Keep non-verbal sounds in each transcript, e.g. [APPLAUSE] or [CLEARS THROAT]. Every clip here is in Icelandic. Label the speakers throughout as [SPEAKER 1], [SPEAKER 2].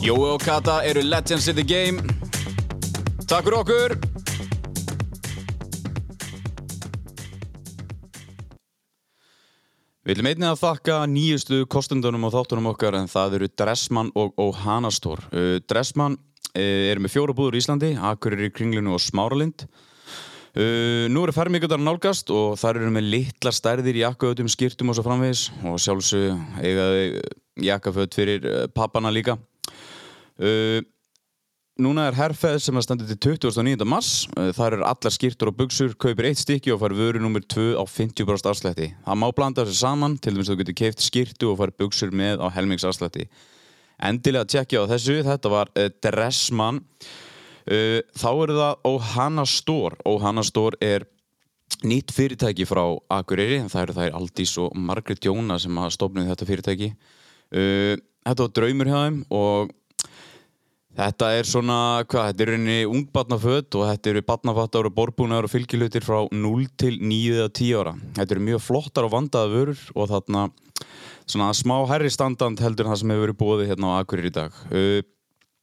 [SPEAKER 1] Jói og Kata eru legends in the game. Takk fyrir okkur! Við viljum einnig að þakka nýjustu kostendunum og þáttunum okkar en það eru Dressmann og Óhanastór. Uh, Dressmann uh, er með fjóra búður í Íslandi, Akureyri, Kringlinu og Smáralind. Uh, nú eru fermíkjöldar nálgast og þar eru með litla stærðir jakkautum, skýrtum og svo framvegis og sjálfsög eigaði jakkaföt fyrir uh, pappana líka. Uh, núna er herrfeð sem að stendur til 29. mars. Uh, þar eru allar skýrtur og buksur, kaupir eitt stykki og fær vöru nummer 2 á 50% afslætti. Það má blanda þessu saman, til dæmis þú getur keift skýrtu og fær buksur með á helmings afslætti. Endilega tjekkja á þessu, þetta var uh, Dressmann. Uh, þá eru það Ohana Store Ohana Store er nýtt fyrirtæki frá Akureyri en það eru þær Aldís og Margrét Jóna sem hafa stofnuð þetta fyrirtæki uh, þetta var draumur hjá þeim og þetta er svona hvað, þetta er rauninni ungbarnaföt og þetta eru barnafattar og borbúnar og fylgilutir frá 0 til 9 eða 10 ára þetta eru mjög flottar og vandaða vörur og þarna svona smá herri standand heldur en það sem hefur verið búið hérna á Akureyri í dag uh,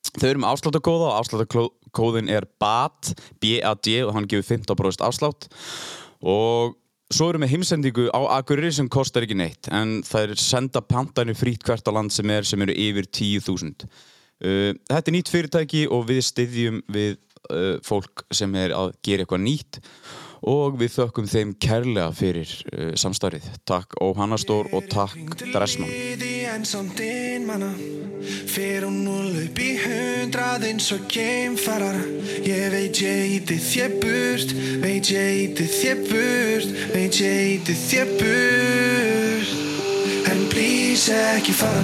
[SPEAKER 1] Þau eru með afsláttakóða og afsláttakóðin er BAT, B-A-D og hann gefur 15% afslátt og svo eru með heimsendingu á Akureyri sem kostar ekki neitt en það er senda pantanir frýtt hvert á land sem er sem eru yfir 10.000 uh, Þetta er nýtt fyrirtæki og við styðjum við uh, fólk sem er að gera eitthvað nýtt og við þökkum þeim kærlega fyrir uh, samstarið. Takk Óhannastór og takk Dressmann.
[SPEAKER 2] Liði en samt einmana Fer hún nú laup í hundrað eins og geimfarar Ég veit ég íti þér burt Veit ég íti þér burt Veit ég íti þér burt En please ekki fara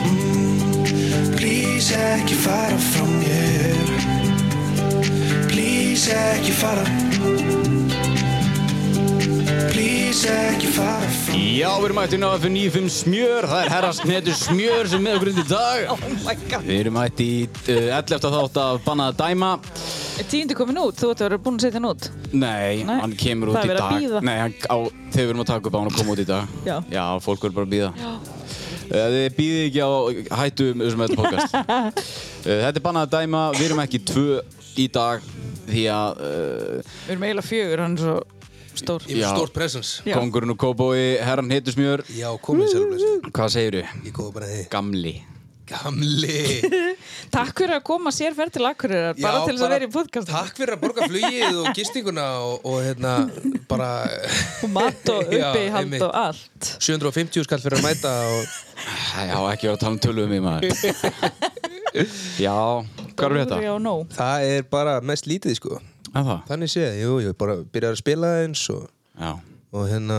[SPEAKER 2] Mm, Please ekki fara frá mér Please ekki fara Please ekki fara frá
[SPEAKER 1] Já, við erum mættið náða fyrir 95 smjör, það er herrast netur smjör sem með okkur undir dag.
[SPEAKER 3] Oh my god
[SPEAKER 1] Við erum mættið uh, 11. þátt af Bannaða dæma.
[SPEAKER 3] Er Tíundi komin út, þú ætti að vera búin að setja hann út
[SPEAKER 1] Nei,
[SPEAKER 3] Nei,
[SPEAKER 1] hann kemur út
[SPEAKER 3] það
[SPEAKER 1] í
[SPEAKER 3] er verið að
[SPEAKER 1] dag.
[SPEAKER 3] bíða.
[SPEAKER 1] Nei, hann, á, þegar við erum að taka upp á hann og koma út í dag.
[SPEAKER 3] Já.
[SPEAKER 1] Já, fólk verður bara að býða. Já. Þið býðið ekki á hættu um þessum þetta
[SPEAKER 3] [LAUGHS]
[SPEAKER 1] podcast. uh, þetta er Bannaða dæma, við erum ekki tvö í dag því að uh,
[SPEAKER 3] Við erum eiginlega fjögur, hann er svo stór
[SPEAKER 4] Ég er
[SPEAKER 1] Já.
[SPEAKER 4] með stórt presens.
[SPEAKER 3] Já.
[SPEAKER 1] kongurinn og kóbói, herran heitur smjör.
[SPEAKER 4] Já, komið sjálfblessin.
[SPEAKER 1] Hvað segir þú?
[SPEAKER 4] Ég góði bara þig.
[SPEAKER 1] Gamli.
[SPEAKER 4] Gamli.
[SPEAKER 3] Takk fyrir að koma sér ferð til Akureyrar
[SPEAKER 4] Já,
[SPEAKER 3] bara til þess að vera í podcast
[SPEAKER 4] Takk fyrir að borga flugið og gistinguna og, og hérna bara [LAUGHS]
[SPEAKER 3] og mat og
[SPEAKER 4] Já,
[SPEAKER 3] uppihald
[SPEAKER 4] einmitt.
[SPEAKER 3] og allt
[SPEAKER 4] 750 skall fyrir að mæta og
[SPEAKER 1] Já, ekki verið að tala um tölum um mig maður.
[SPEAKER 4] [LAUGHS]
[SPEAKER 1] Já, hvað eru þetta?
[SPEAKER 3] Já, nóg
[SPEAKER 4] það er bara mest lítið sko.
[SPEAKER 1] Er það?
[SPEAKER 4] Þannig séð, jú, ég bara byrjar að spila eins og,
[SPEAKER 1] Já.
[SPEAKER 4] og hérna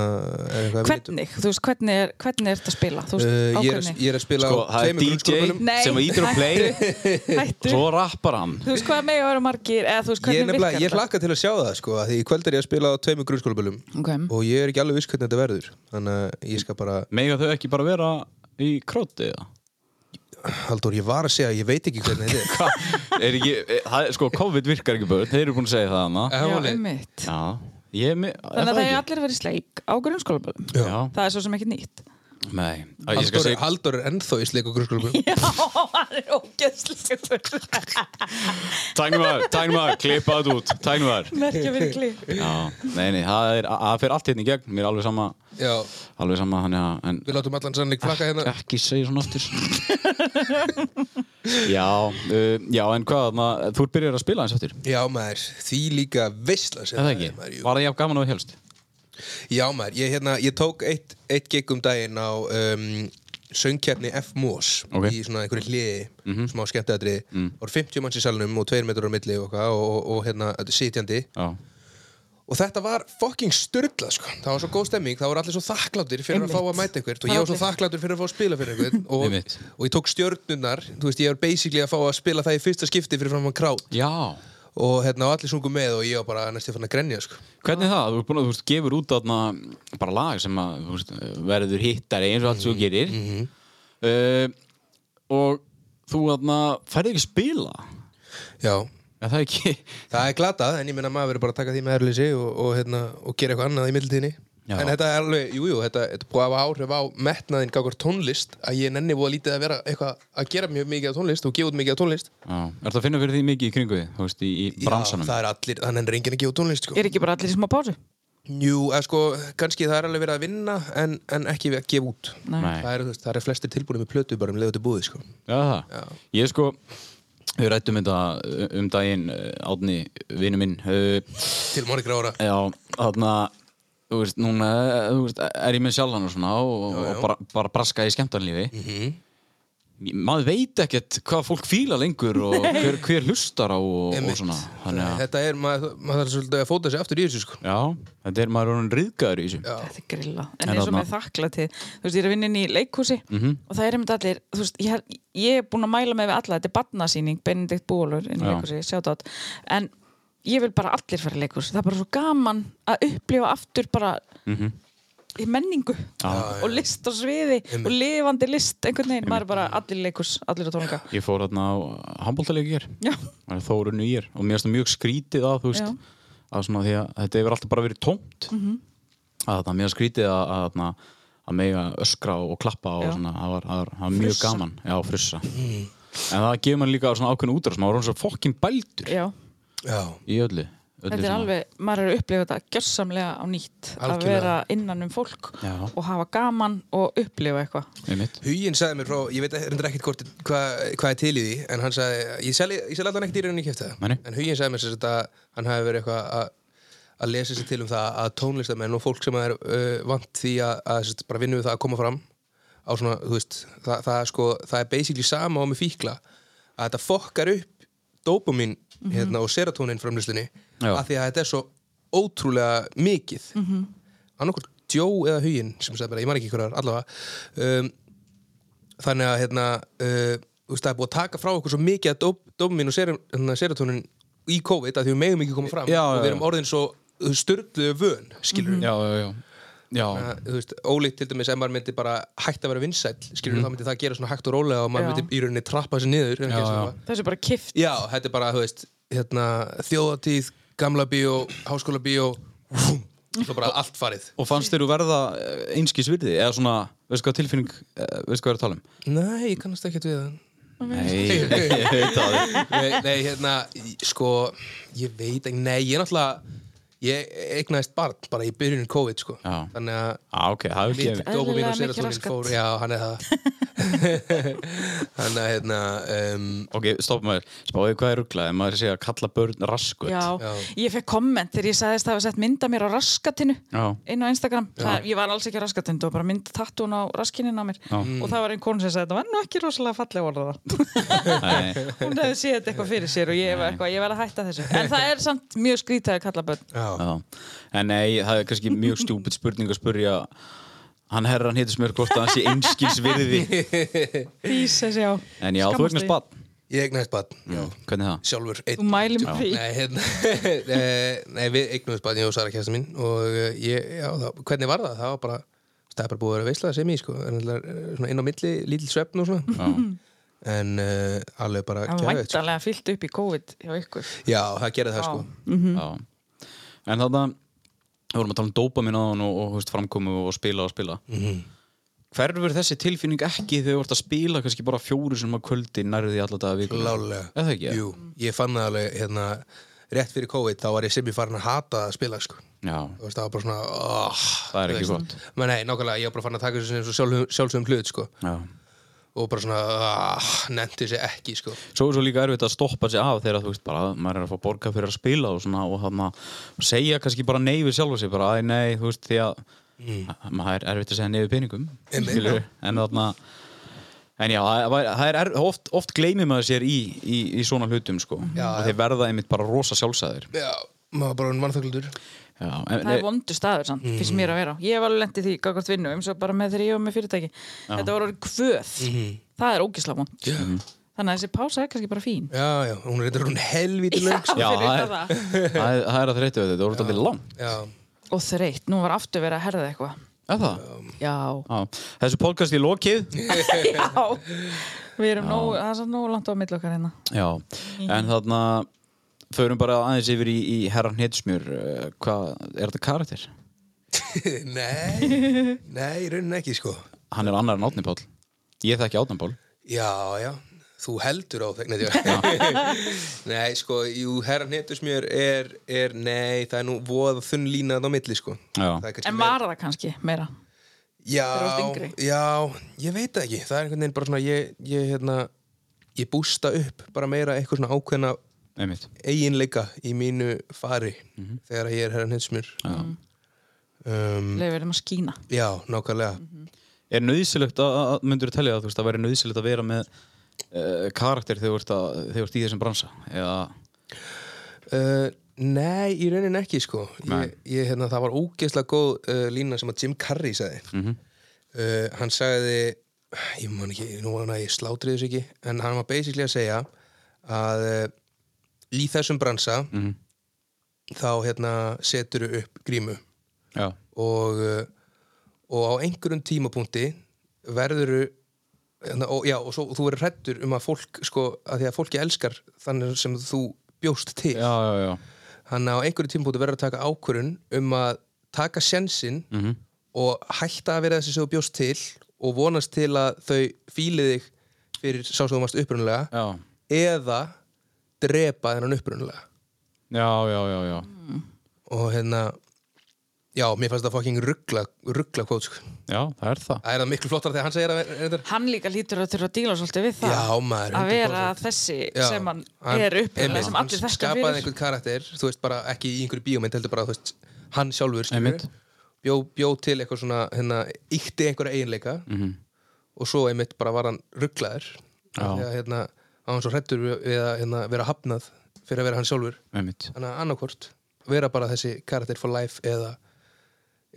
[SPEAKER 4] er eitthvað
[SPEAKER 3] Hvernig, þú veist, hvernig er, hvernig er þetta að spila? Þú
[SPEAKER 4] Uh,
[SPEAKER 3] veist,
[SPEAKER 4] ég, er,
[SPEAKER 3] ákveðni
[SPEAKER 4] ég er að spila
[SPEAKER 1] Sko,
[SPEAKER 4] á
[SPEAKER 1] það er
[SPEAKER 4] tveimur
[SPEAKER 1] DJ
[SPEAKER 4] grunnskólanum.
[SPEAKER 3] Nei,
[SPEAKER 1] sem ítir á play
[SPEAKER 3] [LAUGHS]
[SPEAKER 1] og
[SPEAKER 3] Hættu,
[SPEAKER 1] svo rappar hann.
[SPEAKER 3] þú veist hvað megi að vera margir eða þú veist
[SPEAKER 4] Ég, er
[SPEAKER 3] hvernig
[SPEAKER 4] nefnilega-
[SPEAKER 3] virkar
[SPEAKER 4] ég hlakka til að sjá það sko, af því í kvöld er ég að spila á tveimur grunnskólabölum
[SPEAKER 3] Ok.
[SPEAKER 4] og ég er ekki alveg viss hvernig þetta verður þannig að ég skal bara
[SPEAKER 1] Mega þau ekki bara vera í króti eða?
[SPEAKER 4] Haldur, ég var að segja, ég veit ekki hvernig [LAUGHS] þetta er
[SPEAKER 1] Hva? [LAUGHS] Er ekki, er, það er- sko, COVID virkar ekki börn, þeir eru búin að segja það hana.
[SPEAKER 4] Það
[SPEAKER 3] Já,
[SPEAKER 4] var leið.
[SPEAKER 3] einmitt
[SPEAKER 1] Já, ég er með,
[SPEAKER 3] Þannig að það er allir verið sleik á grunnskólaböðum
[SPEAKER 4] Já.
[SPEAKER 1] Já,
[SPEAKER 3] Það er svo sem ekki
[SPEAKER 4] [LAUGHS]
[SPEAKER 3] nýtt
[SPEAKER 1] nei, Að ég skal
[SPEAKER 4] Haldur,
[SPEAKER 1] segja,
[SPEAKER 4] Haldur er ennþá í sleik
[SPEAKER 1] [LAUGHS]
[SPEAKER 4] og grunnskólum
[SPEAKER 3] Já, hann er ógeðslegur
[SPEAKER 1] tæknum að, tæknum að, klippa það út, tæknum að.
[SPEAKER 3] Merkja verið klip
[SPEAKER 4] [LAUGHS]
[SPEAKER 1] Já, nei, nei, það er, að- það fer allt hérna í gegn, mér er alveg sama,
[SPEAKER 4] Já,
[SPEAKER 1] alveg sama, hann er, en
[SPEAKER 4] við látum allan sannleik flakka hérna
[SPEAKER 1] ekki segja svona aftur Já, uh, já, en hvað, ma, þú byrjar að spila eins aftur
[SPEAKER 4] Já maður, því líka veistla
[SPEAKER 1] Er það ekki?
[SPEAKER 4] maður, jú.
[SPEAKER 1] Var það jafn gaman og þú helst?
[SPEAKER 4] Já maður, ég, hérna, ég tók eitt, eitt gig um daginn á um, söngkjarni F. Moss
[SPEAKER 1] Ok. Mhm.
[SPEAKER 4] í svona einhverju hliði, smá skemmtæðri mm. og 50 manns í salnum og 2 metrar á milli og, eitthvað og, og, og hérna, þetta er sitjandi
[SPEAKER 1] Já,
[SPEAKER 4] og þetta var fucking styrla sko. það var svo góð stemming, það voru allir svo þakkláttir fyrir
[SPEAKER 3] Einmitt.
[SPEAKER 4] að fá að mæta einhvert og ég var svo þakkláttur fyrir að fá að spila fyrir
[SPEAKER 1] [LAUGHS]
[SPEAKER 4] einhvern og,
[SPEAKER 1] Einmitt.
[SPEAKER 4] og ég tók stjörnunar, þú veist ég var basically að fá að spila það í fyrsta skipti fyrir fram að krát
[SPEAKER 1] Já.
[SPEAKER 4] og hérna og allir sungu með og ég var bara næstu fann að grenja sko.
[SPEAKER 1] Hvernig er það? Þú, ert búin, að- þú veist, gefur út þarna bara lag sem að þú veist, verður hittari eins og allt sem þú gerir
[SPEAKER 4] Mhm.
[SPEAKER 1] uh, og þú þarna færði ekki spila
[SPEAKER 4] já,
[SPEAKER 1] en það er ekki
[SPEAKER 4] það er glatað en ég minna maður verið bara að taka því með erlýsi og, og, hérna, og gera eitthvað annað í mildtíðinni
[SPEAKER 1] Já.
[SPEAKER 4] en þetta er alveg, jújú, jú, þetta, þetta er búið að hafa áhrif á metnaðin gákar tónlist að ég nenni búið lítið að vera eitthvað að gera mjög mikið af tónlist og gefa út mikið af tónlist
[SPEAKER 1] Já, er það að finna fyrir því mikið í kringu því, þú veist, í, í bransanum?
[SPEAKER 4] Já, það er allir, þannig er enginn að gefa út tónlist sko.
[SPEAKER 3] Er ekki bara allir í smá pásu?
[SPEAKER 4] Jú, eða sko, kannski það er alveg verið að vinna en, en ekki við að gefa út
[SPEAKER 1] Nei.
[SPEAKER 4] það er, þú veist, það er flestir tilbúinir með plötu bara um leiðu til búið sko.
[SPEAKER 1] Já, það. Ég sko, við rættum þetta um daginn, eh, Árni, vinnu minn. eh,
[SPEAKER 4] til morgra ára
[SPEAKER 1] Já, þarna, þú veist, núna eh, þú veist, er ég með sjálfan og svona og, og bara, bara braska í skemmtarnlífi.
[SPEAKER 4] Mhm.
[SPEAKER 1] Maður veit ekkert hvað fólk fíla lengur
[SPEAKER 4] [LAUGHS]
[SPEAKER 1] og hver, hver hlustar á og, og
[SPEAKER 4] Einmitt.
[SPEAKER 1] svona. Þannig að,
[SPEAKER 4] þetta er, maður, maður þarf svolítið að fóta sig aftur í þessu sko.
[SPEAKER 1] já, þetta er maður orðin riðgæður í þessu.
[SPEAKER 4] Já.
[SPEAKER 3] Þetta er grilla. En
[SPEAKER 1] En
[SPEAKER 3] eins og
[SPEAKER 1] þarna- Mhm.
[SPEAKER 3] með þakklatið, þú veist, ég er að vinna inn í leikhúsi og það er einmitt allir, þú veist, ég, held- ég er búin að mæla með við alla, þetta er barnasýning, Benedikt Bólur inn í
[SPEAKER 1] Já.
[SPEAKER 3] leikhúsi, sjátt en ég vil bara allir fara í leikhúsi, það er bara svo gaman að upplifa aftur bara
[SPEAKER 1] Mhm.
[SPEAKER 3] í menningu og list og sviði og lifandi list einhvern veginn, maður er bara allir í leikhús, allir að tónleika.
[SPEAKER 1] Ég fór þarna á handbóltalegi hér.
[SPEAKER 3] Já,
[SPEAKER 1] Það er þórunni í er og mér finnst það mjög skrítið að þú veist að svona því að þetta hefur alltaf bara verið tómt
[SPEAKER 3] Mhm.
[SPEAKER 1] að þetta mér finnst skrítið að, að, þarna, að mega öskra og klappa og
[SPEAKER 3] Já.
[SPEAKER 1] svona, það var, það var, það var mjög
[SPEAKER 3] Frussa.
[SPEAKER 1] gaman já, frussa en það gefur mann líka svona ákveðin útrás maður er orðinn svo fokkin bældur
[SPEAKER 3] já.
[SPEAKER 4] Já.
[SPEAKER 1] í öllu, öllu
[SPEAKER 3] Þetta er
[SPEAKER 1] svona.
[SPEAKER 3] alveg, maður er að upplifa þetta gjörsamlega á nýtt að
[SPEAKER 4] Algjörlega.
[SPEAKER 3] vera innan um fólk
[SPEAKER 1] Já.
[SPEAKER 3] og hafa gaman og upplifa eitthvað
[SPEAKER 1] Einmitt.
[SPEAKER 4] Huginn sagði mér frá, ég veit reyndar ekkert hvort- hvað hva er til í því, en hann sagði ég sel, ég sel allan ekkert í rauninni kæfti það
[SPEAKER 1] Nei, nei.
[SPEAKER 4] en Huginn sagði mér sem sagt að hann hafi verið eitthvað að að lesa sér til um það að tónlistamenn og fólk sem er uh, vant því að, að sem sagt, bara vinna við það að koma fram á svona, þú veist, það, það, er sko, það er basically sama á með fíkla að þetta fokkar upp dopamin hérna, og serotonin framlistinni
[SPEAKER 1] Mhm. Já. Mhm.
[SPEAKER 4] af því að þetta er svo ótrúlega mikið mm -hmm. annarkur Jó eða Huginn sem sagði mér, ég man ekki hverjar allavega um, þannig að hérna, uh, þú veist, það er búið að taka frá okkur svo mikið að dopamin og ser, hérna, serotonin í COVID að því við megum ekki koma fram
[SPEAKER 1] Já,
[SPEAKER 4] og
[SPEAKER 1] já,
[SPEAKER 4] við erum
[SPEAKER 1] já. Mhm.
[SPEAKER 4] orðin svo styrluðu vön skilur
[SPEAKER 3] Mm.
[SPEAKER 4] við
[SPEAKER 1] já, já, já, já.
[SPEAKER 4] þú veist, ólíkt til dæmis ef maður myndi bara hægt að vera vinsæll skilur við, þá myndi það gera svona hægt og rólega og maður
[SPEAKER 3] Já.
[SPEAKER 4] myndi í rauninni trappa sér niður já,
[SPEAKER 1] Mhm. Já, já.
[SPEAKER 4] já.
[SPEAKER 3] þessu bara kift
[SPEAKER 4] já, þetta er bara, þú veist, hérna þjóðatíð, gamla bíó, háskóla bíó vum, svo bara allt farið
[SPEAKER 1] og fannst þér þú verða eh, einskis virði eða svona, veistu hvað tilfinning eh, veistu hvað ég er að tala um?
[SPEAKER 4] Nei, ég kannast ekki við það
[SPEAKER 1] Nei, ég veit það
[SPEAKER 4] nei, nei, hérna, sko, ég veit ekki, nei, ég náttúrulega, ég eignaðist barn bara í byrjunum COVID, sko.
[SPEAKER 1] Já.
[SPEAKER 4] Þannig að
[SPEAKER 1] ah, ok, það hefur
[SPEAKER 4] mitt
[SPEAKER 1] gefið
[SPEAKER 4] dopamin
[SPEAKER 3] Eðlilega
[SPEAKER 4] og
[SPEAKER 3] mikið
[SPEAKER 4] serotonin
[SPEAKER 3] raskat.
[SPEAKER 4] fór, já, hann er það. Þannig að, hérna, um,
[SPEAKER 1] Ok, stopp maður, spáðu hvað er ruggla ef maður sé að kalla börn raskut
[SPEAKER 3] Já,
[SPEAKER 4] Já.
[SPEAKER 3] ég fekk komment þegar ég sagðist að hafa sett mynda mér á raskatinu
[SPEAKER 1] Já.
[SPEAKER 3] inn á Instagram, það, ég var alls ekki á raskatinu það var bara mynd tattún á raskinin á mér og það var einn konu sem sagði þetta var nú ekki rosalega falleg [LAUGHS] orða
[SPEAKER 1] Nei,
[SPEAKER 3] hún hefði séð þetta eitthvað fyrir sér og ég var eitthvað, ég var að hætta þessu en það er samt mjög skrítið að kalla börn
[SPEAKER 4] já,
[SPEAKER 1] já. En nei, það er kannski mjög stúpid spurning að spurja hann herran hittis mér hvort að hann sé einskils
[SPEAKER 3] [LAUGHS]
[SPEAKER 1] virði
[SPEAKER 3] Ísess, já
[SPEAKER 1] En já, þú
[SPEAKER 3] Skammast
[SPEAKER 1] ert með
[SPEAKER 3] þín.
[SPEAKER 1] spatt
[SPEAKER 4] ég eignaðist barn, já,
[SPEAKER 1] Hvernig það?
[SPEAKER 4] sjálfur, einn.
[SPEAKER 3] Þú mælum því
[SPEAKER 4] Nei, hérna, [LAUGHS] eh, nei, við eignuðist barn, ég og Sara kjæsta mín og eh, ég, já, það, hvernig var það? Það var bara, það er bara búið að vera veisla sem ég, sko, en það er eh, svona inn á milli, lítill svefn og svona. En uh, alveg bara
[SPEAKER 3] Það var
[SPEAKER 4] geðveikt, sko.
[SPEAKER 3] væntalega fyllt upp í COVID hjá ykkur
[SPEAKER 4] Já, það gerði það
[SPEAKER 3] Já.
[SPEAKER 4] sko
[SPEAKER 3] Mhm.
[SPEAKER 1] Já En þarna, við vorum að tala um dópa mín á hann og, og þú veist, framkomu og spila og spila Hverfur þessi tilfinning ekki þegar þú ert að spila kannski bara fjóru sem að kvöldi nærði alla daga viku
[SPEAKER 4] Lálega
[SPEAKER 1] Er það ekki?
[SPEAKER 4] Jú, ég fann það alveg hérna Rétt fyrir COVID þá var ég sem ég farin að hata að spila sko
[SPEAKER 1] Já,
[SPEAKER 4] Þú veist, það var bara svona oh,
[SPEAKER 1] það er ekki gott
[SPEAKER 4] Men nei, nákvæmlega, ég var bara farin að taka þessu sem svo sjálf, sjálfsögum hlut sko
[SPEAKER 1] Já
[SPEAKER 4] Og bara svona, ah, nefndi þessi ekki sko
[SPEAKER 1] svo er svo líka erfitt að stoppa sig af þegar þú veist bara maður er að fá borga fyrir að spila og svona og þannig að segja kannski bara nei við sjálfa sig bara að nei þú veist því að maður er erfitt að segja nei við peningum
[SPEAKER 4] Mm. Einmitt.
[SPEAKER 1] skilurðu. en þannig að en já það var- það er er, oft, oft gleymir maður sér í, í, í svona hlutum sko
[SPEAKER 4] Já,
[SPEAKER 1] og þeir verða einmitt bara rosa sjálfsæðir
[SPEAKER 4] Já, maður bara hann vannþögludur
[SPEAKER 1] Já, en,
[SPEAKER 3] það er vondu staður samt, finnst mér að vera á. ég hef alveg lendið því gagvart vinnu eins og bara með þegar ég var með fyrirtæki þetta voru orðið kvöð, það er ógislega vond
[SPEAKER 4] Já,
[SPEAKER 3] þannig að þessi pása er kannski bara fín
[SPEAKER 4] Mm-hmm. já, já, hún er reyndar hún helvítið lög sko.
[SPEAKER 1] Já,
[SPEAKER 3] fyrir
[SPEAKER 1] það
[SPEAKER 3] utan
[SPEAKER 1] er, það er, það er að þreytja þetta, það voru alltaf langt.
[SPEAKER 4] Já, [LAUGHS]
[SPEAKER 3] og þreytt, nú var aftur verið að herða eitthvað
[SPEAKER 1] Er það?
[SPEAKER 3] já,
[SPEAKER 1] Já. Þessu podcast í lokið.
[SPEAKER 3] [LAUGHS] já við erum nógu, það er samt nógu langt á milli okkar hérna
[SPEAKER 1] Já, en þarna förum bara aðeins yfir í, í herran hitsmjör. Hvað, er þetta karakter?
[SPEAKER 4] nei, nei, í rauninni ekki sko
[SPEAKER 1] Hann er annar en Átni Páll. Ég þekki Átni Páll.
[SPEAKER 4] Já, já, þú heldur á þegar [LAUGHS] Nei, sko, jú, herran hétusmjör er, er, nei, það er nú voða þunn línað á milli sko
[SPEAKER 1] Já.
[SPEAKER 4] Það er kannski
[SPEAKER 3] en
[SPEAKER 4] meira-
[SPEAKER 3] var það kannski meira Þegar þú ert
[SPEAKER 4] Já,
[SPEAKER 3] yngri.
[SPEAKER 4] já, ég veit það ekki Það er einhvern veginn bara svona Ég, ég, hérna, ég bústa upp bara meira eitthvað svona ákveðna
[SPEAKER 1] Einmitt.
[SPEAKER 4] eiginleika í mínu fari þegar ég er herran hinsmur
[SPEAKER 1] Mhm. Já.
[SPEAKER 4] um,
[SPEAKER 3] leið verðum að skína
[SPEAKER 4] Já, nákvæmlega
[SPEAKER 1] Er nöðsilegt að, að myndur þú telja að þú veist, það væri nöðsilegt að vera með uh, karakter þegar þú ert að- þegar þú ert í þessum bransa? Eða,
[SPEAKER 4] uh, Nei, í raunin ekki sko
[SPEAKER 1] Nei.
[SPEAKER 4] ég, ég, hérna, Það var ógeðslega góð uh, lína sem að Jim Carrey sagði
[SPEAKER 1] Mhm.
[SPEAKER 4] uh, Hann sagði ég man ekki, nú var hann að ég slátri þessu ekki en hann var basically að segja að uh, í þessum bransa
[SPEAKER 1] Mhm.
[SPEAKER 4] þá hérna setur upp grímu
[SPEAKER 1] já,
[SPEAKER 4] og, uh, og á einhverjum tímapunkti verður og, já, og svo, þú verður hrættur um að fólk sko, að því að fólki elskar þannig sem þú bjóst til
[SPEAKER 1] já, já, já.
[SPEAKER 4] þannig að á einhverjum tímapunkti verður að taka ákvörun um að taka sjensin
[SPEAKER 1] Mhm.
[SPEAKER 4] og hætta að vera þessi sem þú bjóst til og vonast til að þau fíli þig fyrir sá sem þú varst upprunulega
[SPEAKER 1] Já,
[SPEAKER 4] eða drepa þennan upprunulega
[SPEAKER 1] já, já, já, já.
[SPEAKER 4] og hérna já, mér fannst það fucking ruggla ruggla kvót sko
[SPEAKER 1] Já, það er það.
[SPEAKER 4] Það er það miklu flottar þegar hann segir að reyndar
[SPEAKER 3] hann líka lítur að þurfa að díla svolítið við það
[SPEAKER 4] Já, maður,
[SPEAKER 3] að
[SPEAKER 4] 100%.
[SPEAKER 3] vera þessi sem hann, er uppið
[SPEAKER 4] einmitt,
[SPEAKER 3] sem allir
[SPEAKER 4] hann
[SPEAKER 3] þekkja
[SPEAKER 4] skapaði
[SPEAKER 3] fyrir
[SPEAKER 4] einhvern karakter, þú veist bara ekki í einhverju bíómynd, heldur bara, þú veist hann sjálfur,
[SPEAKER 1] Einmitt.
[SPEAKER 4] bjó, bjó til eitthvað svona, hérna, ykti einhverja eiginleika -hmm. og svo einmitt bara var hann rugglaður
[SPEAKER 1] Mhm. Já.
[SPEAKER 4] þegar hérna, hann var svo hrættur við að hérna, vera hafnað fyrir að vera hann sjálfur
[SPEAKER 1] Einmitt.
[SPEAKER 4] þannig að annarkvort vera bara þessi karakter for life eða,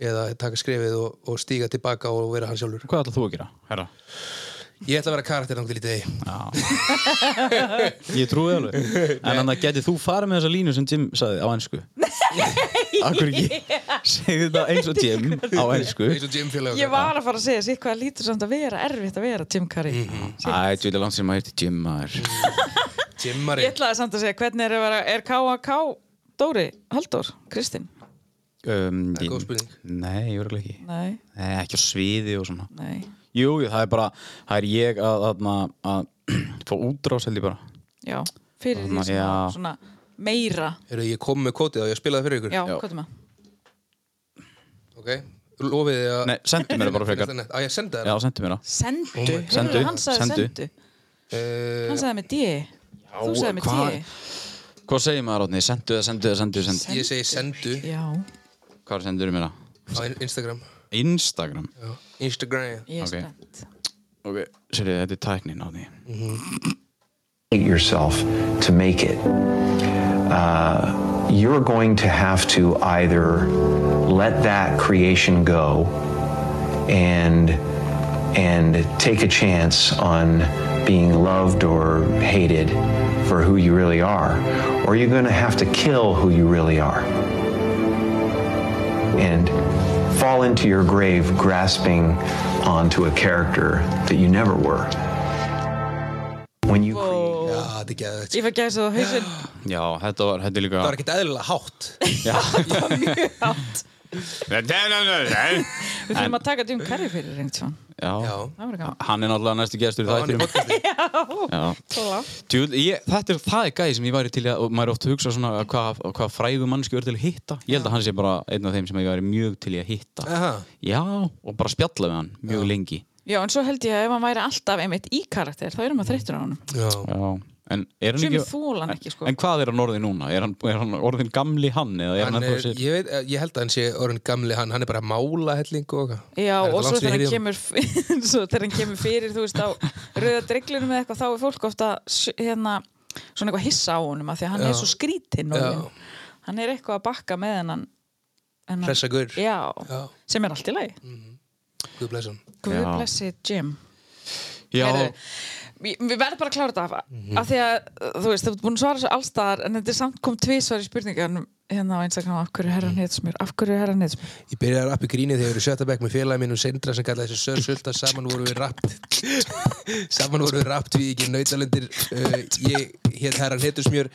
[SPEAKER 4] eða taka skrefið og, og stíga tilbaka og vera hann sjálfur
[SPEAKER 1] Hvað ætlað þú að gera, herra?
[SPEAKER 4] Ég ætla að vera karakter þannig til í degi
[SPEAKER 1] [LAUGHS] Ég trúi alveg En þannig að getið þú farið með þessa línu sem Jim sagði á ennsku Akkur ekki Segðu þetta eins og Jim á ennsku
[SPEAKER 4] eins og Jim félag
[SPEAKER 3] ég var að fara að segja sér hvað lítur samt að vera erfitt að vera Tim Curry
[SPEAKER 4] Mhm.
[SPEAKER 1] Æ, þú vilja langt sem að hérti Jim maður
[SPEAKER 4] Jimmari
[SPEAKER 3] ég ætlaði samt að segja hvernig er að vera er K.A.K. Dóri Halldór Kristinn
[SPEAKER 1] um,
[SPEAKER 4] er góð
[SPEAKER 1] ég-
[SPEAKER 4] spurning.
[SPEAKER 1] Nei, ég verður ekki
[SPEAKER 3] nei,
[SPEAKER 1] Nei, ekki á sviði og svona
[SPEAKER 3] nei,
[SPEAKER 1] Jú, jú, það er bara, það er ég að, að, að, [CLEARS THROAT] að fá útrás held ég bara
[SPEAKER 3] já fyrir
[SPEAKER 1] Þarna,
[SPEAKER 3] því sem
[SPEAKER 1] já.
[SPEAKER 3] var svona meira
[SPEAKER 4] Eru ég kom með kótið og ég spilaði fyrir ykkur
[SPEAKER 3] já,
[SPEAKER 1] Já.
[SPEAKER 3] hvað er maður?
[SPEAKER 4] Ok, lofið þið að
[SPEAKER 1] Nei, sendu mér það bara frekar
[SPEAKER 4] Á ég að senda
[SPEAKER 1] Já,
[SPEAKER 4] þér
[SPEAKER 1] sendu mér það
[SPEAKER 3] sendu,
[SPEAKER 4] Oh my God.
[SPEAKER 1] Sendu,
[SPEAKER 3] hann sagði
[SPEAKER 1] sendu.
[SPEAKER 3] sendu,
[SPEAKER 4] Eh,
[SPEAKER 3] hann sagði með D þú sagði með
[SPEAKER 1] hvað-
[SPEAKER 3] D
[SPEAKER 1] Hvað segir maður átni? Sendu það, sendu það, sendu það
[SPEAKER 4] Ég segi sendu
[SPEAKER 3] já,
[SPEAKER 1] Hvað sendur mér það?
[SPEAKER 4] á in- Instagram
[SPEAKER 1] Instagram
[SPEAKER 4] Já. Instagram
[SPEAKER 3] ég er
[SPEAKER 1] Ok.
[SPEAKER 3] spennt
[SPEAKER 1] Ok, sér þetta er tæknin á því
[SPEAKER 5] yourself to make it, uh, you're going to have to either let that creation go and and take a chance on being loved or hated for who you really are, or you're going to have to kill who you really are and fall into your grave grasping onto a character that you never were. When you create
[SPEAKER 4] Já, þetta er geðvægt
[SPEAKER 3] ég var gæðis að hausin
[SPEAKER 1] Já, þetta var, þetta er líka
[SPEAKER 4] Það var ekkert eðlilega hátt
[SPEAKER 1] Já,
[SPEAKER 3] við þurfum að taka Jim Curry fyrir reynd svona
[SPEAKER 4] Já,
[SPEAKER 3] það var gaman
[SPEAKER 1] hann er náttúrulega næstu gestur í
[SPEAKER 4] það var hann í
[SPEAKER 1] þættinum
[SPEAKER 4] podcasti
[SPEAKER 1] Já.
[SPEAKER 3] Klála.
[SPEAKER 1] Djú, ég, þetta er, það er gæði sem ég væri til að, og maður er oft að hugsa svona að hvað hva fræðu mannski er til að hitta ég held að hann sé bara einn af þeim sem ég væri mjög til í að hitta
[SPEAKER 4] Aha.
[SPEAKER 1] já, og bara spjalla við hann mjög lengi
[SPEAKER 3] já, en svo held ég að ef hann væri alltaf einmitt í karakter þá erum að þreyttur á honum
[SPEAKER 4] Já,
[SPEAKER 1] já. en er hann
[SPEAKER 3] Sumir
[SPEAKER 1] ekki,
[SPEAKER 3] þola hann ekki, sko.
[SPEAKER 1] en hvað er hann orðið núna? Er hann, er hann orðin gamli hann? eða er hann
[SPEAKER 4] hann
[SPEAKER 1] ennþá
[SPEAKER 4] er,
[SPEAKER 1] sér-
[SPEAKER 4] ég, veit, eh, ég held að hann sé orðin gamli hann, hann er bara að mála helling og eitthvað.
[SPEAKER 3] Já,
[SPEAKER 4] Það er
[SPEAKER 3] og
[SPEAKER 4] þetta
[SPEAKER 3] svo
[SPEAKER 4] langt síðan
[SPEAKER 3] þegar
[SPEAKER 4] ég
[SPEAKER 3] hann
[SPEAKER 4] heyrði um-
[SPEAKER 3] kemur [LAUGHS] svo þegar hann kemur fyrir, þú veist, á rauða dreglunum eða eitthvað, þá er fólk ofta hérna, svona eitthvað hissa á honum að því að hann
[SPEAKER 4] Já.
[SPEAKER 3] er svo skrítinn og
[SPEAKER 4] Já.
[SPEAKER 3] hann hann er eitthvað að bakka með hennan hennan-
[SPEAKER 4] Hressa gaur.
[SPEAKER 3] Mm. já,
[SPEAKER 4] Já. Mm.
[SPEAKER 3] sem er allt í lagi
[SPEAKER 4] Guð bless hann
[SPEAKER 3] Guð
[SPEAKER 1] Já.
[SPEAKER 3] blessi Jim
[SPEAKER 1] Já,
[SPEAKER 3] Heyrðu, við við verðum bara að klára þetta af,
[SPEAKER 4] Mhm.
[SPEAKER 3] af því að þú veist, þú ert búin að svara svo allstaðar en þetta er samt kom tvísvar í spurningan hérna á Instagram, af hverju er
[SPEAKER 4] Mhm.
[SPEAKER 3] herran heitsmjör af hverju er herran heitsmjör
[SPEAKER 4] Ég byrjaði að rappa í gríni þegar ég verið sjötabæk með félagi mínum Sindra sem kallaði þessi Sör Sulta saman voru við rapt [LAUGHS] saman voru við rapt við ekki nautalendir uh, ég hétt Herran Hittusmjör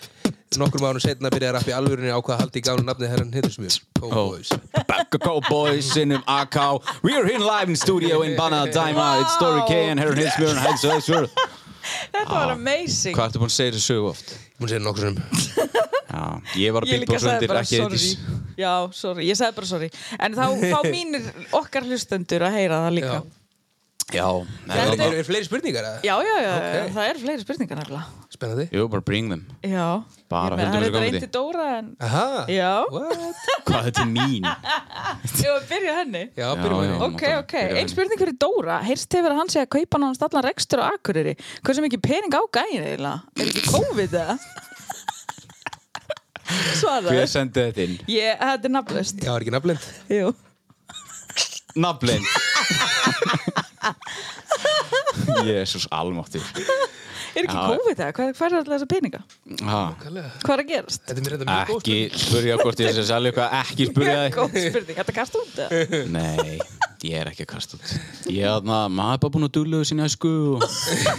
[SPEAKER 4] nokkrum ánum setna byrjaði að rappa í alvörunni ákvað að halda í gánu nafni Herran Hittusmjör Cowboys
[SPEAKER 1] Back Go Boys in um AK We're here live in studio in Banana Daima It's Story K and Heron Hinsmjörn Heinz Öðsvörð
[SPEAKER 3] Þetta var amazing
[SPEAKER 1] Hvað ertu búin að segja þessu sögu oft?
[SPEAKER 4] Ég mun segja nokkur sem
[SPEAKER 1] Já, ég var að
[SPEAKER 3] Ég
[SPEAKER 1] bíl
[SPEAKER 3] líka
[SPEAKER 1] búin
[SPEAKER 3] sagði
[SPEAKER 1] sundir
[SPEAKER 3] bara
[SPEAKER 1] ekki
[SPEAKER 3] sorry
[SPEAKER 1] heitís
[SPEAKER 3] Já, sorry, ég sagði bara sorry En þá,
[SPEAKER 1] [LAUGHS]
[SPEAKER 3] þá mínir okkar hlustendur að heyra það líka
[SPEAKER 4] Já.
[SPEAKER 1] Já,
[SPEAKER 3] Þetta
[SPEAKER 1] það
[SPEAKER 4] Er,
[SPEAKER 1] var
[SPEAKER 4] er fleiri spurningar? eða?
[SPEAKER 3] Já, já, já,
[SPEAKER 4] Ok.
[SPEAKER 3] það eru fleiri spurningar nefnilega
[SPEAKER 4] Spennandi
[SPEAKER 1] Jú, bara bring them
[SPEAKER 3] Já
[SPEAKER 1] Bara,
[SPEAKER 3] Ég meina,
[SPEAKER 1] höldum þessu
[SPEAKER 3] Það er þetta
[SPEAKER 1] gangandi.
[SPEAKER 3] reyndi Dóra en
[SPEAKER 4] Aha
[SPEAKER 3] Já,
[SPEAKER 4] What?
[SPEAKER 1] Hvað þetta er mín?
[SPEAKER 3] ég var að byrja á henni
[SPEAKER 4] Já, byrjum
[SPEAKER 1] Já,
[SPEAKER 4] við
[SPEAKER 1] já.
[SPEAKER 3] Ok,
[SPEAKER 1] máttara,
[SPEAKER 3] ok,
[SPEAKER 1] byrja á
[SPEAKER 3] ein
[SPEAKER 1] henni.
[SPEAKER 3] spurning fyrir Dóra Heyrst hefur að hann sé að kaupa hann allan rekstur á Akureyri Hversu mikið pening á gæin eiginlega? Er þetta COVID eða?
[SPEAKER 1] [LAUGHS]
[SPEAKER 3] Svaraðu
[SPEAKER 1] Hver sendi þetta inn?
[SPEAKER 3] Ég, þetta er nafnlaust
[SPEAKER 4] Já, er ekki nafnlend
[SPEAKER 3] Jú
[SPEAKER 1] [LAUGHS] Nafnlein Jésús almáttur
[SPEAKER 3] Er ekki
[SPEAKER 1] Já.
[SPEAKER 3] COVID eða? Hvað hvað er alltaf þessa peninga?
[SPEAKER 1] Ha,
[SPEAKER 3] Hvað er að gerast?
[SPEAKER 4] Þetta er mér reynda mjög góð
[SPEAKER 1] Ekki spurja hvort ég sé að selja eitthvað Ekki spurja
[SPEAKER 3] Mjög
[SPEAKER 1] þig
[SPEAKER 3] [LAUGHS] góð spurning, þetta kast út eða?
[SPEAKER 1] Nei, ég er ekki að kasta út Ég er þarna, maður er bara búin að dulluðu sinni æsku og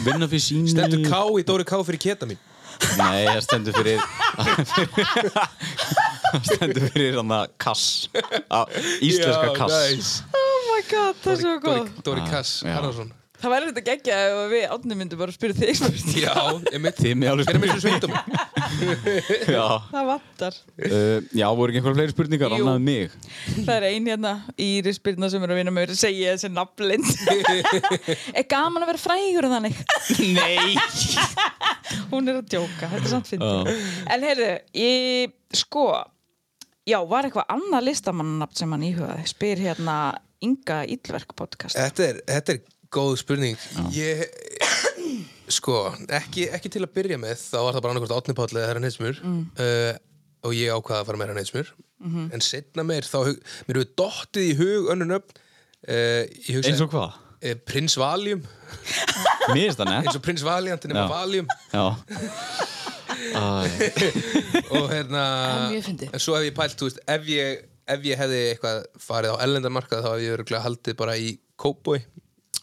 [SPEAKER 1] vinna fyrir síni
[SPEAKER 4] Stendur K í Dóri K fyrir keta mín
[SPEAKER 1] Nei, það stendur fyrir Það stendur fyrir hann kass Á, Íslenska kass
[SPEAKER 3] Oh my god, það er svo góð
[SPEAKER 4] Dóri, Dóri Kass
[SPEAKER 1] Já.
[SPEAKER 4] Harðarsson
[SPEAKER 3] Það væri þetta geggja ef við átni myndum bara að spyrja þig spurning.
[SPEAKER 4] Já, emitt
[SPEAKER 1] Þið með alveg
[SPEAKER 4] Hver er mér sem sveindum?
[SPEAKER 1] Já,
[SPEAKER 3] Það vantar
[SPEAKER 1] uh, já voru ekki einhverja fleiri spurningar
[SPEAKER 3] Jú.
[SPEAKER 1] annað en mig
[SPEAKER 3] Það er ein hérna Íris Birna sem er að vinna með mér að segja þessi nafnlind Er gaman að vera frægur þannig
[SPEAKER 1] Nei
[SPEAKER 3] Hún er að djóka, þetta er samt fyndið En heyrðu, ég, sko Já, var eitthvað annað listamannanafn sem hann íhugaði Spyr hérna Inga Íllverk podcast
[SPEAKER 4] Þetta er, þetta er góð spurning Ég, sko, ekki, ekki til að byrja með þá var það bara annarkvort átni Páll eða herra neysmur
[SPEAKER 1] Mm.
[SPEAKER 4] uh, og ég ákvaða að fara með herra neysmur
[SPEAKER 1] Mhm.
[SPEAKER 4] en setna meir þá hug- mér hefur dottið í hug önnur nöfn uh, ég hugsa
[SPEAKER 1] Eins og hvað?
[SPEAKER 4] uh, Prins Valium
[SPEAKER 1] Mér finnst það
[SPEAKER 4] eins
[SPEAKER 1] nefn
[SPEAKER 4] og Prins Valiant
[SPEAKER 1] [LAUGHS]
[SPEAKER 4] nema
[SPEAKER 1] Já.
[SPEAKER 4] Valium
[SPEAKER 1] Já
[SPEAKER 4] og hérna
[SPEAKER 3] Það er mjög fyndið.
[SPEAKER 4] en svo hef ég pælt, þú veist, ef ég ef ég hefði eitthvað farið á ellendamarkað þá hef ég örgulega haldið bara í Cowboy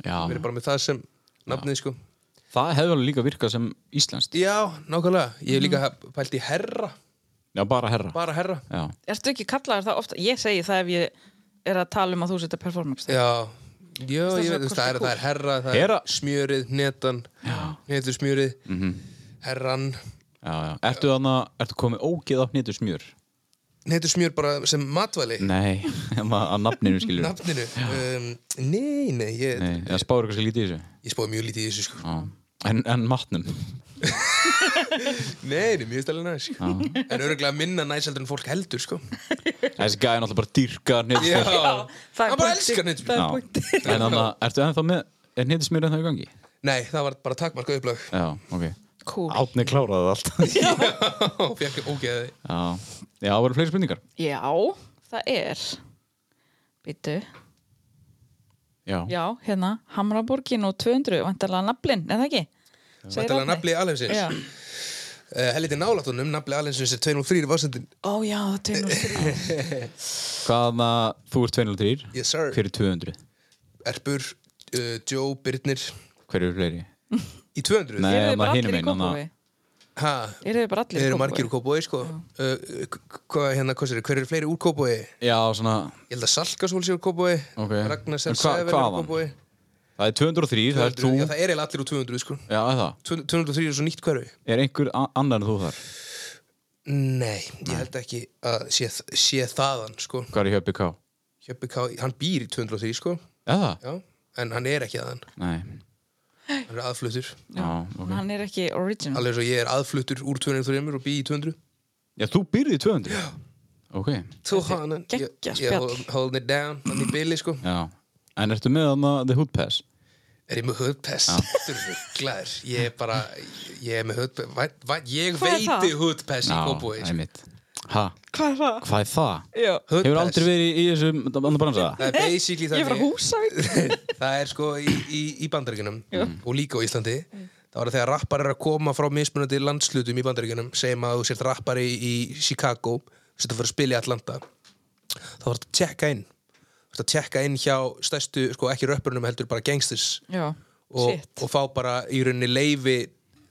[SPEAKER 1] Já,
[SPEAKER 4] verið bara með það sem nafnið sko
[SPEAKER 1] það hefur alveg líka virkað sem íslenskt
[SPEAKER 4] Já, nákvæmlega. Ég hef líka pælt í herra,
[SPEAKER 1] Já, bara herra
[SPEAKER 4] bara herra.
[SPEAKER 1] Já,
[SPEAKER 3] Ertu ekki kallaður það ofta? Ég segi það ef ég er að tala um að þú setja performance
[SPEAKER 4] Já, já
[SPEAKER 3] það
[SPEAKER 4] ég
[SPEAKER 3] svona
[SPEAKER 4] veit, þú veist, það er,
[SPEAKER 3] kúl?
[SPEAKER 4] það er herra, það
[SPEAKER 1] Herra.
[SPEAKER 4] er smjörið, netan, netur smjörið,
[SPEAKER 1] Mhm.
[SPEAKER 4] herran,
[SPEAKER 1] já, já Ertu þarna, ertu komið ógeð á hnetur smjör?
[SPEAKER 4] netur smjör bara sem matvæli,
[SPEAKER 1] Nei, [LAUGHS] ma- að nafninu skilur
[SPEAKER 4] nafninu. Um, nei, nei, ég,
[SPEAKER 1] Nei, það spáir eitthvað skilítið í þessu
[SPEAKER 4] ég spóði mjög lítið í þessu sko.
[SPEAKER 1] Já. En, en matnum
[SPEAKER 4] Nei, nei, mjög stælega næs. En örgulega minna næsaldur en fólk heldur sko.
[SPEAKER 1] Þessi gæði náttúrulega bara dýrka
[SPEAKER 4] Já,
[SPEAKER 1] hnetusmjör
[SPEAKER 3] það er
[SPEAKER 4] hann bara
[SPEAKER 3] punktur.
[SPEAKER 4] elskar netur smjör.
[SPEAKER 3] Það er punktur.
[SPEAKER 1] En þannig að, ertu ennþá með, er hnetusmjör ennþá í gangi?
[SPEAKER 4] Nei, það var bara takkmarka upplag.
[SPEAKER 1] Já, ok
[SPEAKER 3] Cool.
[SPEAKER 1] Átni kláraði það allt Já,
[SPEAKER 4] Ó, fekk ógeði.
[SPEAKER 1] [LAUGHS] já það voru fleiri spurningar
[SPEAKER 3] Já, það er Býtu
[SPEAKER 1] Já,
[SPEAKER 3] Já, hérna, Hamraborgin og 200 Vantarlega naflin, er það ekki? Segir
[SPEAKER 4] Þetta er
[SPEAKER 3] Árni.
[SPEAKER 4] nafli alheimsins.
[SPEAKER 3] Já.
[SPEAKER 4] Uh, Helviti nálatunum, nafli alheimsins er 203 vasendin.
[SPEAKER 3] Ó já, 203
[SPEAKER 1] hvaða, þú ert 203
[SPEAKER 4] Yes, sir.
[SPEAKER 1] Hver er 200?
[SPEAKER 4] Erpur, uh, Joe, Birnir
[SPEAKER 1] Hver eru fleiri?
[SPEAKER 4] í 200
[SPEAKER 1] Nei.
[SPEAKER 3] Eru
[SPEAKER 1] maður
[SPEAKER 3] þið bara
[SPEAKER 1] hinum
[SPEAKER 3] allir í
[SPEAKER 1] megin,
[SPEAKER 3] Kópavogi?
[SPEAKER 4] ha,
[SPEAKER 3] Eru þið bara allir í
[SPEAKER 4] eru margir úr Kópói
[SPEAKER 3] Kópavogi?
[SPEAKER 4] sko. uh, k- k- hvað hérna, hvað sér, hver eru fleiri úr Kópói
[SPEAKER 1] Já, svona,
[SPEAKER 4] ég held að Salkasól sér úr Kópói
[SPEAKER 1] Ok.
[SPEAKER 4] Ragnar
[SPEAKER 1] En
[SPEAKER 4] Sel
[SPEAKER 1] hva-
[SPEAKER 4] Sæver úr
[SPEAKER 1] hvaðan?
[SPEAKER 4] Kópói
[SPEAKER 1] það er 203, það er
[SPEAKER 4] 200,
[SPEAKER 1] þú
[SPEAKER 4] já, það er eiginlega allir úr 200 sko.
[SPEAKER 1] Já, er það
[SPEAKER 4] 200 203 er svo nýtt hverfi
[SPEAKER 1] Er einhver a- annar en þú þar?
[SPEAKER 4] nei, ég held ekki að sé, sé þaðan sko.
[SPEAKER 1] Hvað er í HBK?
[SPEAKER 4] Hjöppi K, hann býr í 203 sko.
[SPEAKER 1] Er það?
[SPEAKER 4] já, en hann er ekki þaðan
[SPEAKER 1] Nei,
[SPEAKER 4] hann er aðfluttur
[SPEAKER 1] já, ok
[SPEAKER 3] Hann er ekki original
[SPEAKER 4] alveg svo ég er aðfluttur úr 203 og býr í 200
[SPEAKER 1] Já, þú byrðið 200? Já Ok,
[SPEAKER 4] Þú hana, ég,
[SPEAKER 3] geggjað
[SPEAKER 4] ég
[SPEAKER 3] spjall.
[SPEAKER 4] hold, hold it down, hann í byli sko
[SPEAKER 1] já En ertu með þarna The Hood Pass?
[SPEAKER 4] Er ég með hudpest? Þú eru rugglaður Ég er bara, ég er með hudpest Ég
[SPEAKER 3] Hvað er það?
[SPEAKER 4] veiti hudpest í sko.
[SPEAKER 1] Já,
[SPEAKER 4] Kópói
[SPEAKER 1] einmitt Ha,
[SPEAKER 3] Hvað er það?
[SPEAKER 1] hvað er það?
[SPEAKER 3] Já.
[SPEAKER 1] Hefur aldrei verið í, í þessum andan bransa?
[SPEAKER 4] Það er basically
[SPEAKER 3] Ég er frá
[SPEAKER 4] þannig
[SPEAKER 3] Húsavík.
[SPEAKER 4] það er sko í, í, í bandaríkunum
[SPEAKER 1] Mm.
[SPEAKER 4] og líka á Íslandi
[SPEAKER 3] Mm.
[SPEAKER 4] það var þegar rappar eru að koma frá mismunandi landslutum í bandaríkunum segjum að þú sért rappari í Chicago þú sért að fara að spila í Atlanta þá var þetta að tjekka inn þú ert að tjekka inn hjá stærstu, sko ekki röppurnum heldur bara gangsters
[SPEAKER 3] Já,
[SPEAKER 4] og,
[SPEAKER 3] shit.
[SPEAKER 4] og fá bara í rauninni leifi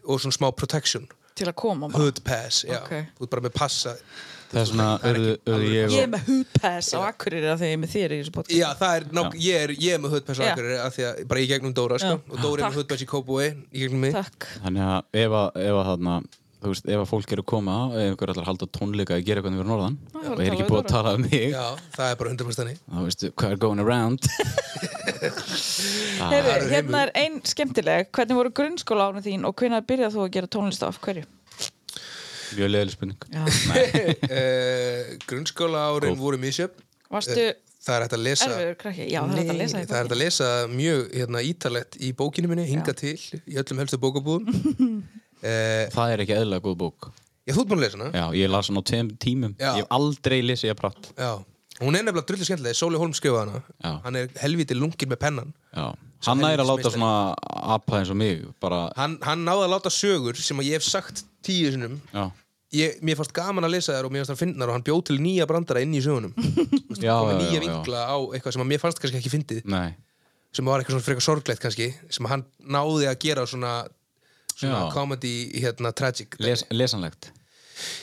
[SPEAKER 4] og svona smá protection
[SPEAKER 3] Til að koma bara.
[SPEAKER 4] hood pass, já,
[SPEAKER 3] Ok.
[SPEAKER 4] þú ert bara með passa
[SPEAKER 1] Það er svona, örðu, örðu ég
[SPEAKER 3] Ég er
[SPEAKER 1] og...
[SPEAKER 3] með húpass á Akureyri af því ég er með þér í þessu podcast.
[SPEAKER 4] Já, það er, nák, ég, er, ég er með hoodpass
[SPEAKER 3] Já.
[SPEAKER 4] á akkurir að því að bara í gegnum Dóra sko,
[SPEAKER 3] Já.
[SPEAKER 4] og Dóra er
[SPEAKER 3] Takk.
[SPEAKER 4] með hoodpass í Kóbúi í gegnum mig
[SPEAKER 3] Takk.
[SPEAKER 1] Þannig að ef að, ef að þarna, þú veist, ef að fólk eru að koma, ef einhver ætlar að halda tónleika að gera eitthvað yfir norðan
[SPEAKER 3] Já, ég var
[SPEAKER 1] og er
[SPEAKER 3] að tala
[SPEAKER 1] ekki
[SPEAKER 3] við
[SPEAKER 1] búið að
[SPEAKER 3] Dóra.
[SPEAKER 1] tala um mig,
[SPEAKER 4] Já, það er bara 100% þannig
[SPEAKER 1] þá veistu hvað er going
[SPEAKER 4] [LAUGHS]
[SPEAKER 1] around.
[SPEAKER 3] Heyrðu,
[SPEAKER 4] það eru
[SPEAKER 3] hérna er ein skemmtileg. Hvernig voru grunnskóla árið þín og hvenær byrjað þú að gera tónlist og af hverju?
[SPEAKER 1] Mjög leðileg spurning.
[SPEAKER 3] Já.
[SPEAKER 4] uh, Grunnskóla árin
[SPEAKER 1] Góð.
[SPEAKER 4] voru misjöfn
[SPEAKER 3] Varstu
[SPEAKER 4] Það er hægt að lesa
[SPEAKER 3] erfiður krakki? Já, það er hægt að
[SPEAKER 4] Nei,
[SPEAKER 3] lesa
[SPEAKER 4] það er hægt að lesa mjög hérna, ítalett í bókinu minni, hinga til í öllum helstu bókabúðum
[SPEAKER 3] [LAUGHS]
[SPEAKER 4] uh,
[SPEAKER 1] Það er ekki eðlilega góð bók.
[SPEAKER 4] Já, þú ert búin að lesa hana
[SPEAKER 1] Já, ég las hann á tveim tímum.
[SPEAKER 4] Já.
[SPEAKER 1] Ég hef aldrei lesið að pratt.
[SPEAKER 4] Já. Hún er nefnilega drullu skemmtilega, Sóli Holm skrifaði hana
[SPEAKER 1] Já.
[SPEAKER 4] Hann er helviti lungin með pennan
[SPEAKER 1] Já. Hanna er að láta
[SPEAKER 4] helvítis
[SPEAKER 1] svona apa eins og mig, bara,
[SPEAKER 4] Hann, hann náði að láta sögur sem að ég hef sagt tíu sinnum
[SPEAKER 1] já.
[SPEAKER 4] ég, Mér fannst gaman að lesa þær og mér fannst það að finna þær og hann bjó til nýja brandara inn í sögunum
[SPEAKER 1] Já, já,
[SPEAKER 4] með
[SPEAKER 1] já,
[SPEAKER 4] nýja
[SPEAKER 1] já.
[SPEAKER 4] vinkla á eitthvað sem að mér fannst kannski ekki fyndið
[SPEAKER 1] Nei.
[SPEAKER 4] sem var eitthvað svona frekar sorglegt kannski sem hann náði að gera svona, svona
[SPEAKER 1] Já.
[SPEAKER 4] comedy hérna tragic
[SPEAKER 1] Les, lesanlegt.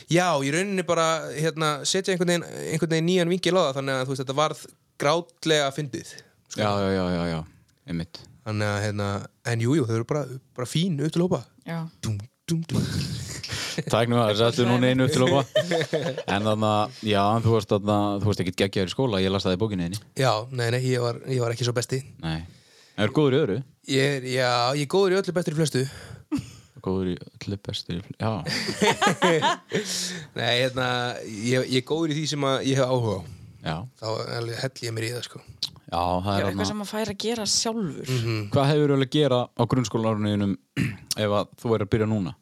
[SPEAKER 4] já, í rauninni bara hérna, setja einhvern veginn, einhvern veginn nýjan vingil á það þannig að þú veist, þetta varð grátlega fyndið sko.
[SPEAKER 1] Já, já, já, já, já. Einmitt.
[SPEAKER 4] þannig að hérna, en jújú, jú, þau eru bara, bara fín upp til hópa
[SPEAKER 3] Já.
[SPEAKER 4] dum, dum, dum.
[SPEAKER 1] Takk nú að það settu núna einu upp til opa. En þannig að, já, en þú varst, þarna, þú varst ekki geggjaður í skóla, ég las það í bókinni þinni.
[SPEAKER 4] já, nei, nei, ég var, ég var ekki svo besti
[SPEAKER 1] Nei. En er góður í öðru?
[SPEAKER 4] ég er, já, ég er góður í öllu betur í flestu
[SPEAKER 1] Góður í öllu bestu. í- Já,
[SPEAKER 4] nei, hérna, ég, ég er góður í því sem að ég hef áhuga á
[SPEAKER 1] já.
[SPEAKER 4] þá alveg hell ég mér í það sko
[SPEAKER 1] Já, það er
[SPEAKER 3] Eitthvað
[SPEAKER 1] hann
[SPEAKER 3] sem maður fær að gera sjálfur.
[SPEAKER 4] Mhm.
[SPEAKER 1] Hvað hefur þú viljað gera á grunnskólanarunniðinum [CLEARS THROAT] ef að þú er að byrja núna?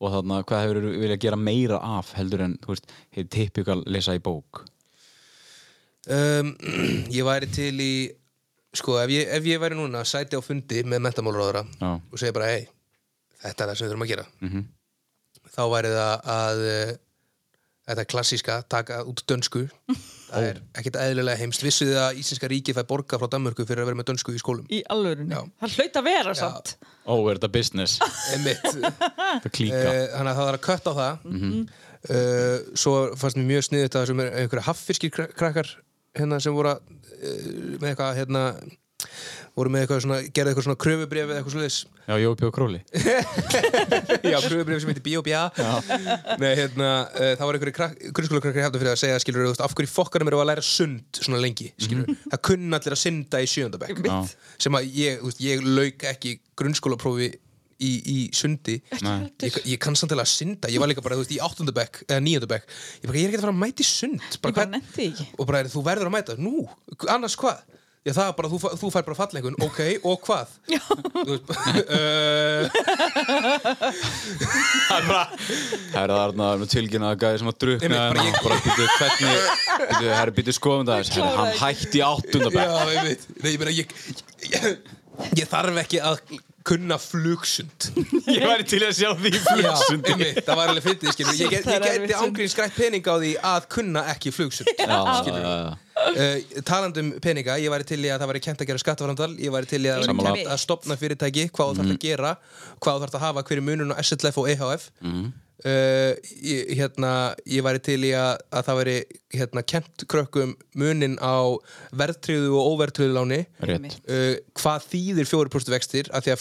[SPEAKER 1] Og þarna, hvað hefur þú viljað gera meira af heldur en, þú veist, hefur typikal lesa í bók?
[SPEAKER 4] Um, [CLEARS THROAT] ég væri til í sko, ef ég, ef ég væri núna sæti á fundi með mentamálráðara
[SPEAKER 1] Já.
[SPEAKER 4] og segi bara, hei, þetta er það sem við þurfum að gera -hmm. þá væri það að eh, þetta klassíska taka út dönsku það er ekkert eðlilega heimst vissuð þið að Íslenska ríkið fær borga frá Danmörku fyrir að vera með dönsku í
[SPEAKER 3] [LAUGHS]
[SPEAKER 4] skólum
[SPEAKER 3] Í alvörunni.
[SPEAKER 4] Já.
[SPEAKER 3] Það hlaut að vera samt.
[SPEAKER 1] Ó, er þetta business?
[SPEAKER 4] Einmitt.
[SPEAKER 1] Það klíka.
[SPEAKER 4] Eh, þannig að það var að kött á það mm -hmm. svo fannst mér mjög sniðið það sem er einhverja haffiskir kra- krakkar hérna sem voru að, uh, með eitthvað hérna voru með eitthvað svona, gerði eitthvað svona kröfubrif eða eitthvað svoleiðis
[SPEAKER 1] Já, Jópi og Króli.
[SPEAKER 4] já, kröfubrif sem heitir B.O.B.A. Nei, hérna, uh, það var einhverju grunnskóla krakkar hefða fyrir að segja, skilur þú veist, af hverju fokkarum eru að læra sund svona lengi, skilur það kunna allir að synda í sjöndabæk
[SPEAKER 1] Já.
[SPEAKER 4] sem að ég, þú veist, ég lauk ekki grunnskólaprófi í, í sundi
[SPEAKER 1] Nei.
[SPEAKER 4] ég, ég kann samt alveg að synda ég var líka bara, þú veist, í áttundabæk eða níundabæk ég, bara, ég er ekki að fara að mæta í sund
[SPEAKER 3] Ég bara
[SPEAKER 4] hvern-
[SPEAKER 3] nennti því ekki.
[SPEAKER 4] og bara, þú verður að mæta, nú, annars hvað Já, það er bara, þú, fa- þú fær bara fallengun, ok, og
[SPEAKER 3] [LAUGHS]
[SPEAKER 4] hvað? Já. Þú veist, [LAUGHS] uh,
[SPEAKER 1] Það er bara, það er þarna að tilkynna að gæði sem að drukna
[SPEAKER 4] Einmitt, bara
[SPEAKER 1] en
[SPEAKER 4] ég-
[SPEAKER 1] bara býtu hvernig, býtu, herri býtu skoðum það þess, herri hann
[SPEAKER 3] kláraði
[SPEAKER 1] hætti í áttundabæk.
[SPEAKER 4] já, ég veit, nei, ég meina, ég, ég, ég þarf ekki að kunna flugsund.
[SPEAKER 1] Ég væri til að sjá því
[SPEAKER 4] Já,
[SPEAKER 1] flugsundi.
[SPEAKER 4] einmitt, það var alveg fyndið, skilur. Ég, get- ég
[SPEAKER 3] Það er erfitt
[SPEAKER 4] geti
[SPEAKER 3] sund.
[SPEAKER 4] ángrín skrætt pening á því að kunna ekki flugsund.
[SPEAKER 1] Já, já, já.
[SPEAKER 4] uh, talandi um peninga, ég væri til í að það væri kent að gera skattaframtal, ég væri til í að, það væri
[SPEAKER 1] Sammála.
[SPEAKER 4] kennt að stopna fyrirtæki, hvað þú þarf að gera hvað þú þarf að hafa, hverju munun og SLF og E EHF uh, ég, hérna, ég væri til í að, að það væri hérna, kent krökkum munin á verðtriðu og óverðtriðu láni
[SPEAKER 1] Rétt.
[SPEAKER 4] uh, hvað þýðir 4% vextir af því að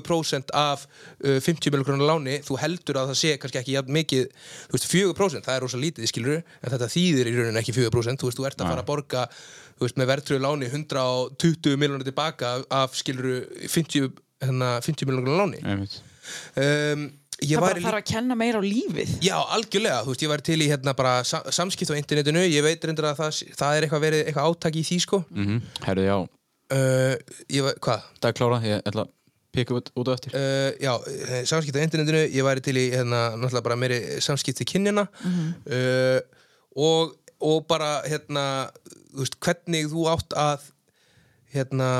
[SPEAKER 4] 4%, 4% af uh, 50 miljonar láni þú heldur að það sé kannski ekki jafn mikið þú veist, 4% það er rosa lítið skilur en þetta þýðir í rauninni ekki 4% þú veist, þú ert að fara að borga þú veist, með verðtröðu láni 120 miljonar tilbaka af- af skilur 50, hérna, 50 miljonar láni
[SPEAKER 1] Einmitt.
[SPEAKER 4] um, ég
[SPEAKER 3] Það
[SPEAKER 4] væri
[SPEAKER 3] bara
[SPEAKER 4] líka
[SPEAKER 3] þarf að kenna meira á lífið.
[SPEAKER 4] Já, algjörlega, þú veist, ég væri til í hérna bara sa samskipt á internetinu, ég veit reyndar að það, það er eitthvað verið,
[SPEAKER 1] Mm.
[SPEAKER 4] eitthvað átaki í því sko
[SPEAKER 1] Mhm. Herri, já.
[SPEAKER 4] uh, ég, var- Hvað?
[SPEAKER 1] Það er klárað, ég ætla að pikka út, út og eftir
[SPEAKER 4] uh, já, eh, samskipti á internetinu ég væri til í hérna, náttúrulega bara meiri samskipti kynjana uh, og, og bara hérna, þú veist, hvernig þú átt að hérna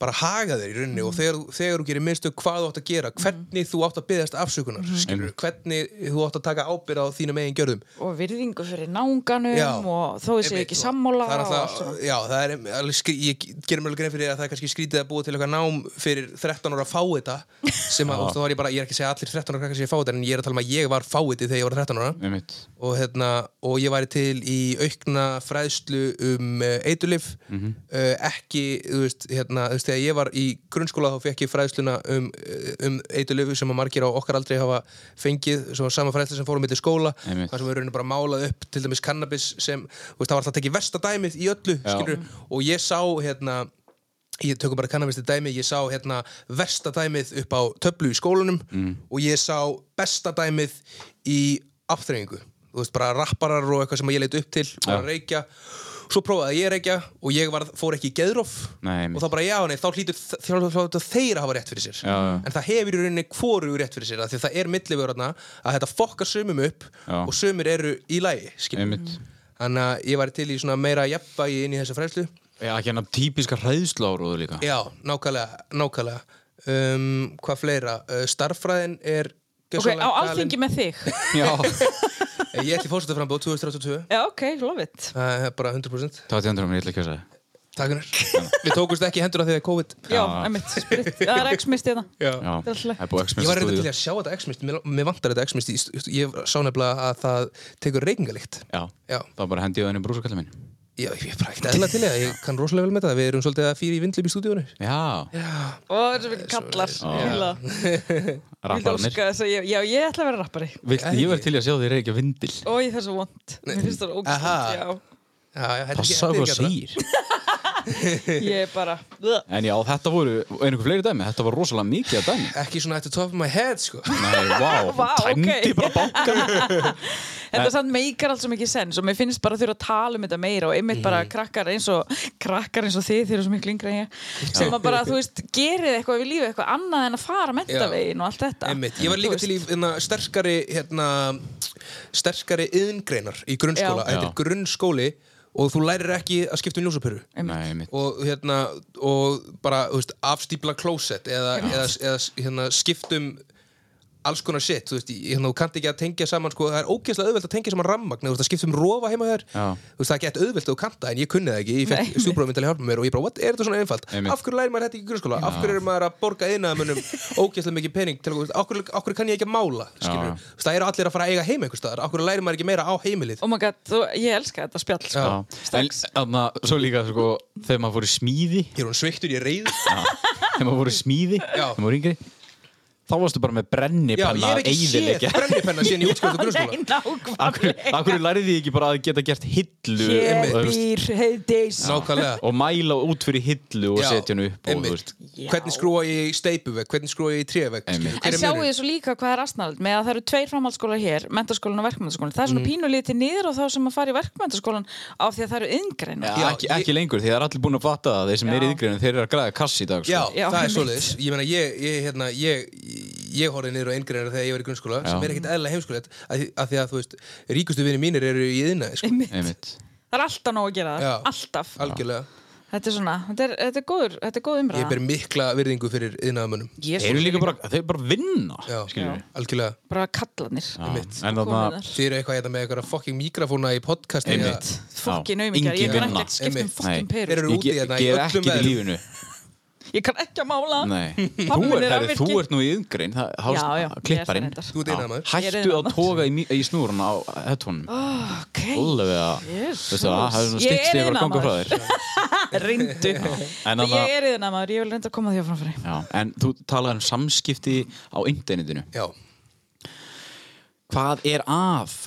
[SPEAKER 4] bara haga þér í rauninni og þegar, þegar þú gerir minnstu hvað þú átt að gera hvernig þú átt að byggðast afsökunar mm hvernig þú átt að taka ábyrða á þínum eigin gjörðum
[SPEAKER 3] og virðingu fyrir nánganum
[SPEAKER 4] Já.
[SPEAKER 3] og þó þessi
[SPEAKER 4] Einmitt,
[SPEAKER 3] ekki
[SPEAKER 4] og
[SPEAKER 3] sammála
[SPEAKER 4] það er
[SPEAKER 3] og allt
[SPEAKER 4] alltaf,
[SPEAKER 3] svona.
[SPEAKER 4] já, það er alveg skri, ég gerir mér alveg grein fyrir að það er kannski skrítið að búa til eitthvað nám fyrir 13 ára fáita sem að, og þá var ég bara, ég er ekki að segja að allir 13 ára krakkar séu fáita en ég er að tala um að ég var fáiti þegar ég var 13 ára
[SPEAKER 1] einmitt
[SPEAKER 4] og, hérna, og ég væri til í aukna fræðslu um uh, eitulif
[SPEAKER 1] Mhm.
[SPEAKER 4] uh, ekki, þú veist, hérna, þú veist, þegar ég var í grunnskóla þá fekk ég fræðsluna um, uh, um eitulif sem að margir á okkar aldrei hafa fengið, svo sama fræðslu sem fórum í til skóla,
[SPEAKER 1] Einmitt.
[SPEAKER 4] þar sem við raunin bara málað upp til dæmis kannabis sem, þú veist, það var alltaf tekið versta dæmið í öllu,
[SPEAKER 1] Já.
[SPEAKER 4] skilur og ég sá, hérna, ég tökum bara kannabis til dæmi, ég sá hérna versta dæmið upp á töflu í skólanum
[SPEAKER 1] Mm.
[SPEAKER 4] og ég sá besta dæmið í afþreyingu þú veist bara rapparar og eitthvað sem ég leit upp til bara reykja, svo prófaði ég að reykja og ég var, fór ekki í geðrof
[SPEAKER 1] Nei, einmitt.
[SPEAKER 4] og þá bara já, nei, þá hlýtur þ- þá hlýtur þeir að hafa rétt fyrir sér
[SPEAKER 1] Já, já.
[SPEAKER 4] en það hefur í rauninni hvoru rétt fyrir sér af því að það er millivöður þarna að þetta fokkar sumum upp
[SPEAKER 1] Já.
[SPEAKER 4] og sumir eru í lægi
[SPEAKER 1] einmitt
[SPEAKER 3] Mm.
[SPEAKER 4] þannig að ég var til í svona meira jafnvægi inn í þessa fræðslu
[SPEAKER 1] Já, ekki hann típiska hræðsláróðu líka
[SPEAKER 4] Já, nákvæmlega, nákvæmlega. Um, hvað fleira? Uh, starffræðin er
[SPEAKER 3] ok,
[SPEAKER 4] gjörsamlega
[SPEAKER 3] á
[SPEAKER 4] galin.
[SPEAKER 3] alþingi með þig
[SPEAKER 1] Já
[SPEAKER 4] Ég ætti fórsetið frambóð 2032
[SPEAKER 3] já, ok, love it
[SPEAKER 4] Það er bara 100%
[SPEAKER 1] Það var til endur á mér, ég ætla ekki að segja
[SPEAKER 4] Takk hennar Við tókumst ekki í hendurna þegar COVID
[SPEAKER 3] já, einmitt, sprit, það er x-mist hérna
[SPEAKER 4] Já.
[SPEAKER 1] Já,
[SPEAKER 3] Það er alltaf.
[SPEAKER 1] það er búið
[SPEAKER 4] Ég
[SPEAKER 1] X-Men
[SPEAKER 4] var reynda til í
[SPEAKER 1] stúdíu.
[SPEAKER 4] að sjá þetta X-mist Mér mér vantar þetta X-mist í- Ég sá nefnilega að það tekur reykingalikt
[SPEAKER 1] Já,
[SPEAKER 4] Já.
[SPEAKER 1] það var bara hendið á henni brúsakallin minn
[SPEAKER 4] Já, ég er bara ekkert eðla til í það Ég kann rosalega vel með það Við erum svolítið að fyrir í vindlum í stúdíunni
[SPEAKER 1] Já,
[SPEAKER 3] og það er svo mikið kallar Fíla. Ég vildi
[SPEAKER 1] rapparnir
[SPEAKER 3] óska þess að ég- já, ég ætla að vera rappari
[SPEAKER 1] Viltu, ég verð til í að sjá þér ekki að vindil
[SPEAKER 3] og ég það er svo vond mér finnst það
[SPEAKER 4] Aha. Já,
[SPEAKER 3] ógst
[SPEAKER 4] já, þetta er ekki-
[SPEAKER 1] Passa
[SPEAKER 4] þetta
[SPEAKER 1] hvað
[SPEAKER 4] er ekki allra.
[SPEAKER 1] sýr
[SPEAKER 3] ég er bara Bleh.
[SPEAKER 1] En já, þetta voru einhverjum fleiri dæmi Þetta var rosalega mikið að dæmi
[SPEAKER 4] Ekki svona at the top of my head, sko [LAUGHS]
[SPEAKER 1] Nei, vá,
[SPEAKER 3] Vá,
[SPEAKER 1] wow, tæmdi
[SPEAKER 3] ok.
[SPEAKER 1] bara bankan
[SPEAKER 3] Þetta samt meikar alls svo mikið sens og mér finnst bara að þurfa að tala um þetta meira og einmitt
[SPEAKER 4] Mhm.
[SPEAKER 3] bara krakkar eins og krakkar eins og þið, þið eru svo miklu yngri en ég sem að bara, þú veist, gerið eitthvað við lífið eitthvað annað en að fara mentavegin og allt þetta
[SPEAKER 4] Einmitt. Ég var líka til í hérna, sterkari hérna, sterkari yðngreinar í grunnskóla,
[SPEAKER 3] Já.
[SPEAKER 4] þetta er
[SPEAKER 1] Já.
[SPEAKER 4] grunnskóli og þú lærir ekki að skipta um ljósapyrru
[SPEAKER 1] Nei, mitt
[SPEAKER 4] og hérna og bara þú veist, afstípla klósett eða, eða, eða hérna, skiptum alls konar shit þú veist, ég- hérna, þú kannt ekki að tengja saman sko, það er ógeðslega auðvelt að tengja saman rammagn þú veist, það skiptum rofa heima þér
[SPEAKER 1] Já.
[SPEAKER 4] þú veist, það er gett auðvelt að þú kannt það en ég kunni það ekki, ég
[SPEAKER 3] Nei,
[SPEAKER 4] fekk
[SPEAKER 3] einmitt.
[SPEAKER 4] stjúbróðum til að hjálpa mér og ég bara, what, er þetta svona einfalt
[SPEAKER 1] Einmitt.
[SPEAKER 4] af hverju lærir maður þetta ekki í grunnskóla, af hverju er maður að borga innæðamönnum ógeðslega mikið pening til, að- þú veist, af hverju, af hverju kann ég ekki að mála skilurðu?
[SPEAKER 1] Já.
[SPEAKER 4] Þú veist, það eru allir að fara að eiga heima einhvers staðar, af hverju lærir maður ekki meira á heimilið
[SPEAKER 3] Oh my god, þú, ég elska þetta spjall sko.
[SPEAKER 1] Já, en þarna, svo líka sko, þegar maður fór í smíði
[SPEAKER 4] Hér er hún sveiktur, ég reyð
[SPEAKER 1] þegar maður fór í smíði,
[SPEAKER 4] [LAUGHS] Já.
[SPEAKER 1] þegar maður voru yngri þá varstu bara með
[SPEAKER 4] Já, ég
[SPEAKER 1] brennipanna
[SPEAKER 4] hef ekki séð
[SPEAKER 1] eiðilegja
[SPEAKER 4] brennipenna síðan í
[SPEAKER 1] [LAUGHS]
[SPEAKER 4] útskjöld og grunnskóla
[SPEAKER 3] Nei,
[SPEAKER 1] Akkur,
[SPEAKER 3] nákvæmlega
[SPEAKER 1] akkur lærið þið ekki bara að geta gert hillu
[SPEAKER 3] Hér
[SPEAKER 1] og, þú veist,
[SPEAKER 3] býr heiðis
[SPEAKER 4] Nákvæmlega
[SPEAKER 1] og mæla út fyrir hillu og
[SPEAKER 4] Já,
[SPEAKER 1] setja hennu upp og, þú
[SPEAKER 4] einmitt.
[SPEAKER 1] veist,
[SPEAKER 4] Hvernig skrúa ég í steipuvegg, hvernig skrúa ég í trévegg
[SPEAKER 1] Einmitt.
[SPEAKER 3] En sko. sjáu þið svo líka hvað er aðsnaðald með að það eru tveir framhaldsskólar hér, mentaskólan og verkmentaskólan það er svona mm. pínulítið niður á þá sem að fara í verkmentaskólan af því að það eru yngreina
[SPEAKER 1] Já, ekki, ekki lengur, því það er allir búin að fatta það þeir sem
[SPEAKER 3] Já.
[SPEAKER 1] eru yðgreinu, þeir eru að græða kass í dag sko.
[SPEAKER 4] Já,
[SPEAKER 3] Já,
[SPEAKER 4] það er
[SPEAKER 3] einmitt.
[SPEAKER 4] svoleiðis Ég meina, ég, ég, hérna, ég, ég horfði niður á eingreinar þegar ég var í grunnskóla sem er ekkert eðla heimskóla að, að því að, þú veist, ríkustu vinir mínir eru í yðina sko.
[SPEAKER 1] einmitt
[SPEAKER 3] Það er alltaf nóg að gera það,
[SPEAKER 4] Já.
[SPEAKER 3] alltaf
[SPEAKER 4] Algjörlega
[SPEAKER 3] Þetta er svona, þetta er, þetta er góður, þetta er góð
[SPEAKER 4] Ég
[SPEAKER 3] umræða
[SPEAKER 4] ber mikla virðingu fyrir yðnaðamönnum
[SPEAKER 1] Þeir eru líka bara, þeir bara vinna
[SPEAKER 4] Já,
[SPEAKER 1] skilur við.
[SPEAKER 4] algjörlega
[SPEAKER 3] bara kallanir
[SPEAKER 1] Já, En þarna,
[SPEAKER 4] Þið eru eitthvað hérna með eitthvað fokking mikrofóna í podcasti
[SPEAKER 1] einmitt
[SPEAKER 3] Fokkin
[SPEAKER 1] Já.
[SPEAKER 3] aumingar, ég
[SPEAKER 1] Engin
[SPEAKER 3] kann
[SPEAKER 1] vinna.
[SPEAKER 3] ekki að skipta um
[SPEAKER 1] Nei.
[SPEAKER 4] Einmitt.
[SPEAKER 3] fokkin
[SPEAKER 4] Þeir
[SPEAKER 3] perur
[SPEAKER 4] eru
[SPEAKER 1] Ég
[SPEAKER 4] úti
[SPEAKER 1] ge-
[SPEAKER 4] hérna í
[SPEAKER 1] ger
[SPEAKER 4] öllum
[SPEAKER 1] ekkert í
[SPEAKER 4] veðrum.
[SPEAKER 1] lífinu
[SPEAKER 3] Ég kann ekki að mála
[SPEAKER 1] Nei,
[SPEAKER 3] Pabbi
[SPEAKER 1] þú
[SPEAKER 3] minn
[SPEAKER 1] er,
[SPEAKER 3] er
[SPEAKER 1] herri, þú
[SPEAKER 3] rafvirki.
[SPEAKER 1] ert nú í yðgrein það, hást,
[SPEAKER 3] Já, já, ég er
[SPEAKER 1] klipparinn
[SPEAKER 3] það reyndar.
[SPEAKER 4] Þú ert iðnaðarmaður.
[SPEAKER 1] Já,
[SPEAKER 3] Ég er
[SPEAKER 1] Hættu að
[SPEAKER 3] iðnaðarmaður.
[SPEAKER 1] toga í, mí- í snúrun á hettunum
[SPEAKER 3] Ok,
[SPEAKER 1] Úlfið að,
[SPEAKER 3] Jesus.
[SPEAKER 1] veistu það, það er svona
[SPEAKER 3] Ég er
[SPEAKER 1] stikkst yfir að ganga frá
[SPEAKER 3] iðnaðarmaður.
[SPEAKER 1] þér
[SPEAKER 3] [LAUGHS] [LAUGHS] reyndu
[SPEAKER 1] [LAUGHS] En þarna-
[SPEAKER 3] Ég er í þennan maður, ég vil reynda að koma því á framfæri
[SPEAKER 1] Já, en þú talaði um samskipti á internetinu
[SPEAKER 4] Já,
[SPEAKER 1] Hvað er að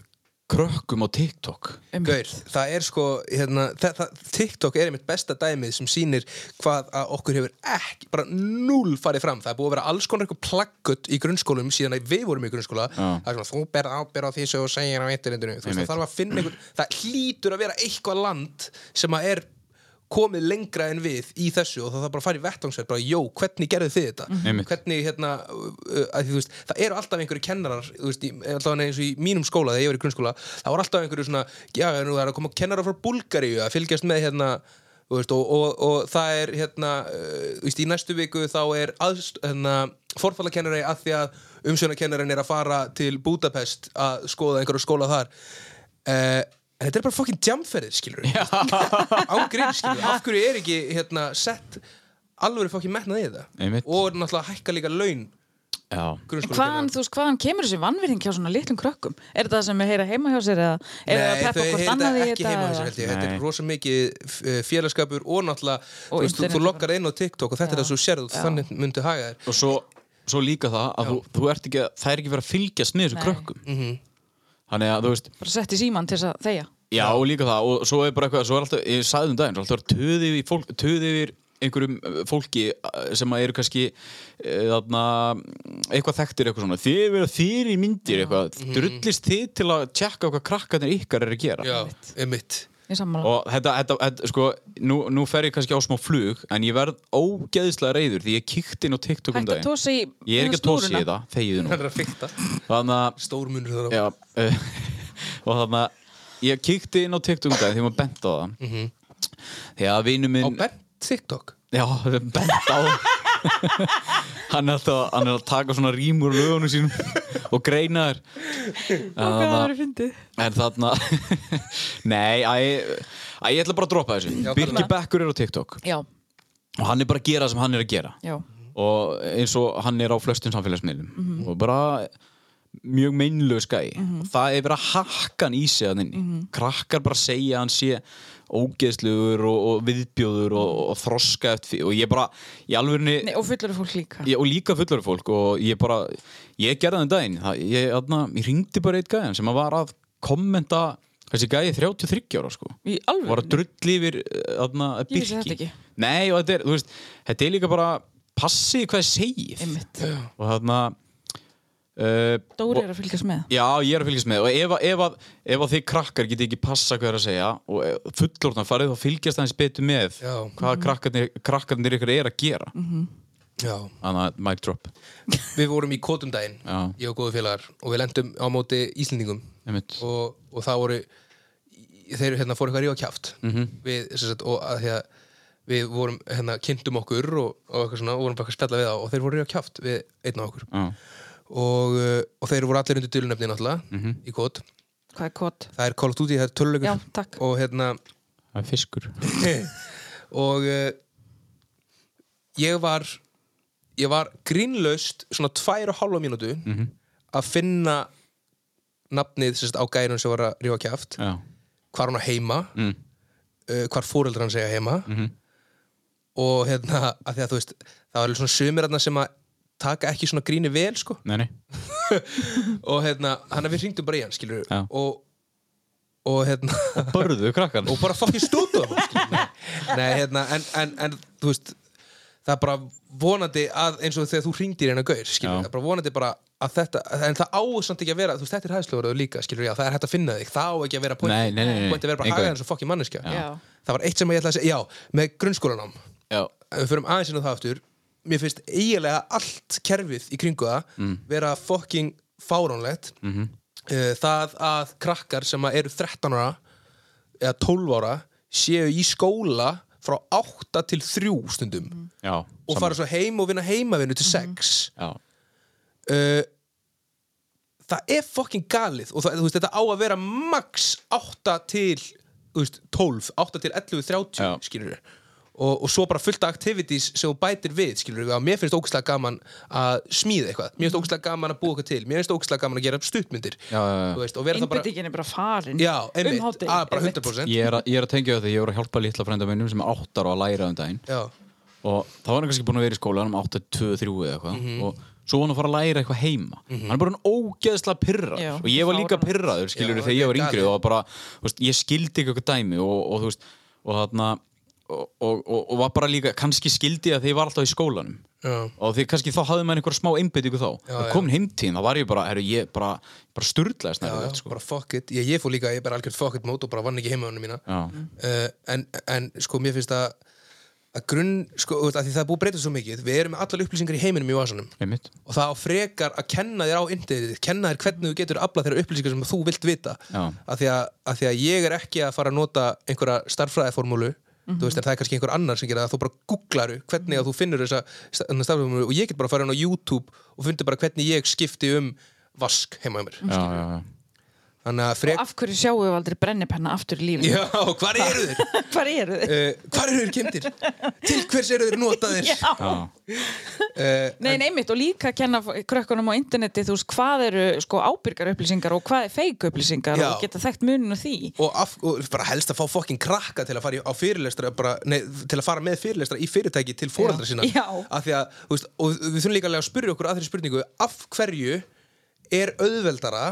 [SPEAKER 1] krökkum á TikTok?
[SPEAKER 4] Gaur, það er sko hérna, það, það, TikTok er einmitt besta dæmið sem sýnir hvað að okkur hefur ekki, bara null farið fram það er búið að vera alls konar eitthvað plaggött í grunnskólum síðan að við vorum í grunnskóla
[SPEAKER 1] Já.
[SPEAKER 4] það er svona þú berð ábyrð á því sem þú segir á internetinu þú veist
[SPEAKER 1] Einmitt.
[SPEAKER 4] það þarf að finna einhver, það hlýtur að vera eitthvað land sem að er komið lengra en við í þessu og það þarf bara að fara í vettvangsverð bara, jó, hvernig gerðu þið þetta?
[SPEAKER 1] Einmitt.
[SPEAKER 4] Hvernig, hérna, uh, uh, að, því, þú veist, það eru alltaf einhverju kennarar, þú veist, í- alltaf eins og í mínum skóla þegar ég var í grunnskóla, það voru alltaf einhverju svona, já, nú það er að koma kennarar frá Búlgaríu að fylgjast með, hérna, þú veist, og, og, og það er, hérna, uh, þú veist, í næstu viku þá er aðst, hérna, forfallakennari að því að umsjónakennarinn er að fara til Budapest að skoða einhverju skóla þar. Uh, en þetta er bara fokkin jamferðir, skilur við ángrín, skilur, af hverju er ekki hérna, sett alveg fokkin metnað í þetta
[SPEAKER 1] Einmitt.
[SPEAKER 4] og náttúrulega hækka líka laun
[SPEAKER 1] Já.
[SPEAKER 4] grunnskóla
[SPEAKER 3] Hvaðan, þú veist, hvaðan kemur þessi vannvirðing hjá svona litlum krökkum? Er þetta það sem við heyra heima hjá sér eða er það
[SPEAKER 4] Nei,
[SPEAKER 3] að
[SPEAKER 4] þau
[SPEAKER 3] peppa hvort
[SPEAKER 4] heyrðu
[SPEAKER 3] annað í
[SPEAKER 4] þetta ekki
[SPEAKER 3] þetta?
[SPEAKER 4] heima
[SPEAKER 3] eða?
[SPEAKER 4] þessu held ég Þetta
[SPEAKER 1] Nei.
[SPEAKER 4] er rosa mikið f- eh, félagskapur og náttúrulega þú, veist, þú,
[SPEAKER 3] internet
[SPEAKER 4] þú
[SPEAKER 3] bara.
[SPEAKER 4] loggar inn á TikTok og þetta er það svo sérð og þannig myndu haga þér
[SPEAKER 1] og svo, svo líka það að þú, þú ert ekki, að- það er ekki verið að fylgjast með þessu
[SPEAKER 3] Nei.
[SPEAKER 1] krökkum þannig að þú veist
[SPEAKER 3] Bara sett í síman til þess að þegja
[SPEAKER 1] já, og líka það og svo er bara eitthvað, svo er alltaf, ég sagði um daginn svo alltaf er töði yfir, fólk, töði yfir einhverjum eh, fólki eh, sem að eru kannski eh, þarna, eitthvað þekktir eitthvað svona, þið eru þýr í myndir eitthvað, drullist þið til að tjekka hvað krakkarnir ykkar eru að gera
[SPEAKER 4] Já, emitt
[SPEAKER 3] í sammála.
[SPEAKER 1] og þetta, þetta, þetta sko nú, nú fer ég kannski á smá flug en ég verð ógeðslega reyður því ég kíkti inn á TikTok um
[SPEAKER 3] Hægt að
[SPEAKER 1] daginn
[SPEAKER 3] tósa í hérna
[SPEAKER 1] ég er ekki að tósi í það, þegiðu
[SPEAKER 4] Hann
[SPEAKER 1] nú
[SPEAKER 4] er að fykta
[SPEAKER 1] þannig að
[SPEAKER 4] Stór munur þar á
[SPEAKER 1] Já, uh, [LAUGHS] og þannig að ég kíkti inn á TikTok um daginn því maður bent á það því að vinnu
[SPEAKER 4] Mhm. Á
[SPEAKER 1] minn
[SPEAKER 4] bent TikTok
[SPEAKER 1] já, bent á [LAUGHS] hann er alltaf hann er að taka svona rýmur úr lögunum sínum [LAUGHS] og greina þér
[SPEAKER 3] Ok, það er fyndið.
[SPEAKER 1] en þannig að [LAUGHS] nei, æ, æ, ég ætla bara að droppa þessu Birki
[SPEAKER 4] þarna.
[SPEAKER 1] Bekkur er á TikTok
[SPEAKER 3] Já,
[SPEAKER 1] og hann er bara að gera það sem hann er að gera
[SPEAKER 3] já.
[SPEAKER 1] og eins og hann er á flestum samfélagsmiðlum og bara mjög meinlaus gæi og það er verið að hakka hann í sig hann inni krakkar bara segja að hann sé ógeðslugur og, og viðbjóður og, og þroska eftir því og ég bara, í alvörni
[SPEAKER 3] Nei, og fullur fólk líka.
[SPEAKER 1] ég, og líka fullari fólk og ég bara, ég gerði þannig daginn það, ég, aðna, ég ringdi bara eitt gæðan sem að var að kommenta þessi gæi er 33 ára sko
[SPEAKER 3] Í alvöru?
[SPEAKER 1] var að drulli yfir aðna,
[SPEAKER 3] Ég
[SPEAKER 1] birki
[SPEAKER 3] vissi þetta ekki.
[SPEAKER 1] nei og þetta er, þú veist, þetta er líka bara passið hvað þið segið
[SPEAKER 3] Einmitt.
[SPEAKER 1] og þarna uh,
[SPEAKER 3] Dóri er að fylgjast með.
[SPEAKER 1] Já, ég er að fylgjast með og ef, að- ef, að- ef að þið krakkar geti ekki passa hvað er að segja og eh, fullorðna farið þá fylgjast aðeins betur með
[SPEAKER 4] Já.
[SPEAKER 3] Mhm.
[SPEAKER 1] hvað krakkarnir, krakkarnir ykkur er að gera
[SPEAKER 4] Já
[SPEAKER 1] þannig að mic drop
[SPEAKER 4] Við vorum í Kotum daginn
[SPEAKER 1] Já.
[SPEAKER 4] Ég og góðu félagar og við lendum á móti Íslendingum
[SPEAKER 1] Einmitt.
[SPEAKER 4] og, og það voru þeir hérna fóru eitthvað rífa kjáft mm -hmm. við, sem sagt, og að því að við vorum hérna, kynntum okkur og, og eitthvað svona, og vorum bara eitthvað að spjalla við þá og þeir voru rífa kjáft við einn af okkur
[SPEAKER 1] Já.
[SPEAKER 4] og, uh, og þeir voru allir undir dulunöfni náttúrulega í kót,
[SPEAKER 3] Hvað er kott?
[SPEAKER 4] það er Call of Duty, það er tölulegur
[SPEAKER 3] Já, takk.
[SPEAKER 4] og hérna [COUGHS]
[SPEAKER 1] Það er fiskur
[SPEAKER 4] og uh, ég var ég var grínlaust svona tvær og hálfa mínútu að finna nafnið sérst, á gærun sem var að rífa kjáft
[SPEAKER 1] Já,
[SPEAKER 4] hvar hann á heima uh, hvar fóreldrar hann segja heima og hérna að því að þú veist það var alveg svona sumir hérna sem að taka ekki svona gríni vel sko
[SPEAKER 1] nei, nei
[SPEAKER 4] og hérna, hann að við hringdum bara í hann skilur
[SPEAKER 1] Já.
[SPEAKER 4] og, og hérna
[SPEAKER 1] Börðu krakkan
[SPEAKER 4] og bara fucking stútu [LAUGHS] nei, hérna, en, en, en þú veist það er bara vonandi að eins og þegar þú hringdir hérna gaur, skilur,
[SPEAKER 1] Já.
[SPEAKER 4] það er bara vonandi bara að þetta, en það áður samt ekki að vera þú veist, þetta er hæðslóður líka, skilur, já, það er hægt að finna þig það á ekki að vera
[SPEAKER 1] Nei, nei, nei, nei.
[SPEAKER 4] pointi að vera bara
[SPEAKER 1] Engu
[SPEAKER 4] hagað
[SPEAKER 1] veginn.
[SPEAKER 4] eins og fucking manneskja
[SPEAKER 3] Já.
[SPEAKER 4] það var eitt sem ég ætlaði að segja, já, með grunnskólanám
[SPEAKER 1] Já,
[SPEAKER 4] Ef við förum aðeins inn á það aftur mér finnst eiginlega allt kerfið í kringu það vera fucking fáránlegt -hmm. það að krakkar sem að eru 13 ára eða 12 ára séu í skóla frá 8 til 3 stundum
[SPEAKER 1] já
[SPEAKER 4] og fara svo heim og vinna heimavinu til 6
[SPEAKER 1] Já,
[SPEAKER 4] uh, það er fucking galið og það, þú veist, þetta á að vera max 8 til þú veist, 12, 8 til 11, 30
[SPEAKER 1] Já.
[SPEAKER 4] skilur Og, og svo bara fullta activities sem þú bætir við skilur við, mér finnst ógæslega gaman að smíða eitthvað, mér finnst ógæslega gaman að búa eitthvað til mér finnst ógæslega gaman að gera upp stuttmyndir
[SPEAKER 1] Mhm. Já, já, já.
[SPEAKER 4] Þú veist, og vera það bara,
[SPEAKER 3] Innbyttingin er bara farin.
[SPEAKER 4] já,
[SPEAKER 3] Um
[SPEAKER 4] einmitt,
[SPEAKER 3] hádegi.
[SPEAKER 4] að, bara
[SPEAKER 3] Einmitt.
[SPEAKER 4] 100%
[SPEAKER 1] ég er, að, ég er að tengja þetta Ég voru að hjálpa litla frænda minnum sem er áttar og að læra um daginn
[SPEAKER 4] já,
[SPEAKER 1] Og þá var hann kannski búin að vera í skóla um 8, 2, 3 eða eitthvað
[SPEAKER 4] Mhm.
[SPEAKER 1] Og svo var hann að fara að læra eitthvað heima Hann er bara hann ógeðslega pyrrað
[SPEAKER 3] Já,
[SPEAKER 1] Og ég var líka
[SPEAKER 3] fáránlegt.
[SPEAKER 1] pyrraður, skilur
[SPEAKER 4] Já,
[SPEAKER 1] þegar ég var
[SPEAKER 4] þetta er
[SPEAKER 1] yngri
[SPEAKER 4] galið.
[SPEAKER 1] Og bara, þú veist, ég skildi ekki eitthvað dæmi Og, og þú veist, og þarna Og, og, og, og var bara líka, kannski skildi ég að þegar ég var alltaf í skólanum
[SPEAKER 4] Já.
[SPEAKER 1] og því kannski þá hafði maður einhver smá einbyttingu þá já,
[SPEAKER 4] já.
[SPEAKER 1] komin heimtíðin, þá var ég bara, herru, ég bara, bara sturlaðist
[SPEAKER 4] Já,
[SPEAKER 1] nærri
[SPEAKER 4] já,
[SPEAKER 1] þetta, sko.
[SPEAKER 4] bara fuck it, ég, ég fór líka, ég bara algjörð fuck it mót og bara vann ekki heimahunum mína
[SPEAKER 1] Já.
[SPEAKER 4] uh, en, en sko mér finnst að að grunn, sko, þú veist, að því það er búið að breyta svo mikið við erum með allar upplýsingar í heiminum í vasanum
[SPEAKER 1] Einmitt.
[SPEAKER 4] og það á frekar að kenna þér á internetið, kenna þér hvernig þú getur aflað þeirra upplýsingar sem þú vilt vita
[SPEAKER 1] Já.
[SPEAKER 4] af því, að, af því að ég er ekki að fara að nota einhverja starffræðiformúlu þú veist, en það er kannski einhver annar sem gerir það þú bara googlaru hvernig að þú finnur þessa starffræðiformúlu og ég get bara að fara inn á YouTube og fundi bara hvernig ég skipti um vask heima hjá mér
[SPEAKER 1] Já, já, já.
[SPEAKER 4] þannig að
[SPEAKER 3] Og
[SPEAKER 4] frek...
[SPEAKER 3] af hverju sjáum við aldrei brennipenna aftur í lífinu?
[SPEAKER 4] Já, hvar eru þeir?
[SPEAKER 3] [LAUGHS] Hvar eru þið?
[SPEAKER 4] Uh, hvar eru þeir kemdir? Til hvers eru þeir notaðir?
[SPEAKER 3] Já,
[SPEAKER 4] Uh,
[SPEAKER 3] nei, nei, einmitt og líka að kenna f- krökkunum á interneti þú veist hvað eru sko ábyrgar upplýsingar og hvað er feik upplýsingar
[SPEAKER 4] Já.
[SPEAKER 3] og geta þekkt muninu því
[SPEAKER 4] og, af, og bara helst að fá fokkin krakka til að fara í, á fyrirlestra bara, nei, til að fara með fyrirlestra í fyrirtæki til fóreldra
[SPEAKER 3] Já.
[SPEAKER 4] sína
[SPEAKER 3] Já.
[SPEAKER 4] Af því að, þú veist, og við þurfum líka alveg að spyrja okkur að þeirri spurningu af hverju er auðveldara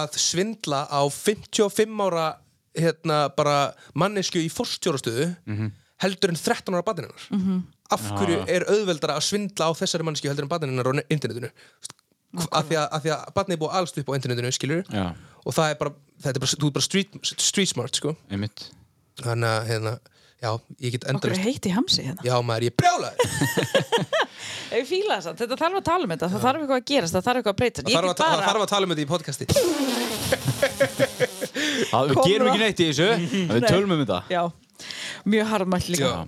[SPEAKER 4] að svindla á 55 ára hérna bara mannesku í forstjórastöðu heldur en 13 ára batininnar mm
[SPEAKER 3] Mhm.
[SPEAKER 4] -hmm. af hverju er auðveldara að svindla á þessari mannesku heldur en batininnar á ne- internetinu af því að, að, því að batnið er búið alst upp á internetinu skilur
[SPEAKER 1] Já.
[SPEAKER 4] og það er bara, þetta er bara, þú er bara street, street smart sko.
[SPEAKER 1] einmitt
[SPEAKER 4] þannig að hérna, já, ég get
[SPEAKER 3] Okkur er
[SPEAKER 4] endalist
[SPEAKER 3] heitt í hamsi hérna
[SPEAKER 4] já maður, ég brjálaði
[SPEAKER 3] Ég fíla þess að þetta þarf að tala um þetta, það þarf eitthvað að gerast, það þarf eitthvað að breyta
[SPEAKER 4] það
[SPEAKER 3] Ég
[SPEAKER 4] þarf,
[SPEAKER 3] get
[SPEAKER 4] að, það
[SPEAKER 3] bara,
[SPEAKER 4] þarf að tala um þetta í podcasti
[SPEAKER 1] að, Við
[SPEAKER 3] Komum
[SPEAKER 1] gerum
[SPEAKER 3] að-
[SPEAKER 1] ekki neitt í
[SPEAKER 3] [LAUGHS]
[SPEAKER 1] þessu, en við
[SPEAKER 3] Nei.
[SPEAKER 1] tölum um þetta
[SPEAKER 3] já, mjög harmætt líka
[SPEAKER 4] Já.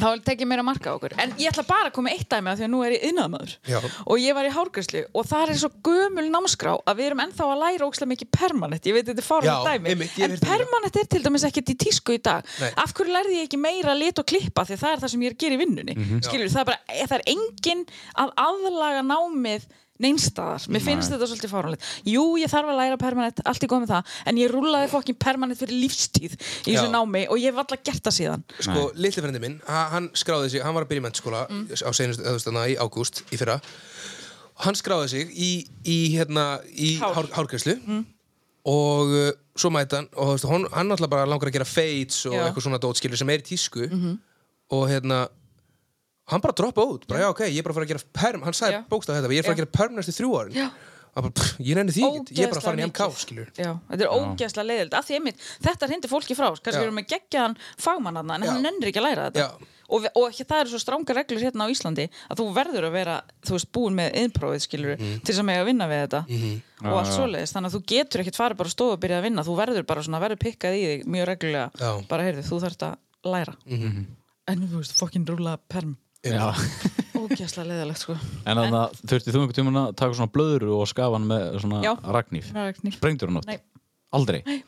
[SPEAKER 3] Þá tek ég meira marka á okkur En ég ætla bara að koma með eitt dæmi af því að nú er ég innadmaður
[SPEAKER 4] Já.
[SPEAKER 3] Og ég var í hárgræslu og það er svo gömul námskrá að við erum ennþá að læra ókslega mikið permanent Ég veit þetta er fárlega
[SPEAKER 4] Já,
[SPEAKER 3] dæmi
[SPEAKER 4] einmitt, ég
[SPEAKER 3] En
[SPEAKER 4] hef heyrt þetta.
[SPEAKER 3] permanent er til dæmis ekkert í tísku í dag
[SPEAKER 4] Nei.
[SPEAKER 3] Af hverju lærði ég ekki meira lit og klippa því það er það sem ég er að gera í vinnunni
[SPEAKER 4] Mhm.
[SPEAKER 3] mm það er bara, það er engin að aðlaga námið neinstaðar, mér finnst þetta svolítið fáránlegt jú, ég þarf að læra permanent, allt í góð með það en ég rúlaði fokkin permanent fyrir lífstíð í
[SPEAKER 4] Já.
[SPEAKER 3] þessu námi og ég hef alltaf gert það síðan
[SPEAKER 4] sko, litli frendi minn, ha- hann skráði sig hann var að byrja í mennskóla
[SPEAKER 3] Mm.
[SPEAKER 4] á seinustu, þú veist, þannig í ágúst í fyrra og hann skráði sig í, í hérna, í
[SPEAKER 3] Hár. Mm.
[SPEAKER 4] hár. hárgræslu og uh, svo mæta hann og þú veist, hon, hann náttúrulega bara langar að gera fades og
[SPEAKER 3] Já. Mhm.
[SPEAKER 4] eitthvað svona dótskilur sem er í tísku og hérna hann bara droppa út, bara já ok, ég er bara að fara að gera perm, hann sagði
[SPEAKER 3] Já.
[SPEAKER 4] bókstaf þetta, ég er að fara að
[SPEAKER 3] Já.
[SPEAKER 4] gera perm næstu þrjú árin
[SPEAKER 3] Já.
[SPEAKER 4] hann bara, pff, ég nenni því ekki, ég er bara að fara í MK
[SPEAKER 3] Ógeðslega mikið.
[SPEAKER 4] skilur
[SPEAKER 3] Já, þetta er ógeðslega leiðild af því einmitt, þetta hindi fólki frá kannski
[SPEAKER 4] Já.
[SPEAKER 3] erum við geggjaðan fagmannanna en
[SPEAKER 4] Já.
[SPEAKER 3] hann nennir ekki að læra þetta
[SPEAKER 4] Já.
[SPEAKER 3] og, við- og ekki, það eru svo stránga reglur hérna á Íslandi að þú verður að vera, þú veist, búin með innprófið skilur
[SPEAKER 4] Mhm.
[SPEAKER 3] til þess að mega vinna við þetta og allt svoleiðis, þannig að þú getur ekkit farið bara að stofa og byrja að vinna, þú verður bara svona verður pikkað í þig mjög reglulega,
[SPEAKER 4] Já. Mhm.
[SPEAKER 3] bara heyrðu, þú þarft að læra en þú veist, fokkin rúla perm
[SPEAKER 1] Já.
[SPEAKER 3] ógeðslega leiðilegt sko
[SPEAKER 1] En þannig að þurfti þú einhvern tímann að taka svona blöðru og skafa hann með svona
[SPEAKER 3] Já.
[SPEAKER 1] ragnýf
[SPEAKER 3] Ragnhníf.
[SPEAKER 1] Sprengdur hann oft?
[SPEAKER 3] Nei.
[SPEAKER 1] Aldrei? Nei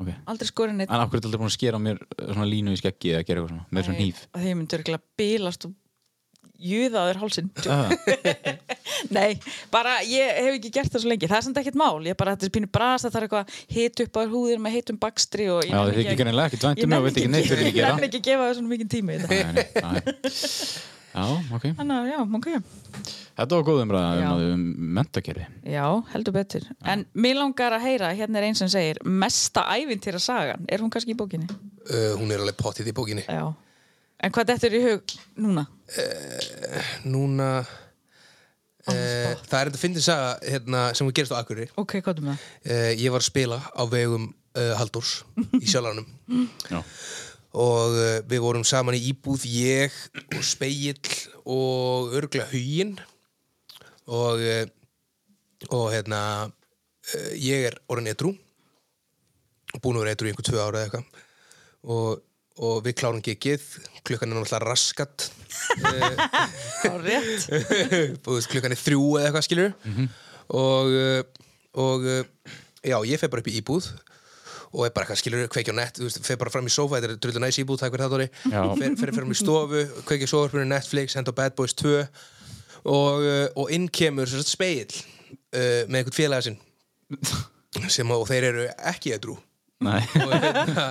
[SPEAKER 1] Ok
[SPEAKER 3] aldrei skorinn eitt
[SPEAKER 1] En af hverju er aldrei búin að skera á mér eh, svona línu í skeggi eða gera eitthvað svona, með svona
[SPEAKER 3] Nei,
[SPEAKER 1] hníf
[SPEAKER 3] að því ég myndi örgulega bílast og júðaður hálsin
[SPEAKER 1] Ah.
[SPEAKER 3] [LAUGHS] nei, bara ég hef ekki gert það svo lengi það er samt ekkert mál, ég bara þetta er pínu brast það þarf eitthvað að hita upp á þér húðir með heitum bakstri og ég
[SPEAKER 1] Já,
[SPEAKER 3] nenni
[SPEAKER 1] þið ekki greinlega ekki
[SPEAKER 3] ég
[SPEAKER 1] tvæntum og
[SPEAKER 3] nenni
[SPEAKER 1] um veit ekki neitt fyrir
[SPEAKER 3] ég
[SPEAKER 1] að gera
[SPEAKER 3] nenni ekki að gefa þessu mikið tími í þetta.
[SPEAKER 1] [LAUGHS] Nei, nei, nei. Já, ok
[SPEAKER 3] þannig að já, ok
[SPEAKER 1] Þetta var góð umræða um
[SPEAKER 3] Já.
[SPEAKER 1] að um mentakerfi
[SPEAKER 3] já, heldur betur en mér langar að heyra, hérna er einn sem segir mesta ævintýra sagan, er hún kannski í bókinni?
[SPEAKER 4] uh, hún er alveg pottið í bókinni
[SPEAKER 3] já en hvað þetta er í hug núna?
[SPEAKER 4] núna
[SPEAKER 3] On the
[SPEAKER 4] uh,
[SPEAKER 3] spot.
[SPEAKER 4] það er þetta fyndin saga hérna, sem gerist á Akureyri
[SPEAKER 3] ok, hvað er með það?
[SPEAKER 4] uh, ég var að spila á vegum uh, Halldórs í sjálfanum
[SPEAKER 1] Já,
[SPEAKER 4] og uh, við vorum saman í íbúð ég og speill og örgla hugin og uh, og hérna uh, ég er orðin edrú og búin að vera edrú í einhver tvö ára eða eitthvað og, og við klárum gigið klukkan er náttúrulega raskat
[SPEAKER 3] Já, rétt.
[SPEAKER 4] og þú veist, klukkan er þrjú eða eitthvað skilur og, uh, og uh, já, ég fer bara upp í íbúð og er bara eitthvað skilur, kveikja á nett þú veist, fer bara fram í sófa, þetta er drullu næs íbúð takk fyrir það Dóri,
[SPEAKER 1] Já.
[SPEAKER 4] fer, fer fram í stofu kveikja á sófarpinu, Netflix, henda á Bad Boys 2 og, uh, og inn kemur svo sagt speill uh, með einhvern félaga sinn sem að- og þeir eru ekki edrú
[SPEAKER 1] nei
[SPEAKER 4] og, hérna,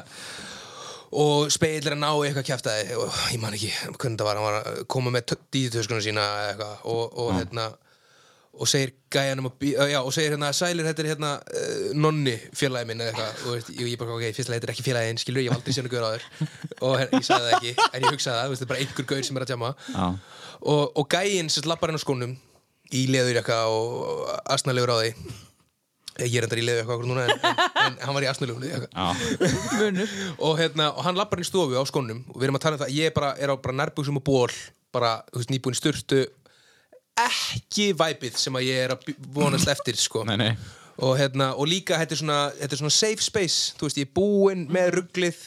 [SPEAKER 4] og speill er að ná í eitthvað kjæftæði og ég man ekki hvernig það var, hann var að koma með dítitöskuna sína eða eitthvað og, og hérna og segir gæjanum að bí, uh, já, og segir hérna sælir þetta er hérna uh, nonni félagi minn eða eitthvað og veist, ég, ég bara ok, fyrst að þetta er ekki félagi en skilur ég hef aldrei séð hann gaur áður og her, ég sagði það ekki, en ég hugsaði það, þú veist, þetta er bara einhver gaur sem er að tjama
[SPEAKER 1] Já.
[SPEAKER 4] og, og gæjin sem lappar henn á skónum í leðurjaka og astnalegur á því ég er endar í leðurjaka okkur núna en, en, en hann var í astnalegur leðurjaka
[SPEAKER 1] Já,
[SPEAKER 4] og, hérna, og hann lappar inn í stofu á skónum og við erum að tala um það, ég er bara, er á bara nærbuxum og ból bara, þú veist, nýbúin í sturtu ekki væpið sem að ég er að bý- vonast eftir, sko
[SPEAKER 1] nei, nei
[SPEAKER 4] og, hérna, og líka, þetta er, svona, þetta er svona safe space, þú veist, ég er búinn með rugglið,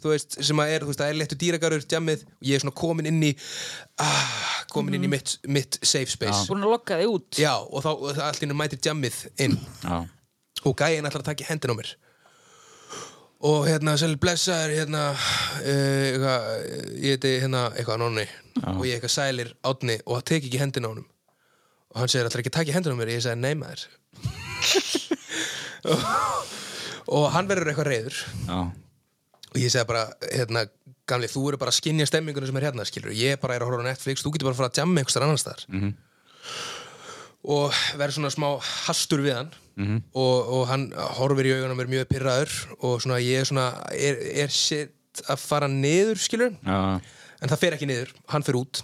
[SPEAKER 4] þú veist, sem að er þú veist, það er léttu dýragarur, djamið og ég er svona komin inn í ah, komin inn í mitt, mitt safe space
[SPEAKER 3] búin að lokka þig út
[SPEAKER 4] Já, og þá og allt í hennu mætir djamið inn
[SPEAKER 1] Já,
[SPEAKER 4] og gæinn ætlar að taka í hendin á mér og hérna sælir blessaður hérna eh, eitthvað, ég heiti hérna eitthvað nonni og ég eitthvað sælir átni og það tek ekki hendin á honum og hann segir ætlar ekki að taka í hendin á mér og ég segir nei maður [LAUGHS] og, og hann verður eitthvað reyður
[SPEAKER 1] já,
[SPEAKER 4] og ég segir bara hérna gamli þú eru bara að skinja stemminguna sem er hérna skilur ég bara er að horfa á Netflix þú getur bara að fara að jamma einhvers staðar annars staðar og verður svona smá hastur við hann og, og hann horfir í augunum er mjög pyrraður og svona ég er svona er, er sitt að fara niður skilur
[SPEAKER 1] já,
[SPEAKER 4] en það fer ekki niður, hann fer út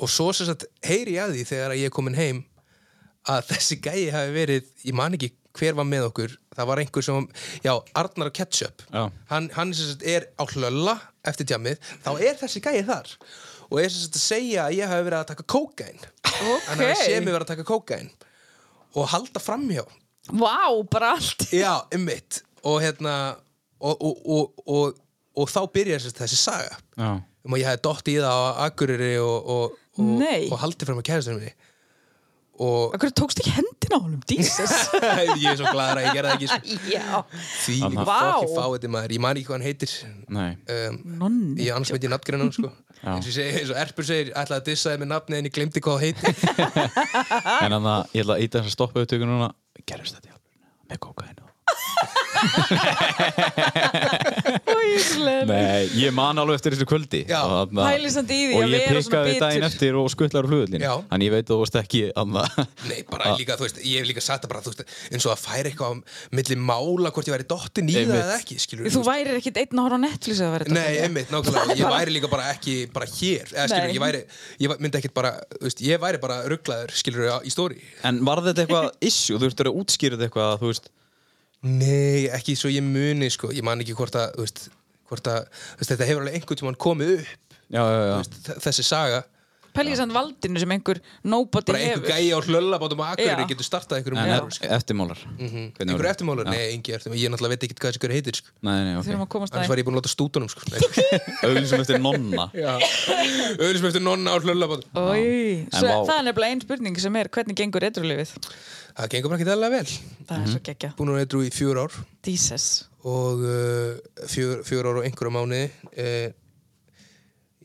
[SPEAKER 4] og svo sem sagt heyri ég að því þegar að ég er komin heim að [LAUGHS] þessi gæi hafi verið, ég man ekki hver var með okkur, það var einhver sem já, Arnar og Ketchup
[SPEAKER 1] Já.
[SPEAKER 4] hann, hann sem sagt er á hlölla eftir tjammið, þá er þessi gæi þar og er sem sagt að segja að ég hafi verið að taka kókain hann hafi séð mig verið að taka kókain og halda framhjá
[SPEAKER 3] Vá, bara allt
[SPEAKER 4] Já, ummitt og hérna og, og, og, og, og þá byrjar sem sagt þessi saga
[SPEAKER 1] já
[SPEAKER 4] um að ég hefði dótt í það á Akureyri og, og, og,
[SPEAKER 3] Nei.
[SPEAKER 4] og haldið fram að kæristunum minni og [LAUGHS]
[SPEAKER 3] Akkur tókst ekki hendina á honum, Jesus
[SPEAKER 4] ég er svo gladur að ég gerði það ekki sko.
[SPEAKER 3] Já,
[SPEAKER 4] því
[SPEAKER 1] Þarna.
[SPEAKER 4] fokki
[SPEAKER 3] Vá.
[SPEAKER 4] fáiði maður, ég man ekki hvað hann heitir
[SPEAKER 1] Nei,
[SPEAKER 4] um,
[SPEAKER 3] nonni
[SPEAKER 4] ég annars veit ég nafngreina hann
[SPEAKER 1] [LAUGHS]
[SPEAKER 4] sko eins og, ég segi, eins og Erpur segir, ætlaði að dissa þið með nafni en ég glemdi hvað það
[SPEAKER 1] [LAUGHS]
[SPEAKER 4] heitir
[SPEAKER 1] en þannig að ég ætla að íta þess að stoppa auðtökun núna Gerist þetta í alveg með kókainu
[SPEAKER 3] Æslega
[SPEAKER 1] Nei, ég man alveg eftir þessu kvöldi
[SPEAKER 4] Já.
[SPEAKER 1] og þarna-
[SPEAKER 3] Pælisandi í því
[SPEAKER 1] Og
[SPEAKER 3] að
[SPEAKER 1] ég
[SPEAKER 3] vera svona
[SPEAKER 1] pikkaði
[SPEAKER 3] bitur.
[SPEAKER 1] daginn eftir og skuttlar á flugvöllin
[SPEAKER 4] Já.
[SPEAKER 1] Þannig ég veit að þú varst ekki annað
[SPEAKER 4] Nei, bara líka, þú veist, ég hef líka sagt það bara, þú veist, eins og að færa eitthvað á milli mála hvort ég væri dottin í það
[SPEAKER 1] Einmitt.
[SPEAKER 4] eða ekki, skilur
[SPEAKER 3] Þú værir ekkit einn að horfa á Netflix að vera þetta
[SPEAKER 4] Nei, einmitt, nákvæmlega,
[SPEAKER 3] [LAUGHS]
[SPEAKER 4] ég væri líka bara ekki bara hér, eða skilur,
[SPEAKER 3] Nei.
[SPEAKER 4] ég væri ég væ- myndi ekkert bara, þú veist, ég væri bara rugglaður, skilur, á- í stóri
[SPEAKER 1] [LAUGHS] En var þetta eitthvað issue? Þú ert að útskýra þetta eitthvað þú veist,
[SPEAKER 4] Nei, ekki svo ég muni, sko, ég man ekki hvort að, þú veist, hvort að þú veist, þetta hefur alveg einhvern tímann komið upp
[SPEAKER 1] Já, já, já,
[SPEAKER 4] þ- þessi saga,
[SPEAKER 3] Pælir samt valdinu sem einhver nobody
[SPEAKER 4] bara einhver
[SPEAKER 3] hefur
[SPEAKER 4] gæi á hlöllabátum á Akureyri
[SPEAKER 3] Já.
[SPEAKER 4] getur startað einhverjum
[SPEAKER 1] En
[SPEAKER 4] málum, sko.
[SPEAKER 1] er, eftirmálar Hvernig
[SPEAKER 4] einhver
[SPEAKER 1] voru-
[SPEAKER 4] eftirmálur,
[SPEAKER 1] Já.
[SPEAKER 4] nei, engi eftirmálur, ég náttúrulega veit ekki hvað þessi hver heitir, sko
[SPEAKER 1] Nei, nei,
[SPEAKER 3] Þurfum að
[SPEAKER 1] ok
[SPEAKER 3] komast að
[SPEAKER 4] annars var ég búin að láta stútunum, sko [LAUGHS] Nei.
[SPEAKER 1] Auðlýsum eftir nonna
[SPEAKER 4] Já, öðrum eftir nonna á hlöllabátum
[SPEAKER 3] Ói,
[SPEAKER 1] En
[SPEAKER 3] svo
[SPEAKER 1] vá.
[SPEAKER 3] það er nefnilega einn spurning sem er hvernig gengur retrolífið?
[SPEAKER 4] Það gengur ekki þærlega vel,
[SPEAKER 3] Það er
[SPEAKER 1] Mhm.
[SPEAKER 3] svo geggja.
[SPEAKER 4] búin að eitthvað í fjör ár
[SPEAKER 3] Jesus.
[SPEAKER 4] og uh, fjör, fjör ára og einhverja mánuði uh,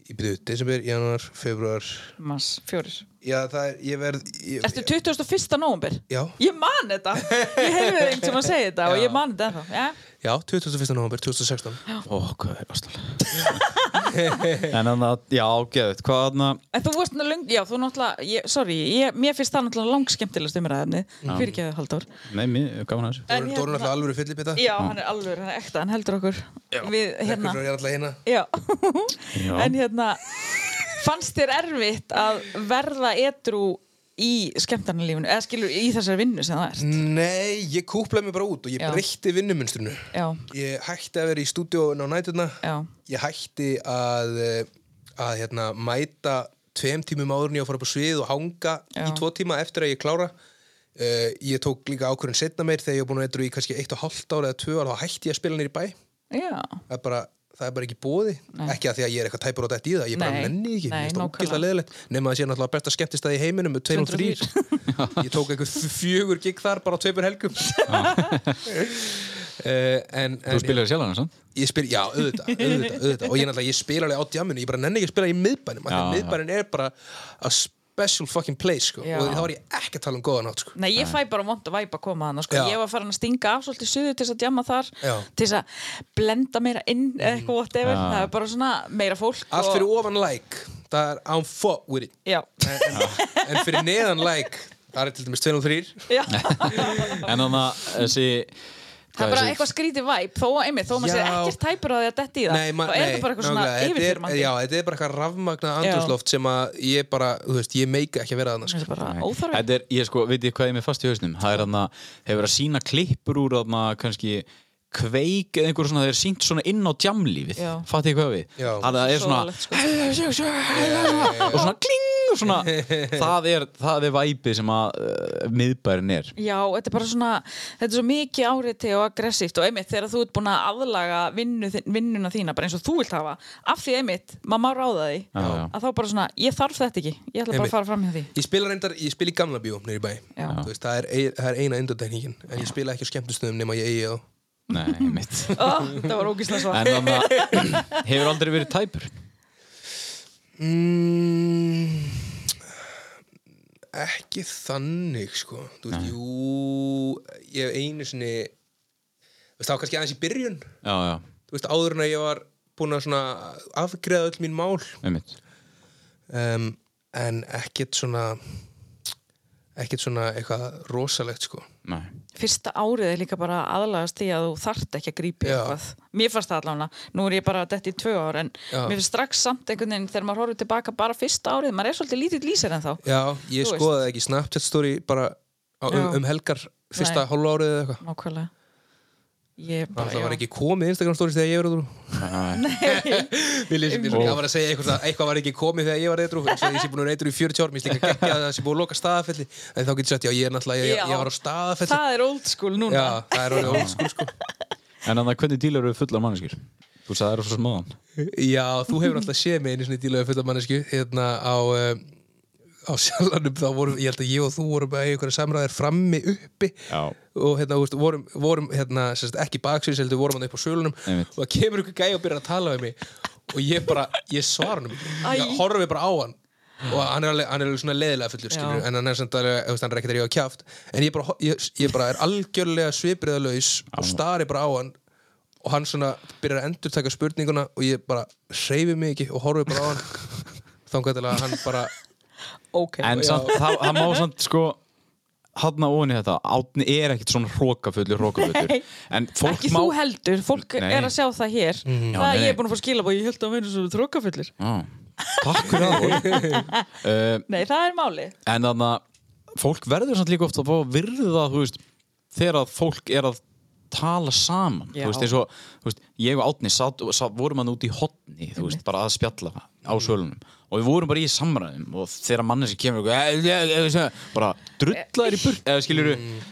[SPEAKER 4] ég byrju desember, januar, februar
[SPEAKER 3] Mars, fjórir.
[SPEAKER 4] já það er, ég verð ég,
[SPEAKER 3] Ertu 21. nóvumber?
[SPEAKER 4] já,
[SPEAKER 3] Ég man þetta. Ég heyrði það einhvern sem að segja þetta og ég man þetta ennþá. Já,
[SPEAKER 4] já, 21. november 2016
[SPEAKER 1] Ó, hvað er ástæðan [LAUGHS] En þannig að, já, geðut Hvað þarna
[SPEAKER 3] en þú varst náttúrulega lung, já, þú náttúrulega, ég, sorry, ég, mér finnst það náttúrulega langskemmtilegast umræðinni, fyrir ekki að halda úr.
[SPEAKER 1] Nei, mér, gaman að þessu
[SPEAKER 4] Dóra Dóra er alltaf alveg fyllip þetta
[SPEAKER 3] hérna- Já, hann er alveg, hann er ekta, hann heldur okkur við hérna.
[SPEAKER 4] er alltaf hérna
[SPEAKER 3] Já.
[SPEAKER 1] Já.
[SPEAKER 3] en hérna, fannst þér erfitt að verða edru í skemmtarnalífinu, eða skilur í þessari vinnu sem það er?
[SPEAKER 4] nei, ég kúplaði mig bara út og ég
[SPEAKER 3] Já.
[SPEAKER 4] breytti vinnumunstrinu
[SPEAKER 3] Já,
[SPEAKER 4] ég hætti að vera í stúdíóin á nætuna
[SPEAKER 3] Já.
[SPEAKER 4] ég hætti að eh, að hérna mæta tveim tímum áður en ég á að fara upp á svið og hanga
[SPEAKER 3] Já.
[SPEAKER 4] í tvo tíma eftir að ég klára uh, ég tók líka ákvörðin setna meir þegar ég var búin að eitthvað í kannski eitt og hálft ára eða tvö ára, þá hætti ég að spila nýr í bæ
[SPEAKER 3] já,
[SPEAKER 4] það er bara, það er bara ekki bóði ekki að því að ég er eitthvað tæpur á þetta í það ég bara
[SPEAKER 3] Nei.
[SPEAKER 4] nenni ekki, ég er
[SPEAKER 3] Nei, nákvæmlega.
[SPEAKER 4] ókvæmlega leðilegt nema að sé náttúrulega besta skemmtistæði í heiminum með 203 [LAUGHS] ég tók eitthvað fjögur gig þar bara á tveimur
[SPEAKER 3] [LAUGHS]
[SPEAKER 4] helgum uh, en,
[SPEAKER 1] Þú
[SPEAKER 4] en
[SPEAKER 1] spilaði sjálf hann, sant?
[SPEAKER 4] Ég spil, já, auðvitað, auðvitað, auðvitað og ég náttúrulega, ég spila alveg á djáminu, ég bara nenni ekki að spila í miðbænum, af
[SPEAKER 1] Já,
[SPEAKER 4] því að
[SPEAKER 1] já.
[SPEAKER 4] miðbænin er bara a special fucking place, sko,
[SPEAKER 3] Já.
[SPEAKER 4] og þá var ég ekki að tala um góða nátt, sko.
[SPEAKER 3] Nei, ég fæ bara vond að væpa að koma þannig sko.
[SPEAKER 4] Já.
[SPEAKER 3] Ég var farin að stinga af svolítið suðu til þess að djama þar
[SPEAKER 4] Já. Mm.
[SPEAKER 3] Til þess að blenda meira inn eða eitthvað whatever Það er bara svona meira fólk
[SPEAKER 4] Allt
[SPEAKER 3] og-
[SPEAKER 4] fyrir ofan like, það er I'm fuck with it,
[SPEAKER 3] Já,
[SPEAKER 4] en, en, en fyrir neðan like, það er til dæmis 203 [LAUGHS]
[SPEAKER 3] Já.
[SPEAKER 1] En þannig að þessi
[SPEAKER 3] það er bara eitthvað skrítið væp þó að einmitt, þó að maður sé
[SPEAKER 4] Já.
[SPEAKER 3] ekkert tæpur á því að detti í það
[SPEAKER 4] Nei, ma- nei,
[SPEAKER 3] þá er þetta bara eitthvað svona
[SPEAKER 4] nákvæmlega, þetta er-
[SPEAKER 3] yfirfyrmandi
[SPEAKER 4] Já, þetta er bara eitthvað rafmagnað andrúsloft sem að ég bara, þú veist, ég meika ekki að vera sko. þannig
[SPEAKER 3] þetta er bara óþarfi
[SPEAKER 1] Þetta er, ég sko, veit ég hvað ég er með fast í hausnum Það er hann að hefur að sína klippur úr að maður kannski kveik eða einhver svona, það er sínt svona inn á djamlífið
[SPEAKER 3] Já.
[SPEAKER 1] Fatti ég hvað við?
[SPEAKER 4] Já.
[SPEAKER 1] Það er svona
[SPEAKER 3] Svaðalegt, sko.
[SPEAKER 1] og svona kling og svona það er, það er væpið sem að uh, miðbærin er
[SPEAKER 3] Já, þetta er bara svona, þetta er svo mikið áriti og aggressíft og einmitt þegar þú ert búin að aðlaga vinnu, þi- vinnuna þína bara eins og þú vilt hafa, af því einmitt maður má ráða því,
[SPEAKER 1] Já, já.
[SPEAKER 3] að þá bara svona ég þarf þetta ekki, ég ætla bara
[SPEAKER 4] Einmitt.
[SPEAKER 3] að fara fram hjá því
[SPEAKER 4] Ég spila reyndar, ég spila í gamla bíó nýri bæ
[SPEAKER 3] Já.
[SPEAKER 4] Þú veist, það, er, ei- það er eina undantekningin En ég spila ekki á skemmtustöðum nema ég eigi þá
[SPEAKER 1] Nei, mitt
[SPEAKER 3] Ó, Það var ógislega svo
[SPEAKER 1] En þannig að [CLEARS THROAT] hefur aldrei verið tæpur
[SPEAKER 4] mm, Ekki þannig, sko Þú veist, jú Ég hef einu sinni þú veist, Það var kannski aðeins í byrjun
[SPEAKER 1] Já, já,
[SPEAKER 4] Þú veist, áður en að ég var búin að svona afgreða öll mín mál
[SPEAKER 1] einmitt
[SPEAKER 4] um, En ekkert svona ekkert svona eitthvað rosalegt, sko
[SPEAKER 1] Nei,
[SPEAKER 3] Fyrsta árið er líka bara aðlagast því að þú þarft ekki að grípi
[SPEAKER 4] Já.
[SPEAKER 3] eitthvað Mér fannst það allavega, nú er ég bara detti í tvö ár en
[SPEAKER 4] Já.
[SPEAKER 3] mér finnst strax samt einhvern veginn þegar maður horfir tilbaka bara fyrsta árið, maður er svolítið lítið lýsir en þá
[SPEAKER 4] Já, ég
[SPEAKER 3] Þú veist.
[SPEAKER 4] skoðaði ekki Snapchat story bara á, um,
[SPEAKER 3] Já.
[SPEAKER 4] um helgar fyrsta
[SPEAKER 3] Nei.
[SPEAKER 4] hálfa árið eða eitthvað
[SPEAKER 3] Nákvæmlega Ég bara,
[SPEAKER 4] Það var
[SPEAKER 3] já.
[SPEAKER 4] ekki komið Instagram stories þegar ég var eitthvað [LAUGHS] Mér lýsum því svona,
[SPEAKER 1] Ó.
[SPEAKER 4] það var að segja eitthvað, svona, eitthvað var ekki komið þegar ég var eitthvað eins og ég sé búin að vera eitthvað í 40 árum, ég slíka ekki að það sé búin að loka staðafelli en þá getur sagt, já ég er náttúrulega, ég,
[SPEAKER 3] Já.
[SPEAKER 4] ég var á staðafelli
[SPEAKER 3] Það er old school núna
[SPEAKER 4] Já, það er orðið old school sko
[SPEAKER 1] en þannig að hvernig dýlar eru fullar manneskir? Þú sagði það eru svo smáðan
[SPEAKER 4] sko. Já, þú hefur alltaf séð mig einu svona dílaði fulla mannesku hérna á um, á sjálfanum, þá vorum, ég held að ég og þú vorum að einhverja samræðir frammi uppi
[SPEAKER 1] Já.
[SPEAKER 4] og hérna, þú veist, vorum, vorum hérna, sérst, ekki baksins, heldur vorum hann upp á sölunum
[SPEAKER 1] Einmitt.
[SPEAKER 4] og það kemur ykkur gæi og byrjar að tala við mig og ég bara, ég svara hann
[SPEAKER 3] Æ.
[SPEAKER 4] ég horfi bara á hann og hann er alveg, hann er alveg svona leðilega fullur skilur,
[SPEAKER 3] Já.
[SPEAKER 4] en hann er samt alveg, þú veist, hann er ekkert að ríða á kjáft en ég bara, ho- ég, ég bara er algjörlega svipriðalaus og stari bara á hann og hann svona byrjar að endur taka spurninguna og ég bara hreyfi mig ekki og horfi bara á hann þangar til að hann bara
[SPEAKER 3] Ok
[SPEAKER 1] En samt, það, það má samt sko hafna ofan í þetta, átni er ekkert svona hrókafullur, hrókafullur
[SPEAKER 3] Nei.
[SPEAKER 1] en fólk
[SPEAKER 3] Ekki
[SPEAKER 1] má
[SPEAKER 3] þú heldur, fólk
[SPEAKER 1] Nei.
[SPEAKER 3] er að sjá það hér
[SPEAKER 1] Já,
[SPEAKER 3] Það
[SPEAKER 1] nei,
[SPEAKER 3] ég
[SPEAKER 1] nei.
[SPEAKER 3] er búin að fá skilabóð, ég held að vera svo trókafullir
[SPEAKER 1] Já, Takk fyrir það
[SPEAKER 3] [LAUGHS]
[SPEAKER 1] uh,
[SPEAKER 3] Nei, það er máli
[SPEAKER 1] En þannig að fólk verður samt líka oft að fá að virða þú veist, þegar að fólk er að tala saman,
[SPEAKER 3] Já.
[SPEAKER 1] þú veist, eins og þú veist, ég og Átni sat, sat, vorum hann úti í hotni, þú veist, bara að spjalla á sölunum og við vorum bara í samræðum og þegar manneski kemur eitthvað, "Eh, eh, eh, eh," bara drullar í burt eða skilur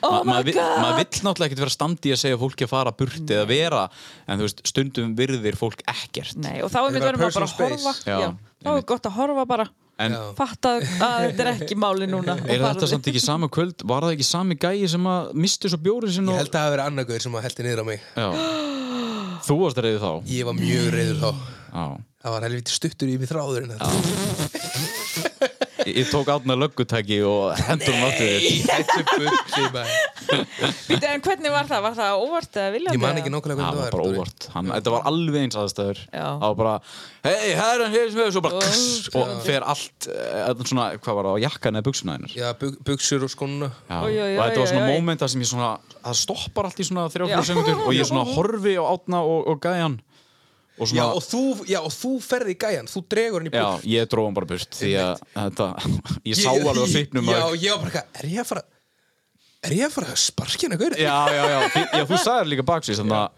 [SPEAKER 3] Oh my
[SPEAKER 1] maður vill
[SPEAKER 3] God.
[SPEAKER 1] maður vill náttúrulega ekkert vera standi í að segja fólki að fara burt eða vera, en þú veist, stundum virðir fólk ekkert
[SPEAKER 3] Nei, og þá er mitt
[SPEAKER 4] bara
[SPEAKER 3] verðum að bara
[SPEAKER 4] personal
[SPEAKER 3] horfa
[SPEAKER 1] space. Já,
[SPEAKER 3] Já, Þá er gott að horfa bara
[SPEAKER 1] en
[SPEAKER 4] Já.
[SPEAKER 3] Fatta að þetta er ekki máli núna og
[SPEAKER 1] er þetta
[SPEAKER 3] farðu.
[SPEAKER 1] samt ekki sama kvöld, var það ekki sami gæi sem að misti svo bjórið sinn
[SPEAKER 4] ég
[SPEAKER 1] og
[SPEAKER 4] held að það hafi verið annarkuður sem að heldi niður á mig
[SPEAKER 1] Já. Þú varst reyðið þá?
[SPEAKER 4] ég var mjög reyður þá
[SPEAKER 1] Já.
[SPEAKER 4] það var helviti stuttur í mig þráður en þetta
[SPEAKER 1] Ég, ég tók átna löggutæki og hendur hann áttu þér.
[SPEAKER 4] Þetta er buxi, maður.
[SPEAKER 3] Býttu, En hvernig var það? Var það óvart eða viljandi?
[SPEAKER 4] ég man
[SPEAKER 3] eða?
[SPEAKER 4] ekki nákvæmlega
[SPEAKER 1] Það
[SPEAKER 4] hvernig
[SPEAKER 1] var bara
[SPEAKER 4] Dóri.
[SPEAKER 1] óvart. Hann, þetta var alveg eins aðstæður.
[SPEAKER 3] Já.
[SPEAKER 1] Það var bara, hei, herran, hér sem hefur, svo bara, kss, og fer allt, eh, þetta svona, hvað var það, á jakkan eða buksuna hennar.
[SPEAKER 4] já, bu- buxur og skona
[SPEAKER 1] Já.
[SPEAKER 3] Oj, oj,
[SPEAKER 1] og þetta var
[SPEAKER 3] oj,
[SPEAKER 1] svona
[SPEAKER 3] oj, oj.
[SPEAKER 1] mómenta sem ég svona, það stoppar allt í svona
[SPEAKER 3] Já.
[SPEAKER 1] þrjáfjóð segundur og ég svona horfi á átna og, og gæjan og
[SPEAKER 4] já,
[SPEAKER 1] svona,
[SPEAKER 4] og þú, já, og þú ferði í gæjan þú dregur hann í
[SPEAKER 1] já,
[SPEAKER 4] buxur
[SPEAKER 1] ég dróð hann bara burt því að þetta, ég sá alveg á svipnum
[SPEAKER 4] já,
[SPEAKER 1] að-
[SPEAKER 4] ég var bara eitthvað, er ég að fara er ég að fara að sparki hérna gaur
[SPEAKER 1] já, já, já, Þi- já þú sagðir líka baksins þannig að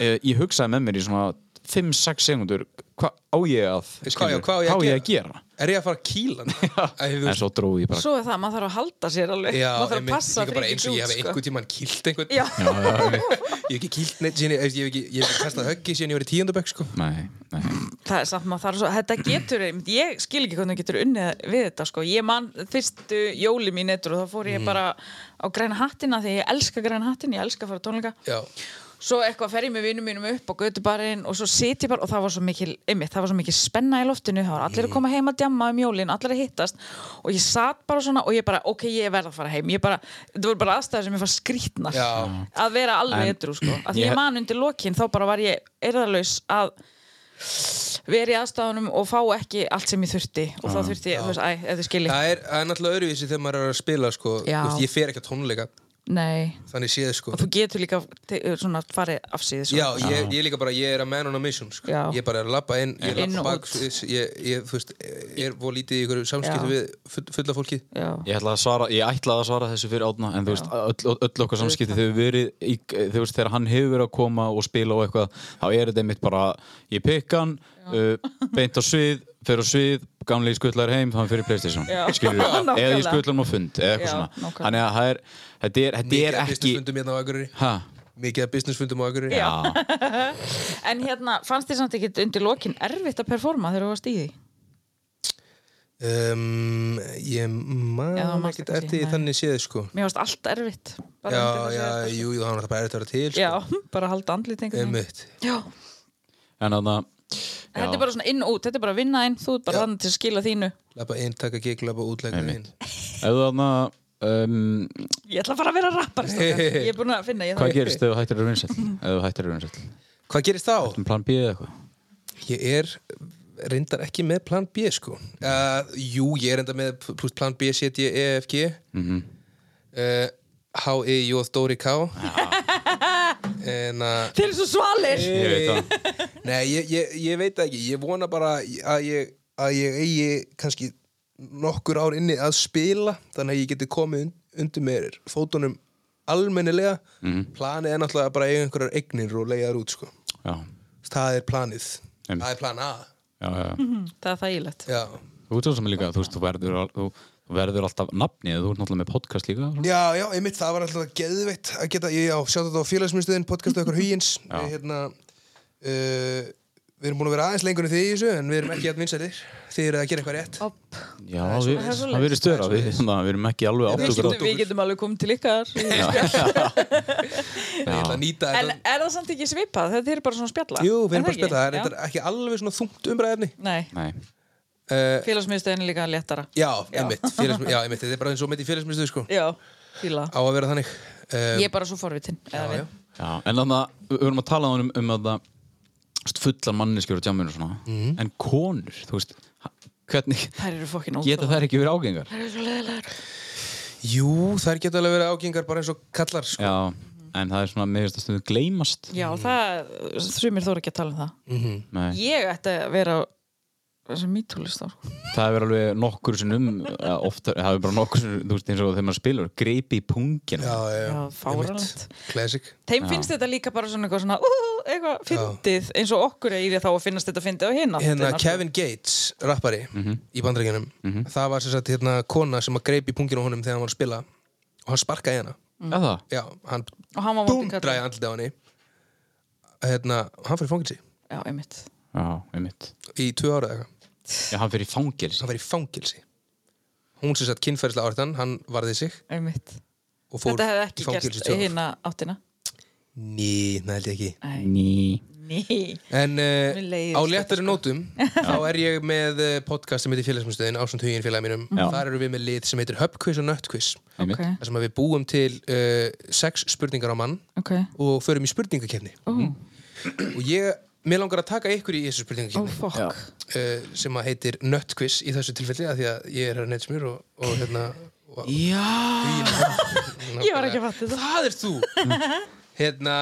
[SPEAKER 1] eh, ég hugsaði með mér í svona 5-6 sekundur hvað á ég að
[SPEAKER 4] Hvað- já,
[SPEAKER 1] skilur,
[SPEAKER 4] hvað á ég að
[SPEAKER 1] að gera
[SPEAKER 4] er ég að fara að kýla
[SPEAKER 1] [LAUGHS]
[SPEAKER 4] hann Æ, þú
[SPEAKER 1] en svo dróði ég bara
[SPEAKER 3] Svo er það, maður þarf að halda sér alveg
[SPEAKER 4] Já,
[SPEAKER 3] Maður þarf að
[SPEAKER 4] einmitt,
[SPEAKER 3] passa
[SPEAKER 4] líka bara eins og ég hef
[SPEAKER 3] ekki sko.
[SPEAKER 4] einhvern tímann kýlt einhvern
[SPEAKER 3] Já,
[SPEAKER 4] Ég hef ekki kýlt neitt síðan, ég ég hef ekki, ég hef ekki kastað höggi síðan ég var í tíundabökk sko
[SPEAKER 1] nei, nei,
[SPEAKER 3] það er samt maður þarf svo, þetta getur einmitt- ég skil ekki hvernig þú getur unnið við þetta sko. ég man fyrstu jóli mín eittur og þá fór ég bara á græna hattina því ég elska græna hattin, ég elska að fara á tónleika
[SPEAKER 4] Já,
[SPEAKER 3] svo eitthvað fer ég með vinnum mínum upp á gödubarinn og svo sit ég bara og það var svo mikil, einmitt, það var svo mikil spenna í loftinu það var allir
[SPEAKER 4] Mm.
[SPEAKER 3] að koma heim að djamma um jólin, allir að hittast og ég sat bara svona og ég bara ok, ég verð að fara heim, ég bara þetta voru bara aðstæður sem ég fara skrítnar
[SPEAKER 4] Já.
[SPEAKER 3] að vera alveg
[SPEAKER 1] En-
[SPEAKER 3] eitthrú sko, að því
[SPEAKER 1] Ég-
[SPEAKER 3] ég man undir lokin þá bara var ég erðalaus að vera í aðstafanum og fá ekki allt sem ég þurfti og þá þurfti ég, þú veist, æ, þetta er skilið
[SPEAKER 4] Það er, það er náttúrulega öruvísi þegar maður er að spila sko. Þú
[SPEAKER 3] Já.
[SPEAKER 4] veist, Ég fer ekki að tónleika
[SPEAKER 3] Nei,
[SPEAKER 4] Þannig séð sko.
[SPEAKER 3] og þú getur líka te- svona farið sko. afsýðis
[SPEAKER 4] Já, ég, ég líka bara, ég er að man on a mission sko.
[SPEAKER 3] Já.
[SPEAKER 4] Ég bara er að labba inn, ég
[SPEAKER 3] Inn
[SPEAKER 4] labba
[SPEAKER 3] og
[SPEAKER 4] bak
[SPEAKER 3] út.
[SPEAKER 4] sviðs, ég, ég, þú veist, er voru lítið í ykkur samskiptum
[SPEAKER 3] Já.
[SPEAKER 4] við full- fulla fólkið
[SPEAKER 3] Já.
[SPEAKER 1] Ég ætlaði að svara, ég ætlaði að svara þessu fyrir átna en þú veist, öll, öll okkar samskipti þau verið, í, þú veist, þegar hann hefur verið að koma og spila og eitthvað, þá er þetta einmitt bara, ég pikka hann uh, beint á svið, fer á svið gamli skullar heim, þannig fyrir Playstation
[SPEAKER 3] Já.
[SPEAKER 1] skilur
[SPEAKER 4] [LAUGHS]
[SPEAKER 1] við, eða
[SPEAKER 3] Nákvæmlega.
[SPEAKER 1] ég skullar hann á fund eða eitthvað
[SPEAKER 3] Já,
[SPEAKER 1] svona,
[SPEAKER 3] nákvæmlega.
[SPEAKER 1] þannig að það er þetta er, þetta
[SPEAKER 4] Mikið
[SPEAKER 1] er
[SPEAKER 4] af
[SPEAKER 1] ekki
[SPEAKER 4] businessfundum hérna á Akureyri
[SPEAKER 1] ha,
[SPEAKER 4] Mikið af businessfundum á Akureyri Já,
[SPEAKER 3] En hérna, fannst þér samt ekki undir lokin erfitt að performa þegar þú varst í því?
[SPEAKER 4] um, Ég
[SPEAKER 3] Já, þú
[SPEAKER 4] man
[SPEAKER 3] manst
[SPEAKER 4] ekkert
[SPEAKER 3] ekki,
[SPEAKER 4] eftir
[SPEAKER 3] nei.
[SPEAKER 4] því þannig séð sko.
[SPEAKER 3] Mér varst allt erfitt bara
[SPEAKER 4] Já,
[SPEAKER 3] undir þessu
[SPEAKER 4] já,
[SPEAKER 3] erfitt.
[SPEAKER 4] jú, jú, það var náttúrulega bara erfitt að vera til sko.
[SPEAKER 3] já, [LAUGHS] bara halda andlit einhvern veginn
[SPEAKER 4] Einmitt.
[SPEAKER 3] Já,
[SPEAKER 1] en þannig að
[SPEAKER 3] þetta er bara svona inn og út, þetta er bara að vinna inn þú ert bara þannig til að skila þínu
[SPEAKER 4] Labba inn, taka gig, labba út, leggja inn
[SPEAKER 1] ef þú þannig að um,
[SPEAKER 3] Ég ætla að fara að vera rappar
[SPEAKER 4] [LAUGHS]
[SPEAKER 3] Ég er búin að finna, ég
[SPEAKER 1] hvað gerist ef þú hættir að vinsett ef þú hættir að vinsett,
[SPEAKER 4] Hvað gerist þá?
[SPEAKER 1] plan B eða eitthvað
[SPEAKER 4] Ég er reyndar ekki með plan B sko
[SPEAKER 1] Mhm.
[SPEAKER 4] uh, Jú, ég er reyndar með pl- plus plan B, C, D, E, F, G mm
[SPEAKER 1] Mhm.
[SPEAKER 4] H, E, J, Dóri, K En að
[SPEAKER 3] Þeir eru svo svalir
[SPEAKER 4] Eh.
[SPEAKER 1] ég veit það,
[SPEAKER 4] Nei, ég, ég, ég veit það ekki, ég vona bara að ég, að ég eigi kannski nokkur ár inni að spila þannig að ég geti komið und, undir mér fótunum almennilega
[SPEAKER 1] Mhm.
[SPEAKER 4] planið er náttúrulega bara að eiga einhverjar eignir og leiða þær út sko,
[SPEAKER 1] já,
[SPEAKER 4] það er planið
[SPEAKER 1] Einmitt.
[SPEAKER 4] það er plan A
[SPEAKER 1] já, já
[SPEAKER 3] Mm, Það er þægilegt
[SPEAKER 4] Já,
[SPEAKER 1] Þú ert svo sem líka, þú veist, þú verður, al- þú þú verður alltaf nafni eða þú ert náttúrulega með podcast líka svona.
[SPEAKER 4] já, já einmitt, það var alltaf geðveitt að geta, ég á, sjá þetta á félagsmyndstöðin podcastu okkur hugins við, hérna, uh, við erum búin að vera aðeins lengur en þið í þessu, en við erum ekki að vinsælir þið eru að gera eitthvað rétt
[SPEAKER 3] Opp.
[SPEAKER 1] Já, við,
[SPEAKER 3] það er svoleiðis.
[SPEAKER 1] það verður störa, við, svona, við erum ekki alveg átt
[SPEAKER 3] Við
[SPEAKER 1] okkur á
[SPEAKER 3] getum, við getum alveg komið til
[SPEAKER 4] [LAUGHS]
[SPEAKER 3] ykkar
[SPEAKER 4] ég ætla að nýta
[SPEAKER 3] En er það samt ekki svipað? Þetta er bara svona spjalla
[SPEAKER 4] Jú, við
[SPEAKER 3] Er
[SPEAKER 4] erum bara að spila, það er
[SPEAKER 3] ekki?
[SPEAKER 4] reyndar ekki alveg svona þungt umræðefni
[SPEAKER 3] Já. Nei,
[SPEAKER 1] Nei,
[SPEAKER 4] uh,
[SPEAKER 3] félagsmiðstöðin er líka léttara
[SPEAKER 4] Já, einmitt, félagsmi, já, einmitt, þetta er bara eins og mitt í félagsmyndstöð sko.
[SPEAKER 3] Já, fíla
[SPEAKER 4] á að vera þannig uh,
[SPEAKER 3] Ég er bara svo forvitin eða við-
[SPEAKER 1] já, en þannig að við erum að tala um, um að það þú veist, fullar manneskjur og tjáminu svona en konur, þú veist ha- hvernig,
[SPEAKER 3] Þær eru fokkin
[SPEAKER 1] geta
[SPEAKER 3] ótrúlega
[SPEAKER 1] þær ekki verið ágengar?
[SPEAKER 4] Jú, þær geta alveg verið ágengar bara eins og kallar sko.
[SPEAKER 1] Já, en það er svona meðvist að stundu gleymast
[SPEAKER 3] Já, það, sumir þóra ekki að tala um það
[SPEAKER 1] Nei,
[SPEAKER 3] Ég ætti að vera sem mítúlist þá
[SPEAKER 1] það hefur alveg nokkur sinnum, eh, oftar, það hefur bara nokkur sinnum, þú veist, eins og þegar maður spilar greipi í pungin
[SPEAKER 4] Já, já, já,
[SPEAKER 3] Já, fáránlegt.
[SPEAKER 4] einmitt, classic
[SPEAKER 3] Þeim finnst þetta líka bara svona eitthvað svona uh, eitthvað fyndið eins og okkur er í því þá að finnast þetta fyndið á hinna
[SPEAKER 4] Hérna, Kevin Gates, rappari
[SPEAKER 3] Mhm.
[SPEAKER 4] í bandreikinum, það var sem sagt hérna kona sem að greip í punginu á honum þegar hann var að spila og hann sparkaði hérna
[SPEAKER 1] Já, það,
[SPEAKER 4] Já, hann
[SPEAKER 3] og hann var mótið
[SPEAKER 4] dundraði andlitið á henni Hérna, hann fyrir fangilsi
[SPEAKER 3] Já, einmitt
[SPEAKER 1] já, einmitt
[SPEAKER 4] í tvö ára eða eitthvað
[SPEAKER 1] Já, hann fyrir fangelsi
[SPEAKER 4] hann var í fangilsi hún sem sagt kynferðislega ártan, hann varði sig
[SPEAKER 3] Einmitt
[SPEAKER 4] og fór
[SPEAKER 3] Þetta hefði
[SPEAKER 4] í
[SPEAKER 3] ekki
[SPEAKER 4] fangelsi
[SPEAKER 3] gerst
[SPEAKER 4] tvö
[SPEAKER 3] í
[SPEAKER 4] ár.
[SPEAKER 3] hinna áttina
[SPEAKER 4] ný, það held ég ekki
[SPEAKER 1] Ný
[SPEAKER 3] Ný
[SPEAKER 4] en
[SPEAKER 3] Mér
[SPEAKER 4] uh,
[SPEAKER 3] leiðist
[SPEAKER 4] á
[SPEAKER 3] þetta, sko.
[SPEAKER 4] léttari
[SPEAKER 3] [LAUGHS]
[SPEAKER 4] nótum þá er ég með eh, podcast sem heitir félagsmyndstöðin ásand hugin félagin mínum þar eru við með lið sem heitir Hubquiz og Nutquiz
[SPEAKER 3] Ok,
[SPEAKER 4] þar sem að við búum til uh, sex spurningar á mann
[SPEAKER 3] ok
[SPEAKER 4] og förum í spurningakefni
[SPEAKER 3] Ó,
[SPEAKER 4] og ég, mér langar að taka ykkur í þessu
[SPEAKER 3] ó,
[SPEAKER 4] spurningakefni
[SPEAKER 3] fokk
[SPEAKER 4] uh, sem að heitir Nutquiz í þessu tilfelli af því að ég er að neitt smjur og, og hérna og, hérna-
[SPEAKER 3] Ég var ekki að fatta þetta
[SPEAKER 4] það er
[SPEAKER 3] [LAUGHS]
[SPEAKER 4] þú hérna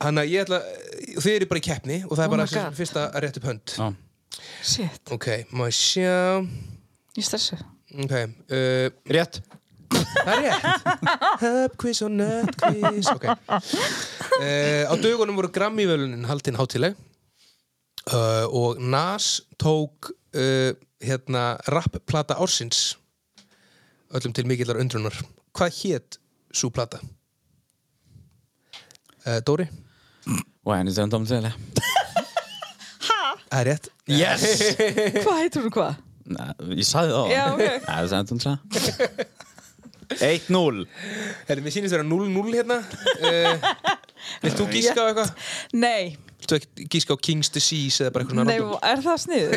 [SPEAKER 4] hann að ég ætla þið eru bara í keppni og það er
[SPEAKER 3] Oh
[SPEAKER 4] bara
[SPEAKER 3] my God.
[SPEAKER 4] oh fyrsta að rétt upp hönd
[SPEAKER 1] Já.
[SPEAKER 3] Shit,
[SPEAKER 4] ok, má ég sjá
[SPEAKER 3] ég stressu
[SPEAKER 4] ok, uh,
[SPEAKER 1] Rétt
[SPEAKER 4] það er rétt hub quiz og nut quiz ok uh, á dögunum voru Grammy-velunin haldin hátileg uh, og Nas tók uh, hérna rapplata ársins öllum til mikillar undrunar hvað hét svo plata? Uh, Dóri?
[SPEAKER 1] When is Endom Tele?
[SPEAKER 4] Það er rétt
[SPEAKER 1] Yes!
[SPEAKER 3] Hvað heitur hún hvað?
[SPEAKER 1] Nei, ég sagði það
[SPEAKER 3] Já, ok.
[SPEAKER 1] Nei, það er Endom Tele 1-0
[SPEAKER 4] Herri, mér sýnist vera 0-0 hérna uh, Vilt þú gíska á eitthvað?
[SPEAKER 3] Nei,
[SPEAKER 4] Vilt þú ekki gíska á King's Disease eða bara eitthvað
[SPEAKER 3] nei, er það sniður?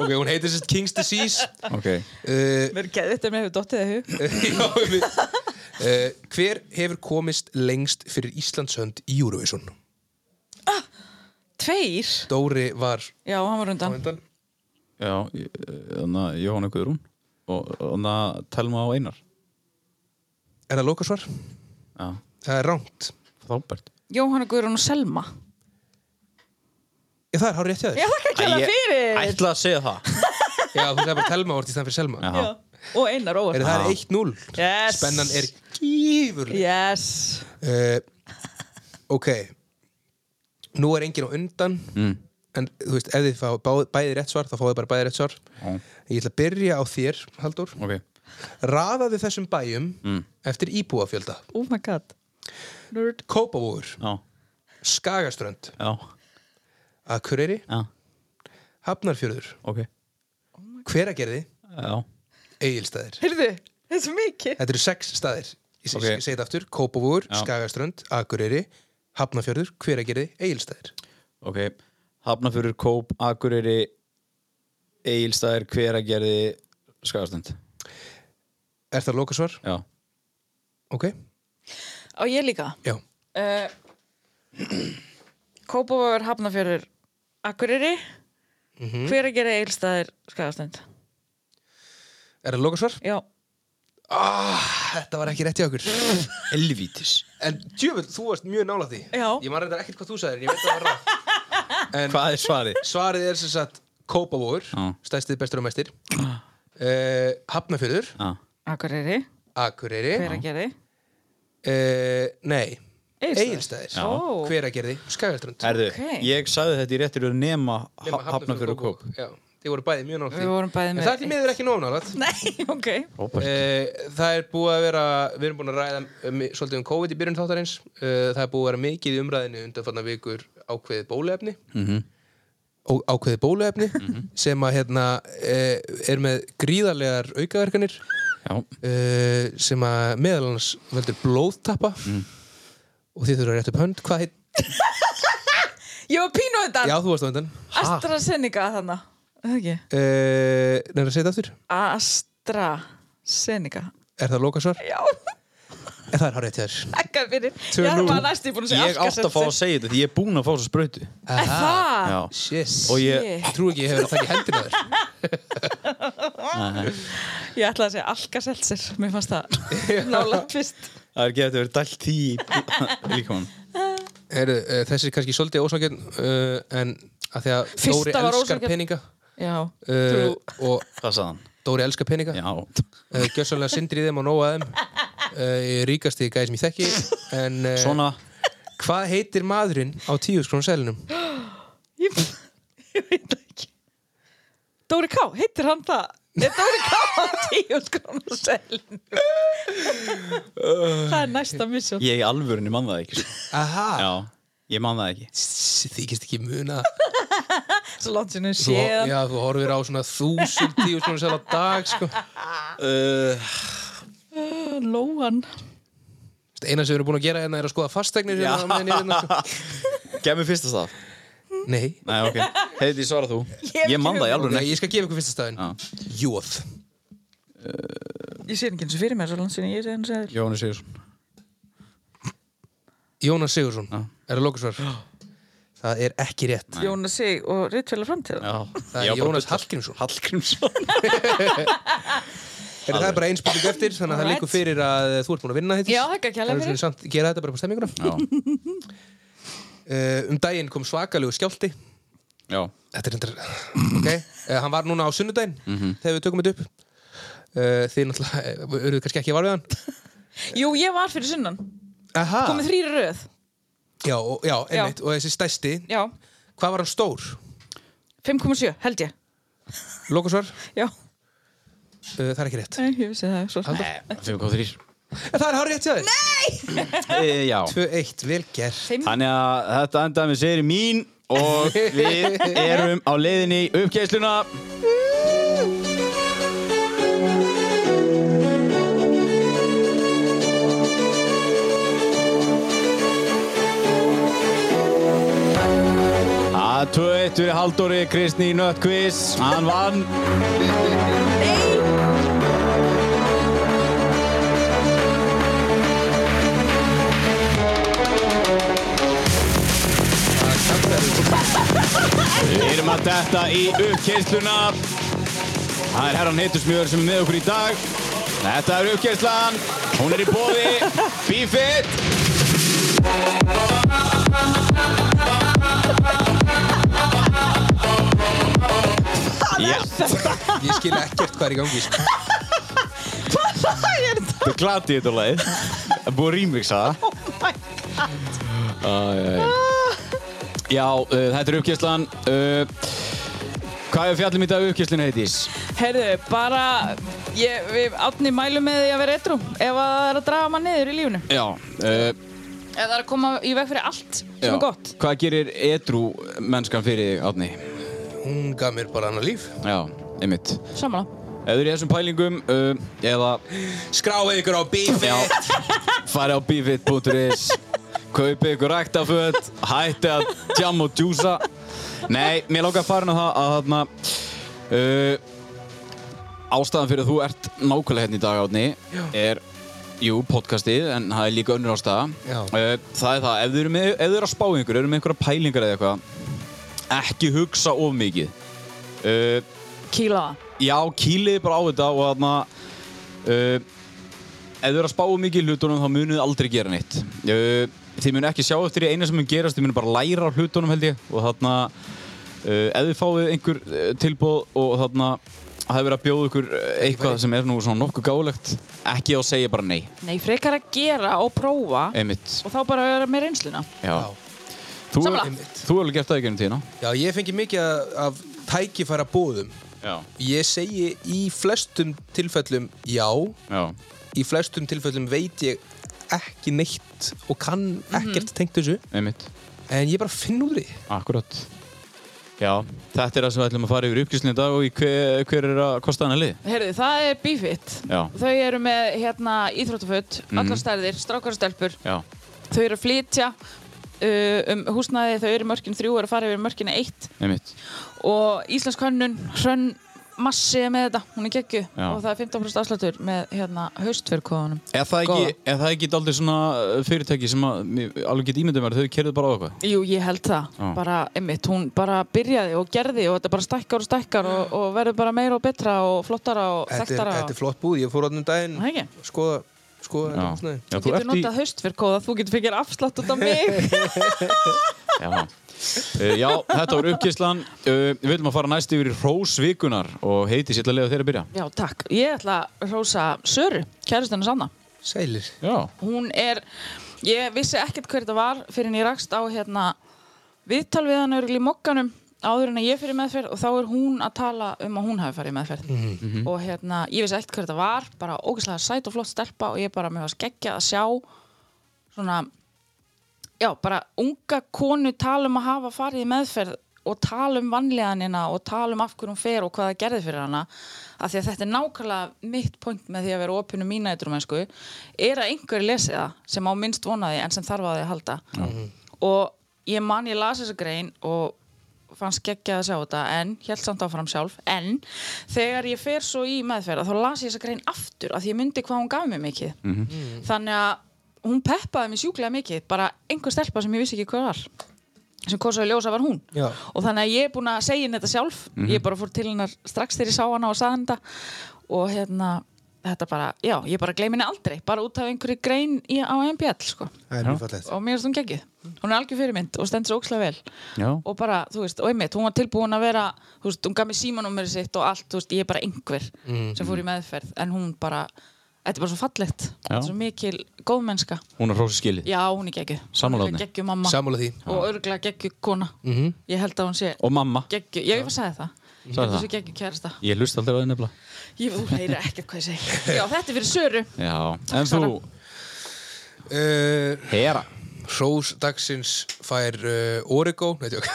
[SPEAKER 4] Ok, hún heitir sérst King's
[SPEAKER 3] [LAUGHS]
[SPEAKER 4] Disease
[SPEAKER 1] Ok
[SPEAKER 4] uh,
[SPEAKER 3] Mér geði þetta með hefur dottið að hug
[SPEAKER 4] [LAUGHS] já, við, uh, Hver hefur komist lengst fyrir Íslands hönd í Eurovision?
[SPEAKER 3] tveir
[SPEAKER 4] Dóri var
[SPEAKER 3] Já, hann var
[SPEAKER 4] á
[SPEAKER 3] undan
[SPEAKER 4] undan
[SPEAKER 1] Já, þannig að Jóhanna Guðrún og þannig að Telma og Einar
[SPEAKER 4] Er það lokasvar?
[SPEAKER 1] Já,
[SPEAKER 4] Það er rámt
[SPEAKER 1] þábært
[SPEAKER 3] Jóhanna Guðrún og Selma
[SPEAKER 4] Já, það er hár rétt hjá þér
[SPEAKER 3] Já, þakka ekki alveg fyrir
[SPEAKER 1] Ætla að segja það
[SPEAKER 4] Já, þú sagði bara Telma orðið í staðan fyrir Selma
[SPEAKER 1] Já.
[SPEAKER 3] Já. Og Einar
[SPEAKER 4] Er
[SPEAKER 3] óvart
[SPEAKER 4] það er 1-0
[SPEAKER 3] Yes.
[SPEAKER 4] Spennan er gífurleg
[SPEAKER 3] Yes
[SPEAKER 4] Eh, Ok Nú er enginn á undan mm. En þú veist, ef þið fá bá- bæði rétt svar þá fáið bara bæði rétt svar
[SPEAKER 1] Já.
[SPEAKER 4] Ég ætla að byrja á þér, Haldur
[SPEAKER 1] Ok,
[SPEAKER 4] Raðaði þessum bæjum
[SPEAKER 1] Mm.
[SPEAKER 4] eftir íbúafjölda
[SPEAKER 3] Oh my god Nerd
[SPEAKER 4] Kópavogur,
[SPEAKER 1] já,
[SPEAKER 4] Skagaströnd
[SPEAKER 1] já,
[SPEAKER 4] Akureyri,
[SPEAKER 1] já,
[SPEAKER 4] Hafnarfjörður
[SPEAKER 1] ok
[SPEAKER 4] Hveragerði,
[SPEAKER 1] Já,
[SPEAKER 4] Egilstaðir
[SPEAKER 3] Heyrðu, þetta er svo mikið
[SPEAKER 4] Þetta eru sex staðir Ég
[SPEAKER 1] Ok.
[SPEAKER 4] okay. segi þetta aftur, Kópavogur,
[SPEAKER 1] Já.
[SPEAKER 4] Skagaströnd Akureyri, Hafnarfjörður, Hveragerði Egilstaðir
[SPEAKER 1] ok Hafnafjörur, Kóp, Akureyri Egilstaðir, Hveragerði Skagastund
[SPEAKER 4] Er það lokasvar?
[SPEAKER 1] Já,
[SPEAKER 4] Ok,
[SPEAKER 3] Á ég líka
[SPEAKER 4] já
[SPEAKER 3] uh, Kópavogur, Hafnafjörður Akureyri
[SPEAKER 4] Mhm.
[SPEAKER 3] Hver að gera eilstaðir skæðastund
[SPEAKER 4] Er það lokasvar?
[SPEAKER 3] Já,
[SPEAKER 4] Ah, þetta var ekki rétt í okkur
[SPEAKER 1] Elvítis
[SPEAKER 4] En djöfull, þú varst mjög nála því
[SPEAKER 3] Já.
[SPEAKER 4] Ég maður reyndar ekkert hvað þú sagðir, en ég veit að það var
[SPEAKER 3] [LAUGHS]
[SPEAKER 4] rátt
[SPEAKER 1] Hvað er svarið?
[SPEAKER 4] Svarið er sem sagt Kópavóur
[SPEAKER 1] Já.
[SPEAKER 4] Stæstið bestur og
[SPEAKER 3] [CLEARS THROAT]
[SPEAKER 4] mestir uh, Hafnafjörður,
[SPEAKER 1] Já,
[SPEAKER 3] Akureyri,
[SPEAKER 4] Akureyri
[SPEAKER 3] hver að gera
[SPEAKER 4] uh, Nei,
[SPEAKER 3] Egilsstaðir.
[SPEAKER 4] Egilstaðir
[SPEAKER 1] Já.
[SPEAKER 3] Ó.
[SPEAKER 4] Hveragerði, Skagaströnd
[SPEAKER 1] herðu,
[SPEAKER 3] Ok.
[SPEAKER 1] ég sagði þetta í réttir að nema, nema Hafnafjörur, Kóp
[SPEAKER 4] Já, þið voru bæði mjög nála því
[SPEAKER 3] Við vorum bæði
[SPEAKER 4] En
[SPEAKER 3] með
[SPEAKER 4] það er því miður ekki nóg nála
[SPEAKER 3] [LAUGHS] Nei, ok
[SPEAKER 1] Róbert
[SPEAKER 4] Eh, það er búið að vera, við erum búin að ræða um, svolítið um COVID í byrjun þáttarins uh, það er búið að vera mikið í umræðinu undanfarnar vikur ákveðið bóluefni og ákveðið bóluefni sem að hérna uh, er með gríðarlegar aukaverkanir
[SPEAKER 1] Já,
[SPEAKER 4] uh, sem að meðal annars veldur blóðtappa og þið þurfa að rétt upp hönd hvað heit,
[SPEAKER 3] Ég var pínu undan
[SPEAKER 4] já þú varst á undan
[SPEAKER 3] AstraZeneca þannig Það ekki
[SPEAKER 4] uh, nefnir að segja þetta aftur
[SPEAKER 3] AstraZeneca
[SPEAKER 4] er það lokasvar?
[SPEAKER 3] Já,
[SPEAKER 4] Eh, það er hár rétt hjá þér
[SPEAKER 3] ekki fyrir
[SPEAKER 4] Tvö
[SPEAKER 3] Ég er
[SPEAKER 4] núll.
[SPEAKER 3] bara næstu búin að segja
[SPEAKER 1] ég átti að fá að
[SPEAKER 3] Alka-Seltzer.
[SPEAKER 1] segja þetta því ég er búinn að fá svo sprautu
[SPEAKER 3] Er Það
[SPEAKER 1] Já,
[SPEAKER 4] shit,
[SPEAKER 1] og
[SPEAKER 4] ég
[SPEAKER 1] ég,
[SPEAKER 3] Ah, Shit.
[SPEAKER 4] trú ekki ég hefur að taka í hendina á þér
[SPEAKER 3] Ég ætlaði að segja Alka-Seltzer Mér fannst
[SPEAKER 1] [LAUGHS]
[SPEAKER 3] það nálega fyrst
[SPEAKER 1] það er ekki eftir að vera dælt í [LAUGHS] líka hann
[SPEAKER 4] Heru, uh, þessi er kannski svolítið ósangjarn uh, en að því að
[SPEAKER 3] Fyrsta
[SPEAKER 4] Dóri
[SPEAKER 3] var
[SPEAKER 4] elskar
[SPEAKER 3] ósanngjörn.
[SPEAKER 4] peninga
[SPEAKER 3] Já,
[SPEAKER 4] uh,
[SPEAKER 1] Eh,
[SPEAKER 3] trú
[SPEAKER 4] og
[SPEAKER 1] Hvað sagði hann?
[SPEAKER 4] Dóri elskar peninga uh,
[SPEAKER 1] Já,
[SPEAKER 4] gjössanlega syndir í þeim og nóa þeim uh, ég er ríkasti gæði sem ég þekki en uh,
[SPEAKER 1] Eh. svona
[SPEAKER 4] hvað heitir maðurinn á tíu skrón selinum?
[SPEAKER 3] [LAUGHS] Ég, ég veit það ekki Dóri K, heitir hann það Er Dóri K [LAUGHS] á tíu skrónu selin
[SPEAKER 1] Eh.
[SPEAKER 3] Það er næsta misjón
[SPEAKER 1] Ég í alvörunni mann það ekki sko.
[SPEAKER 4] Aha,
[SPEAKER 1] Já, ég mann það ekki
[SPEAKER 4] þykist ekki muna
[SPEAKER 3] Svo langt sinni
[SPEAKER 4] þú,
[SPEAKER 3] séðan
[SPEAKER 4] já, þú horfir á svona þúsund tíu skrón sel á dag sko.
[SPEAKER 1] uh,
[SPEAKER 3] Lóan
[SPEAKER 4] eina sem við erum búin að gera hérna er að skoða fastegnir
[SPEAKER 1] Já.
[SPEAKER 4] hérna, á meðan ég er
[SPEAKER 1] [LAUGHS]
[SPEAKER 4] hérna, sko.
[SPEAKER 1] Gef mér fyrsta stað
[SPEAKER 4] nei,
[SPEAKER 1] Nei, ok, heiti svara þú
[SPEAKER 3] hef
[SPEAKER 1] Ég mann
[SPEAKER 3] ekki
[SPEAKER 1] það í
[SPEAKER 4] Nei,
[SPEAKER 1] alvörunni
[SPEAKER 4] ég skal gefa ykkur fyrsta staðin
[SPEAKER 1] Já.
[SPEAKER 4] Jóð
[SPEAKER 3] Ég sé ekki eins og fyrir mér, svo langt sinni ég sé hann segil
[SPEAKER 1] Jónu Sigursson
[SPEAKER 4] Jónas Sigursson er að lokasvar það er ekki rétt
[SPEAKER 3] Jónas Sig og Ritfjöla framtíða
[SPEAKER 4] það er Jónas Hallgrímsson
[SPEAKER 1] Hallgrímsson
[SPEAKER 4] er það er bara eins búin eftir þannig að það
[SPEAKER 3] Alright.
[SPEAKER 4] líkur fyrir að þú ert búin að vinna hitt
[SPEAKER 3] Já, þakka kærlega fyrir.
[SPEAKER 4] samt, gera þetta bara på stemminguna
[SPEAKER 1] Já,
[SPEAKER 4] [LAUGHS] uh, um daginn kom svakalegu skjálti
[SPEAKER 1] [LAUGHS] já,
[SPEAKER 4] þetta er endur ok uh, hann var núna á sunnudaginn þegar við tökum þetta upp uh, þið náttúrulega eh, eruð kannski ekki að var við hann
[SPEAKER 3] Jú, ég var fyrir sunnan
[SPEAKER 4] aha
[SPEAKER 1] Ah.
[SPEAKER 3] Komið þrýra röð
[SPEAKER 4] já, og- já, einmitt, og þessi stæsti
[SPEAKER 3] Já,
[SPEAKER 4] hvað var hann stór?
[SPEAKER 3] 5,7 held ég
[SPEAKER 4] Lókusvar,
[SPEAKER 3] Já,
[SPEAKER 4] uh, það er ekki rétt
[SPEAKER 3] Nei, ég vissi það svo sem.
[SPEAKER 1] 5.3
[SPEAKER 4] En það er hár rétt hjá þér
[SPEAKER 1] e, Já,
[SPEAKER 4] 2-1, vel gert
[SPEAKER 1] þannig að þetta endaði með séri mín og við erum á leiðinni í uppkeisluna Það er 2-1 fyrir Halldóri Kristni Nöttkvís, hann vann
[SPEAKER 4] Það er
[SPEAKER 1] Við erum að detta í uppkeysluna Það er herran heitusmjör sem er með okkur í dag Þetta er uppkeyslan Hún er í bóði Bífitt Já,
[SPEAKER 4] Ég skil ekkert hvað er í gangi sko.
[SPEAKER 1] þetta er glati þetta leið Það er búið að rýmiksa það Æ, æ, æ. Já, uh, þetta er uppkeyslan uh, Hvað er fjallum í dag uppkeyslinu heitís?
[SPEAKER 3] Heyrðu, bara, ég, við átni mælum með því að vera etru ef að það er að draga mann niður í lífinu.
[SPEAKER 1] Já uh,
[SPEAKER 3] Ef það er að koma í veg fyrir allt sem
[SPEAKER 1] Já.
[SPEAKER 3] er gott.
[SPEAKER 1] Hvað gerir edru mennskan fyrir þig, Átni?
[SPEAKER 4] Hún gaf mér bara annar líf
[SPEAKER 1] Já, einmitt.
[SPEAKER 3] Samanlega.
[SPEAKER 1] Ef þú eru í þessum pælingum, uh, eða
[SPEAKER 4] Skráið ykkur á bífi
[SPEAKER 1] já, farið á bifit.is, kaupið ykkur ræktaföt, hætti að tjam og djúsa. Nei, mér langar að fara inn á það að þarna, uh, ástæðan fyrir að þú ert nákvæmlega hérna í dag, Átni, er, jú, podcastið, en það er líka önnur ástæða.
[SPEAKER 4] Já.
[SPEAKER 1] Uh, það er það, ef þú eru, með, ef þú eru að spá ykkur, eru með einhverja pælingar eða eitthvað, ekki hugsa of mikið. Uh,
[SPEAKER 3] Kíla það.
[SPEAKER 1] Já, kýliði bara á þetta og þarna uh, Ef þið eru að spáu mikið í hlutunum þá munið þið aldrei gera neitt uh, Þið munið ekki sjá eftir því eina sem mun gerast Þið munið bara læra á hlutunum held ég Og þarna uh, Ef þið fáið einhver uh, tilbóð og þarna Það hefur verið að bjóða ykkur uh, eitthvað sem er nú svona nokkuð gálegt Ekki að segja bara nei
[SPEAKER 3] Nei, frekar að gera og prófa
[SPEAKER 1] Einmitt
[SPEAKER 3] og þá bara að vera með reynsluna.
[SPEAKER 1] Já Þú,
[SPEAKER 3] Sammála.
[SPEAKER 1] þú hefur alveg gert það í gennum tíðina
[SPEAKER 4] Já, ég fengi mikið af- af tækifæra bóðum
[SPEAKER 1] Já
[SPEAKER 4] Ég segi í flestum tilfellum já
[SPEAKER 1] Já
[SPEAKER 4] Í flestum tilfellum veit ég ekki neitt og kann ekkert tengt þessu
[SPEAKER 1] Einmitt
[SPEAKER 4] En ég bara finn úr því
[SPEAKER 1] Akkurat Já, þetta er það sem við ætlum að fara yfir uppgjörslinni í dag og í hver, hver er að kosta hana lið?
[SPEAKER 3] Heyrðu, það er Bífitt.
[SPEAKER 1] Já.
[SPEAKER 3] Þau eru með hérna íþróttaföt, allar stærðir, strákar og stelpur.
[SPEAKER 1] Já,
[SPEAKER 3] Þau eru að flytja uh, um húsnæði, þau eru í mörkin þrjú, eru að fara yfir mörkina eitt
[SPEAKER 1] einmitt
[SPEAKER 3] og Íslensk hönnun, hrönn massi er með þetta, hún er geggju
[SPEAKER 1] Já.
[SPEAKER 3] og það er 15% afslutur með hérna haustverkóðunum.
[SPEAKER 1] Er það
[SPEAKER 3] Góða.
[SPEAKER 1] ekki, er það ekki aldrei svona uh, fyrirtæki sem að, mér- alveg get ímyndum mér að þau kerðu bara á eitthvað?
[SPEAKER 3] Jú, ég held það.
[SPEAKER 1] Já.
[SPEAKER 3] Bara, einmitt, hún bara byrjaði og gerði og þetta bara stækkar og stækkar og, og verður bara meira og betra og flottara og
[SPEAKER 4] Þetta er,
[SPEAKER 3] þekktara.
[SPEAKER 4] þetta er flott búð, ég fór átnum daginn
[SPEAKER 3] Það ekki?
[SPEAKER 4] og skoða, skoða þetta húsnæði.
[SPEAKER 1] Já,
[SPEAKER 3] Þú getur notað haustverkóða, þú getur fengið
[SPEAKER 1] [LAUGHS]
[SPEAKER 3] afslátt út af mig.
[SPEAKER 1] já. [LAUGHS] Uh, já, þetta var uppkyslan. Uh, við viljum að fara næst yfir í Rósvíkunar og heiti sér að lega þeirra byrja.
[SPEAKER 3] Já, takk. Ég ætla að hrósa Söru, kærustinu Sanna.
[SPEAKER 4] Sælir
[SPEAKER 1] Já,
[SPEAKER 3] Hún er, ég vissi ekkert hver þetta var fyrir en ég rakst á hérna viðtal við hann örgli í mokkanum áður en að ég fyrir meðferð og þá er hún að tala um að hún hafi farið í meðferð og hérna, ég vissi ekkert hver þetta var bara ógeðslega sæt og flott stelpa og ég bara mér var skeggja að sjá svona, já, bara unga konu tala um að hafa farið í meðferð og tala um vanlíðanina og tala um af hverju hún fer og hvað það gerði fyrir hana af því að þetta er nákvæmlega mitt point með því að vera opinu mína eitthvað mennsku er að einhverju lesi það sem á minnst vonaði en sem þarf á því að halda og ég man ég las þessa grein og fannst geggjað að sjá þetta en held samt áfram sjálf en þegar ég fer svo í meðferða þá las ég þessa grein aftur af því ég myndi hvað hún gaf mér mikið þannig að hún peppaði mér sjúklega mikið bara einhver stelpa sem ég vissi ekki hvað var sem kosaði ljósa var hún
[SPEAKER 4] Já.
[SPEAKER 3] og þannig að ég er búin að segja henni þetta sjálf ég bara fór til hennar strax þegar ég sá hana og sagði henni þetta og hérna þetta bara, já, ég bara gleymi henni aldrei bara út af einhverju grein í, á MBL sko
[SPEAKER 4] Það er mjög fallegt
[SPEAKER 3] og mér finnst hún geggið hún er algjör fyrirmynd og stendur svo ókslega vel
[SPEAKER 1] Já.
[SPEAKER 3] og bara, þú veist, og einmitt, hún var tilbúin að vera þú veist, hún gaf mér símanúmerið sitt og allt þú veist, ég er bara einhver sem fór í meðferð en hún bara, þetta er bara svo fallegt
[SPEAKER 1] Já.
[SPEAKER 3] svo mikil góðmennska
[SPEAKER 1] hún er Rósi skilið.
[SPEAKER 3] já, hún er geggið,
[SPEAKER 1] Sammála
[SPEAKER 3] hún
[SPEAKER 1] Árni.
[SPEAKER 3] er geggju mamma
[SPEAKER 4] Sammála því
[SPEAKER 3] og örgulega geggju kona -hmm. ég held að hún sé
[SPEAKER 1] Og mamma.
[SPEAKER 3] geggju, já, ég var að segja það ég held að
[SPEAKER 1] það.
[SPEAKER 3] hún sé geggju kærasta
[SPEAKER 1] Ég hlust aldrei að það nefnilega.
[SPEAKER 3] ég, þú heyrir ekkert hvað ég segi já, þetta er fyrir Söru
[SPEAKER 1] Já, en þú,
[SPEAKER 4] uh,
[SPEAKER 1] Hera.
[SPEAKER 4] Rós dagsins fær uh, Origo Nei, tjók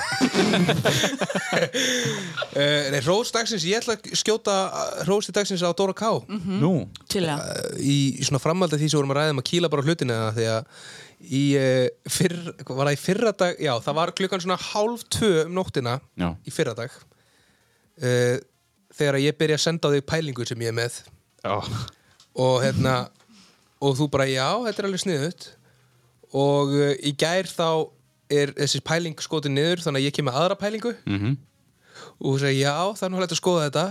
[SPEAKER 4] uh, Nei, Rós dagsins, ég ætla að skjóta Rós dagsins á Dóra K
[SPEAKER 3] Mhm.
[SPEAKER 4] Uh,
[SPEAKER 1] Nú.
[SPEAKER 3] til það
[SPEAKER 4] í, í svona framhaldi af því sem vorum að ræða um að kýla bara á hlutina því að í, uh, fyrr, var það í fyrra dag já, það var klukkan svona hálf tvö um nóttina
[SPEAKER 1] Já.
[SPEAKER 4] í fyrra dag uh, þegar ég byrja að senda á þig pælingu sem ég er með
[SPEAKER 1] Já.
[SPEAKER 4] og hérna og þú bara já, þetta er alveg sniðut og uh, í eh, gær þá er þessi pæling skotið niður þannig að ég kem með aðra pælingu og þú segir já, það er nú hægt að skoða þetta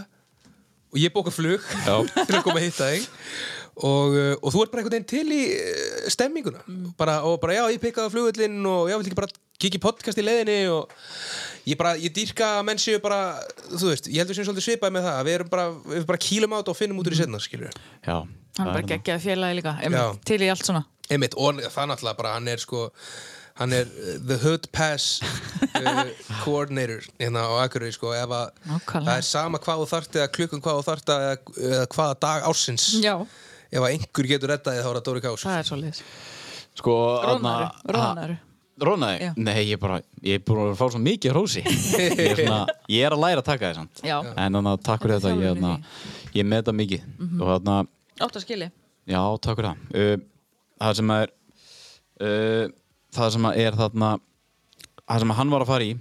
[SPEAKER 4] og ég bóka flug [LAUGHS] til að koma að hitta þig og, uh, og þú ert bara einhvern veginn til í uh, stemminguna bara, og bara já, ég pikkaði á flugullin og já, vill ekki bara kíkja í podcast í leiðinni og ég bara, ég dýrka að menn séu bara, þú veist, ég held við sem svolítið svipaði með það, við erum bara, við bara kýlum át og finnum út úr í setna, skilur við
[SPEAKER 1] Já,
[SPEAKER 3] hann er bara geggjað félagi líka
[SPEAKER 4] Já.
[SPEAKER 3] einmitt, til í allt svona
[SPEAKER 4] Einmitt, og það náttúrulega bara, hann er sko hann er uh, the hood pass
[SPEAKER 3] [LAUGHS]
[SPEAKER 4] uh, coordinator hérna á Akureyri sko, ef að
[SPEAKER 3] Nákvæmlega.
[SPEAKER 4] það er sama hvað þú þarft eða klukkan hvað þú þarft eða, eða hvaða dag ársins
[SPEAKER 3] já,
[SPEAKER 4] ef að einhver getur rettaði þá er það Dóri Kás
[SPEAKER 3] það er svolítið
[SPEAKER 1] Sko,
[SPEAKER 3] Rónaru, rónaru
[SPEAKER 1] Rónaði?
[SPEAKER 3] Já.
[SPEAKER 1] Nei, ég er bara, ég er búin að fá svo mikið hrósi ég, er svona, ég er að læra að taka þér samt
[SPEAKER 3] Já.
[SPEAKER 1] En þannig að takk fyrir þetta,
[SPEAKER 3] Þetta
[SPEAKER 1] ég,
[SPEAKER 3] er þjálfun í
[SPEAKER 1] þarna- ég með þetta mikið
[SPEAKER 3] Mhm.
[SPEAKER 1] Og þannig að,
[SPEAKER 3] átt að skilji
[SPEAKER 1] já, takk fyrir það uh, Það sem að er uh, Það sem að er þarna Það sem að hann var að fara í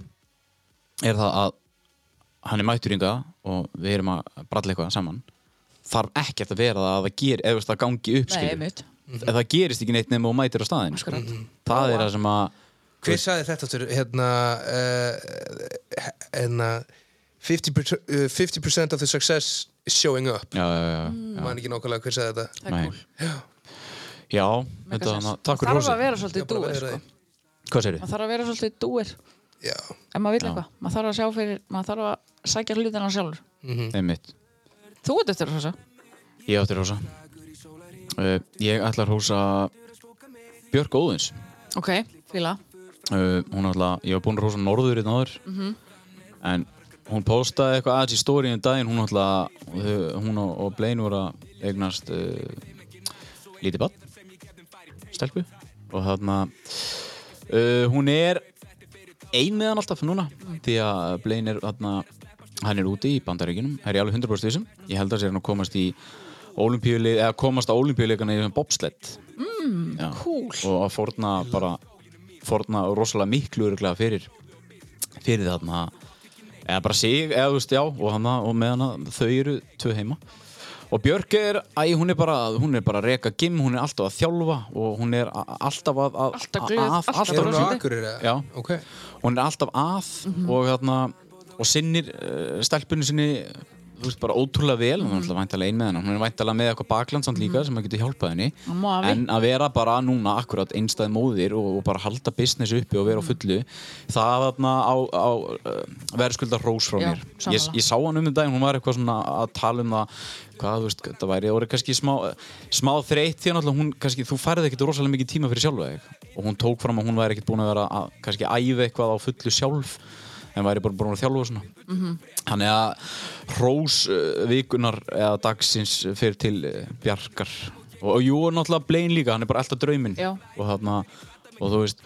[SPEAKER 1] Er það að Hann er mættur ynga og við erum að bralla eitthvað saman Þarf ekkert að vera það að það ger Ef það gangi upp,
[SPEAKER 3] nei,
[SPEAKER 1] skilur
[SPEAKER 3] einmitt
[SPEAKER 1] En það gerist ekki neitt nema og mætir á staðin sko.
[SPEAKER 3] Akkurat.
[SPEAKER 1] það er það sem að
[SPEAKER 4] hver sagði þetta þurr hérna, uh, hérna 50%, uh, 50% of the success is showing up
[SPEAKER 1] já, já, já,
[SPEAKER 4] mm. man ekki nákvæmlega hver sagði þetta
[SPEAKER 3] það er
[SPEAKER 1] Nei.
[SPEAKER 3] cool
[SPEAKER 1] já
[SPEAKER 3] Make
[SPEAKER 1] þetta,
[SPEAKER 3] sense.
[SPEAKER 1] hana, takk fyrir
[SPEAKER 3] þarf að
[SPEAKER 1] hrósi
[SPEAKER 3] vera svolítið
[SPEAKER 4] bara
[SPEAKER 3] dúir
[SPEAKER 4] vera
[SPEAKER 3] sko.
[SPEAKER 4] í-
[SPEAKER 1] hvað segir þið?
[SPEAKER 3] maður þarf að vera svolítið dúir
[SPEAKER 4] já,
[SPEAKER 3] ef maður vil eitthvað, maður þarf að sjá fyrir maður þarf að sækja hlutina sjálfur
[SPEAKER 4] mhm.
[SPEAKER 1] einmitt
[SPEAKER 3] þú ert eftir þessu
[SPEAKER 1] ég átti hrósa uh, ég ætla að hrósa Björk Óðins
[SPEAKER 3] ok, fíla
[SPEAKER 1] uh, hún ætla ég var búinn að hrósa norður í náður
[SPEAKER 3] Mhm.
[SPEAKER 1] en hún postaði eitthvað aðeins í stóri um daginn hún ætla þau- hún og, og Blaine voru að eignast uh, lítið bann stelpu og þarna uh, hún er ein með hann alltaf núna því að Blaine er þarna hann er úti í bandaríkinum, það er ég alveg 100% vissum ég held að sér hann að komast í olimpíuleik, eða komast á olimpíuleikana í bobslett mm,
[SPEAKER 3] cool.
[SPEAKER 1] og að forna bara forna rosalega miklu öruglega fyrir fyrir þarna eða bara sig, eða þú veist, já og, hana, og með hana, þau eru tvö heima og Björk er, æ, hún er bara hún er bara að reka gym, hún er alltaf að þjálfa og hún er a- alltaf að, að
[SPEAKER 3] Alltaf glöð,
[SPEAKER 1] að,
[SPEAKER 3] alltaf
[SPEAKER 1] alltaf
[SPEAKER 4] er hún á
[SPEAKER 3] brosandi.
[SPEAKER 4] Akureyri? eða?
[SPEAKER 1] Já.
[SPEAKER 4] ok
[SPEAKER 1] hún er alltaf að og hérna og sinnir uh, stelpunni sinni þú veist bara ótrúlega vel hún er alltaf væntalega ein með hennar, hún er væntalega með eitthvað bakland samt líka sem að getur hjálpað henni
[SPEAKER 3] Hún má hafi.
[SPEAKER 1] en að vera bara núna akkurat einstæð móðir og, og bara halda business uppi og vera á fullu það þarna á, á uh, verðskulda hrós frá
[SPEAKER 3] Já,
[SPEAKER 1] mér ég,
[SPEAKER 3] sammála.
[SPEAKER 1] ég sá hann um þetta en hún var eitthvað svona að tala um það hvað þú veist, það væri orðið kannski smá, smá þreytt því að náttúrulega hún kannski, þú færði ekkit rosalega mikið tíma fyrir sjálfa þig og hún tók fram að hún væri ekkit búin að vera að kannski æfa eitthvað á fullu sjálf en væri bara búin að þjálfa og svona
[SPEAKER 3] Mhm.
[SPEAKER 1] Þannig að Rós uh, vikunar eða dagsins fyrir til uh, Bjarkar og, og jú, og náttúrulega Blaine líka, hann er bara alltaf drauminn
[SPEAKER 3] Já.
[SPEAKER 1] og þarna, og þú veist